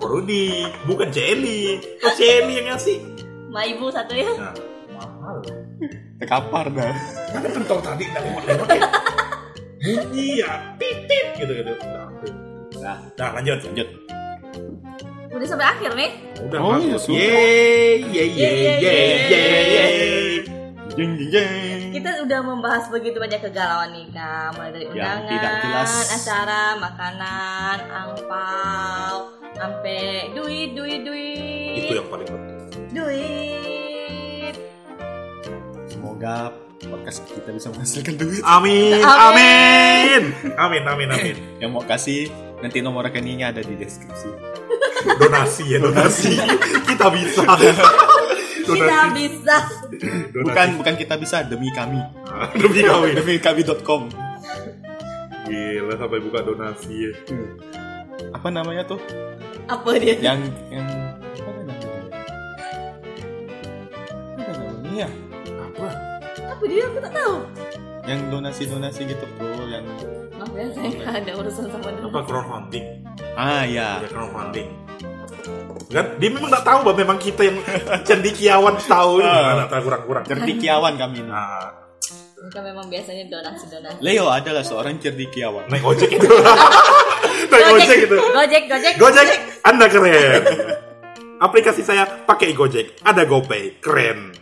Speaker 3: Korudi, bukan Celi. Oh Celi yang ngasih.
Speaker 1: Ma ibu satu ya.
Speaker 3: Nah, mahal.
Speaker 2: Tekapar dah.
Speaker 3: Karena kentong tadi nggak lewat-lewat ya. Bunyi ya, titit gitu-gitu. Nah, tuh.
Speaker 2: Nah,
Speaker 3: Nah, lanjut.
Speaker 2: lanjut.
Speaker 1: Udah sampai akhir nih.
Speaker 3: Udah,
Speaker 2: Oh, iya,
Speaker 3: bagus.
Speaker 2: sudah.
Speaker 3: Yeay, yeay, yeay, yeay, yeay, yeay.
Speaker 2: Jeng jeng jeng.
Speaker 1: Kita udah membahas begitu banyak kegalauan nikah, mulai dari
Speaker 2: Yang
Speaker 1: undangan,
Speaker 2: tidak jelas.
Speaker 1: acara, makanan, angpau, sampai duit, duit, duit,
Speaker 3: Itu yang paling penting.
Speaker 1: duit.
Speaker 2: Semoga podcast kita bisa menghasilkan duit.
Speaker 3: Amin,
Speaker 1: Amin.
Speaker 3: amin, amin, amin, amin.
Speaker 2: Yang mau kasih nanti nomor rekeningnya ada di deskripsi.
Speaker 3: Donasi ya, donasi. Kita bisa.
Speaker 1: Kita
Speaker 3: donasi,
Speaker 1: bisa.
Speaker 3: donasi.
Speaker 2: Bukan bukan kita bisa demi kami.
Speaker 3: demi kami.
Speaker 2: Demi kami.com.
Speaker 3: Gila sampai buka donasi ya.
Speaker 2: apa namanya tuh
Speaker 1: apa dia
Speaker 2: yang yang apa namanya apa namanya ya
Speaker 3: Apa?
Speaker 1: apa dia aku tak tahu
Speaker 2: yang donasi donasi gitu bro yang
Speaker 1: maaf ya saya nggak ada urusan sama dia
Speaker 3: Apa crowdfunding?
Speaker 2: ah ya
Speaker 3: Ya crowdfunding. Kan dia memang nggak tahu bahwa memang kita yang cendikiawan tahu ini.
Speaker 2: Ah.
Speaker 3: Nggak tahu kurang-kurang.
Speaker 2: cerdikiawan kami ini
Speaker 3: Nah,
Speaker 1: mereka kan memang biasanya donasi donasi
Speaker 2: Leo adalah seorang cerdikiawan
Speaker 3: naik ojek itu. naik ojek
Speaker 2: gitu.
Speaker 3: itu.
Speaker 1: gojek gojek
Speaker 3: Gojek, Anda keren. Aplikasi saya pakai Gojek, ada GoPay, keren.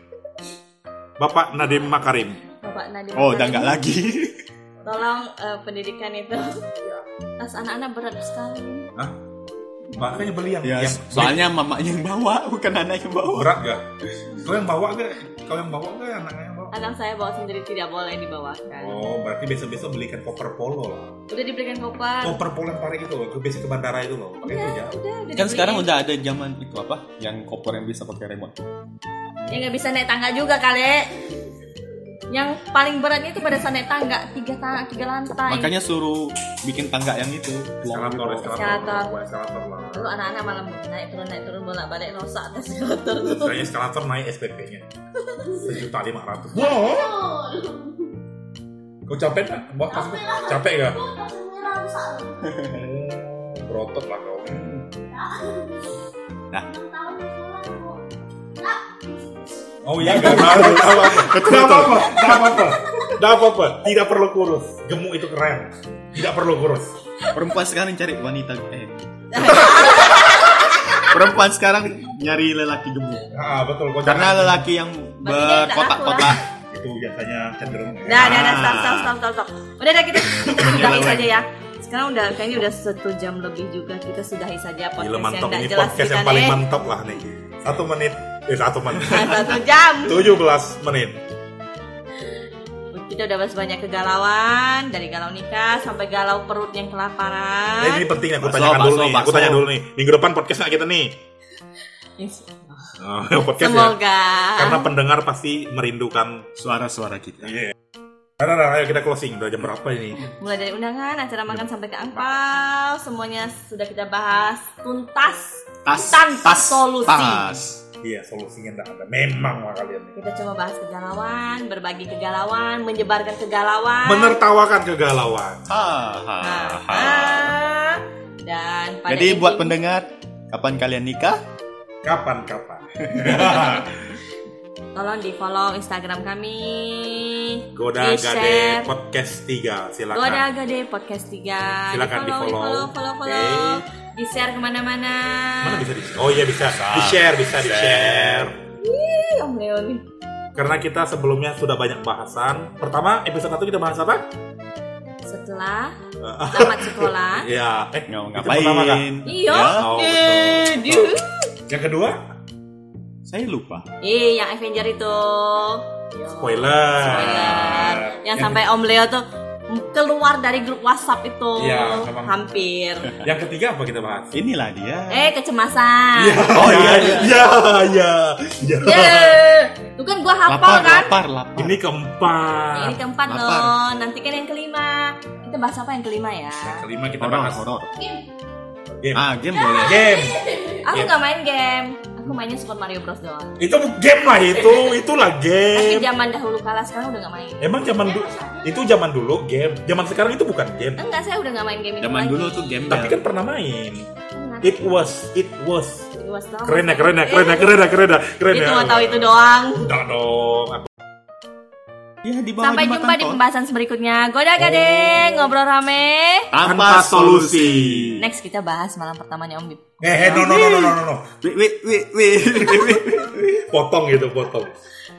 Speaker 3: Bapak Nadiem Makarim.
Speaker 1: bapak Nadiem
Speaker 2: oh
Speaker 1: Makarim,
Speaker 2: udah nggak lagi
Speaker 1: tolong eh, pendidikan itu tas anak-anak berat sekali
Speaker 3: Hah? Makanya beli yang,
Speaker 2: ya soalnya mamanya yang bawa bukan anak yang bawa
Speaker 3: berat gak? Kau yang bawa gak? Kau yang bawa gak anaknya yang bawa?
Speaker 1: anak saya bawa sendiri tidak boleh dibawakan
Speaker 3: Oh, berarti besok-besok belikan koper polo lah.
Speaker 1: udah diberikan koper
Speaker 3: Koper polo yang tarik itu loh, ke biasa ke bandara Oh, itu loh. Pakai itu ya.
Speaker 1: udah
Speaker 3: aja.
Speaker 1: udah udah
Speaker 2: kan
Speaker 1: dibeliin.
Speaker 2: sekarang udah ada zaman itu apa yang koper yang bisa pakai remote
Speaker 1: ya nggak bisa naik tangga juga kali yang paling beratnya itu pada saat naik tangga tiga tangga tiga lantai
Speaker 2: makanya suruh bikin tangga yang itu
Speaker 3: Eskalator,
Speaker 2: Gitu.
Speaker 3: eskalator, Bawa eskalator lah.
Speaker 1: lalu anak-anak malah naik turun naik turun bolak balik rusak atas motor
Speaker 3: Kayaknya eskalator naik SPP-nya. Sejuta lima ratus. Kau capek nggak? Bawa tas lu? Capek nggak? Oh, Berotot lah kau. Oh iya, gak apa-apa. Gak apa-apa. Gak apa-apa. Gak apa-apa. Tidak perlu kurus. Gemuk itu keren. Tidak perlu kurus.
Speaker 2: perempuan sekarang cari wanita eh perempuan sekarang nyari lelaki gemuk
Speaker 3: Ah betul. Kau
Speaker 2: karena
Speaker 3: jangan.
Speaker 2: lelaki yang
Speaker 1: Badannya tak
Speaker 2: berkotak-kotak
Speaker 3: itu biasanya cenderung.
Speaker 1: Nah, nah, nah, stop, stop, stop, stop, stop. Udah, udah kita, kita sudahi
Speaker 2: Menyeleweng.
Speaker 1: saja ya. Sekarang udah kayaknya udah satu jam lebih juga kita sudahi saja podcast
Speaker 3: Gila mantap
Speaker 1: yang
Speaker 3: ini
Speaker 1: tidak jelas
Speaker 3: podcast
Speaker 1: kita
Speaker 3: yang paling
Speaker 1: nih.
Speaker 3: mantap lah nih. Satu menit. Eh satu menit.
Speaker 1: Nah, satu jam.
Speaker 3: 17 menit.
Speaker 1: Kita udah bahas banyak kegalauan dari galau nikah sampai galau perut yang
Speaker 3: Nah, ini
Speaker 1: kelaparan.
Speaker 3: penting aku
Speaker 2: Bakso,
Speaker 3: tanyakan dulu
Speaker 2: bakso,
Speaker 3: nih. Aku
Speaker 2: bakso.
Speaker 3: tanya dulu nih. Minggu depan podcastnya kita nih. Oh, podcast ya.
Speaker 1: Semoga.
Speaker 3: Karena pendengar pasti merindukan.
Speaker 2: suara-suara kita
Speaker 3: Iya. Nah, nah, nah, ayo kita closing. Udah jam berapa ini?
Speaker 1: Mulai dari undangan, acara makan sampai ke angpau, semuanya sudah kita bahas tuntas.
Speaker 2: tas
Speaker 1: Tanpa
Speaker 2: tas
Speaker 1: solusi.
Speaker 2: tas
Speaker 3: Iya, solusinya enggak ada. Memang lah kalian.
Speaker 1: Kita cuma bahas kegalauan, berbagi kegalauan, menyebarkan kegalauan.
Speaker 3: Menertawakan kegalauan.
Speaker 2: Ha, ha,
Speaker 1: Nah,
Speaker 2: ha.
Speaker 1: ah. dan pada
Speaker 2: jadi buat
Speaker 1: intinya-
Speaker 2: pendengar kapan kalian nikah
Speaker 3: Kapan-kapan.
Speaker 1: tolong di follow Instagram kami.
Speaker 3: Goda
Speaker 1: Di share.
Speaker 3: Gade Podcast 3. Silakan.
Speaker 1: Goda Gade Podcast 3
Speaker 3: Silakan
Speaker 1: di follow,
Speaker 3: di-follow.
Speaker 1: follow, follow, follow,
Speaker 3: Oke.
Speaker 1: di share kemana-mana.
Speaker 3: Mana bisa di Oh iya bisa. Di-share, bisa di-share.
Speaker 1: Ih, Om Leo nih.
Speaker 3: Karena kita sebelumnya sudah banyak bahasan. Pertama, episode 1 kita bahas apa?
Speaker 1: Setelah tamat sekolah, Iya.
Speaker 3: Iya. Eh,
Speaker 2: Nggak-
Speaker 3: itu pertama, Kak.
Speaker 2: ngapain
Speaker 1: iyo,
Speaker 2: Ya,
Speaker 1: eh,
Speaker 3: Oh, betul.
Speaker 1: diu.
Speaker 3: Yang kedua,
Speaker 2: saya lupa
Speaker 1: Ih, Iya, yang Avenger itu. Yo.
Speaker 3: spoiler.
Speaker 1: Spoiler. Yang sampai Om Leo tuh keluar dari grup WhatsApp itu
Speaker 3: Iya, memang.
Speaker 1: hampir.
Speaker 3: Yang ketiga apa kita bahas?
Speaker 2: inilah dia
Speaker 1: Eh, kecemasan.
Speaker 2: Oh, iya, iya.
Speaker 3: iya, iya. Iya.
Speaker 1: Ya. Yeay. Itu kan gua hafal
Speaker 2: lapar
Speaker 1: kan.
Speaker 2: lapar lapar
Speaker 3: Ini keempat.
Speaker 1: Ini keempat
Speaker 2: Lapar.
Speaker 1: loh. Nanti kan yang kelima. Kita bahas apa yang kelima ya?
Speaker 3: Yang kelima kita
Speaker 2: horor
Speaker 3: bahas
Speaker 2: horor
Speaker 3: game.
Speaker 2: ah game
Speaker 1: Iya.
Speaker 2: boleh
Speaker 3: Game.
Speaker 1: Aku
Speaker 2: Iya.
Speaker 3: Game.
Speaker 1: nggak main game. Aku mainnya Super Mario Bros doang.
Speaker 3: Itu game lah itu, itulah
Speaker 1: Tapi
Speaker 3: game.
Speaker 1: zaman dahulu kala sekarang udah nggak main.
Speaker 3: Emang zaman dulu itu zaman dulu game. Zaman sekarang itu bukan game.
Speaker 1: Enggak, saya udah nggak main game itu
Speaker 2: zaman
Speaker 1: lagi.
Speaker 2: dulu tuh game ya.
Speaker 3: Tapi
Speaker 2: bel.
Speaker 3: kan pernah main.
Speaker 1: Enggak.
Speaker 3: It was, it was.
Speaker 1: It was doang.
Speaker 3: Keren ya, keren ya, keren ya, keren ya, keren ya, keren ya.
Speaker 1: Iya. Itu nggak tahu itu doang.
Speaker 3: Enggak dong. Aku-
Speaker 2: ya di bawah
Speaker 1: Sampai jumpa di
Speaker 2: Tol.
Speaker 1: pembahasan berikutnya. Goda gade,
Speaker 3: Oh.
Speaker 1: ngobrol rame.
Speaker 2: tanpa
Speaker 3: Tanpa
Speaker 2: solusi.
Speaker 3: solusi.
Speaker 1: Next kita bahas malam pertamanya Om Bib.
Speaker 3: Eh, eh, no, no, no, no, no, no, no.
Speaker 2: Wih, wih, wih, wih.
Speaker 3: Potong gitu, potong.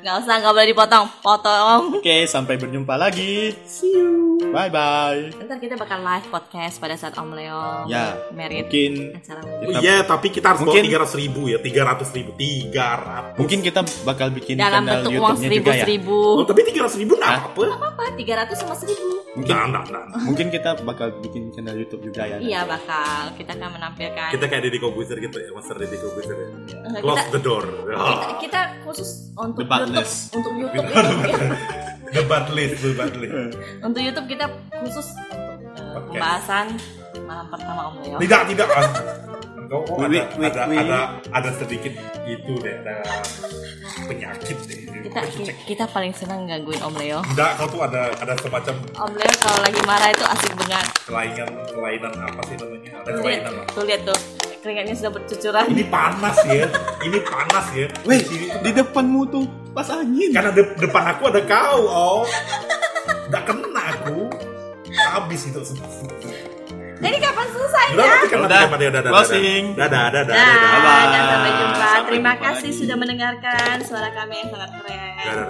Speaker 1: Nggak usah, nggak boleh dipotong. Potong.
Speaker 2: Oke, sampai berjumpa lagi. See you. Bye bye.
Speaker 1: Ntar kita bakal live podcast pada saat Om Leo
Speaker 2: Ya,
Speaker 1: merit
Speaker 2: mungkin
Speaker 1: acara
Speaker 3: Oh iya, tapi kita harus
Speaker 2: Mungkin-
Speaker 3: bawa 300 ribu ya, 300 ribu, 300.
Speaker 2: mungkin kita bakal bikin
Speaker 1: dalam
Speaker 2: channel
Speaker 1: bentuk uang
Speaker 2: YouTube-nya
Speaker 1: seribu
Speaker 2: juga ya.
Speaker 1: seribu.
Speaker 3: Oh, tapi 300 ribu nggak
Speaker 2: Hah?
Speaker 3: apa-apa.
Speaker 1: Apa? Tiga ratus sama seribu?
Speaker 2: Mungkin
Speaker 3: Nah, nah, nah.
Speaker 2: mungkin kita bakal bikin channel YouTube juga ya.
Speaker 1: Iya bakal. Kita akan menampilkan.
Speaker 3: Kita kayak Deddy Kobuzer gitu ya, Master Deddy Kobuzer ya.
Speaker 1: Enggak,
Speaker 3: Close
Speaker 1: kita,
Speaker 3: the door.
Speaker 1: kita, kita khusus untuk
Speaker 2: Debatless.
Speaker 1: YouTube, ya. untuk YouTube,
Speaker 3: Debat list, debat list.
Speaker 1: untuk YouTube kita khusus untuk eh,
Speaker 3: Podcast.
Speaker 1: pembahasan malam pertama Om Leo.
Speaker 3: Tidak, tidak. An. Engkau kok
Speaker 2: Wait,
Speaker 3: oh, ada,
Speaker 2: wait, wait,
Speaker 3: ada,
Speaker 2: wait.
Speaker 3: ada, ada sedikit itu deh, ada penyakit deh.
Speaker 1: Kita kita paling senang gangguin Om Leo.
Speaker 3: Tidak, kau tuh ada ada semacam
Speaker 1: Om Leo kalau lagi marah itu asik banget.
Speaker 3: kelainan kelainan apa sih namanya?
Speaker 1: Tuh
Speaker 3: Ada
Speaker 1: lihat,
Speaker 3: kelainan. lah.
Speaker 1: tuh lihat tuh keringatnya sudah bercucuran.
Speaker 3: Ini panas ya, ini panas ya.
Speaker 2: Weh,
Speaker 3: Di sini tuh
Speaker 2: di depanmu tuh pas angin.
Speaker 3: Karena de- depan aku ada kau, oh. Nggak kena aku. Habis itu.
Speaker 1: Jadi kapan selesai? ya?
Speaker 3: Udah, nanti kena
Speaker 2: Udah,
Speaker 3: udah, udah, udah.
Speaker 2: closing.
Speaker 3: Dadah, Iya. dadah, dadah.
Speaker 1: Dah,
Speaker 3: dadah.
Speaker 2: Bye-bye.
Speaker 1: Nah, dan sampai jumpa.
Speaker 2: Sampai
Speaker 1: Terima
Speaker 2: jumpa
Speaker 1: kasih
Speaker 2: lagi.
Speaker 1: sudah mendengarkan suara kami yang sangat keren.
Speaker 3: Dadah, dadah.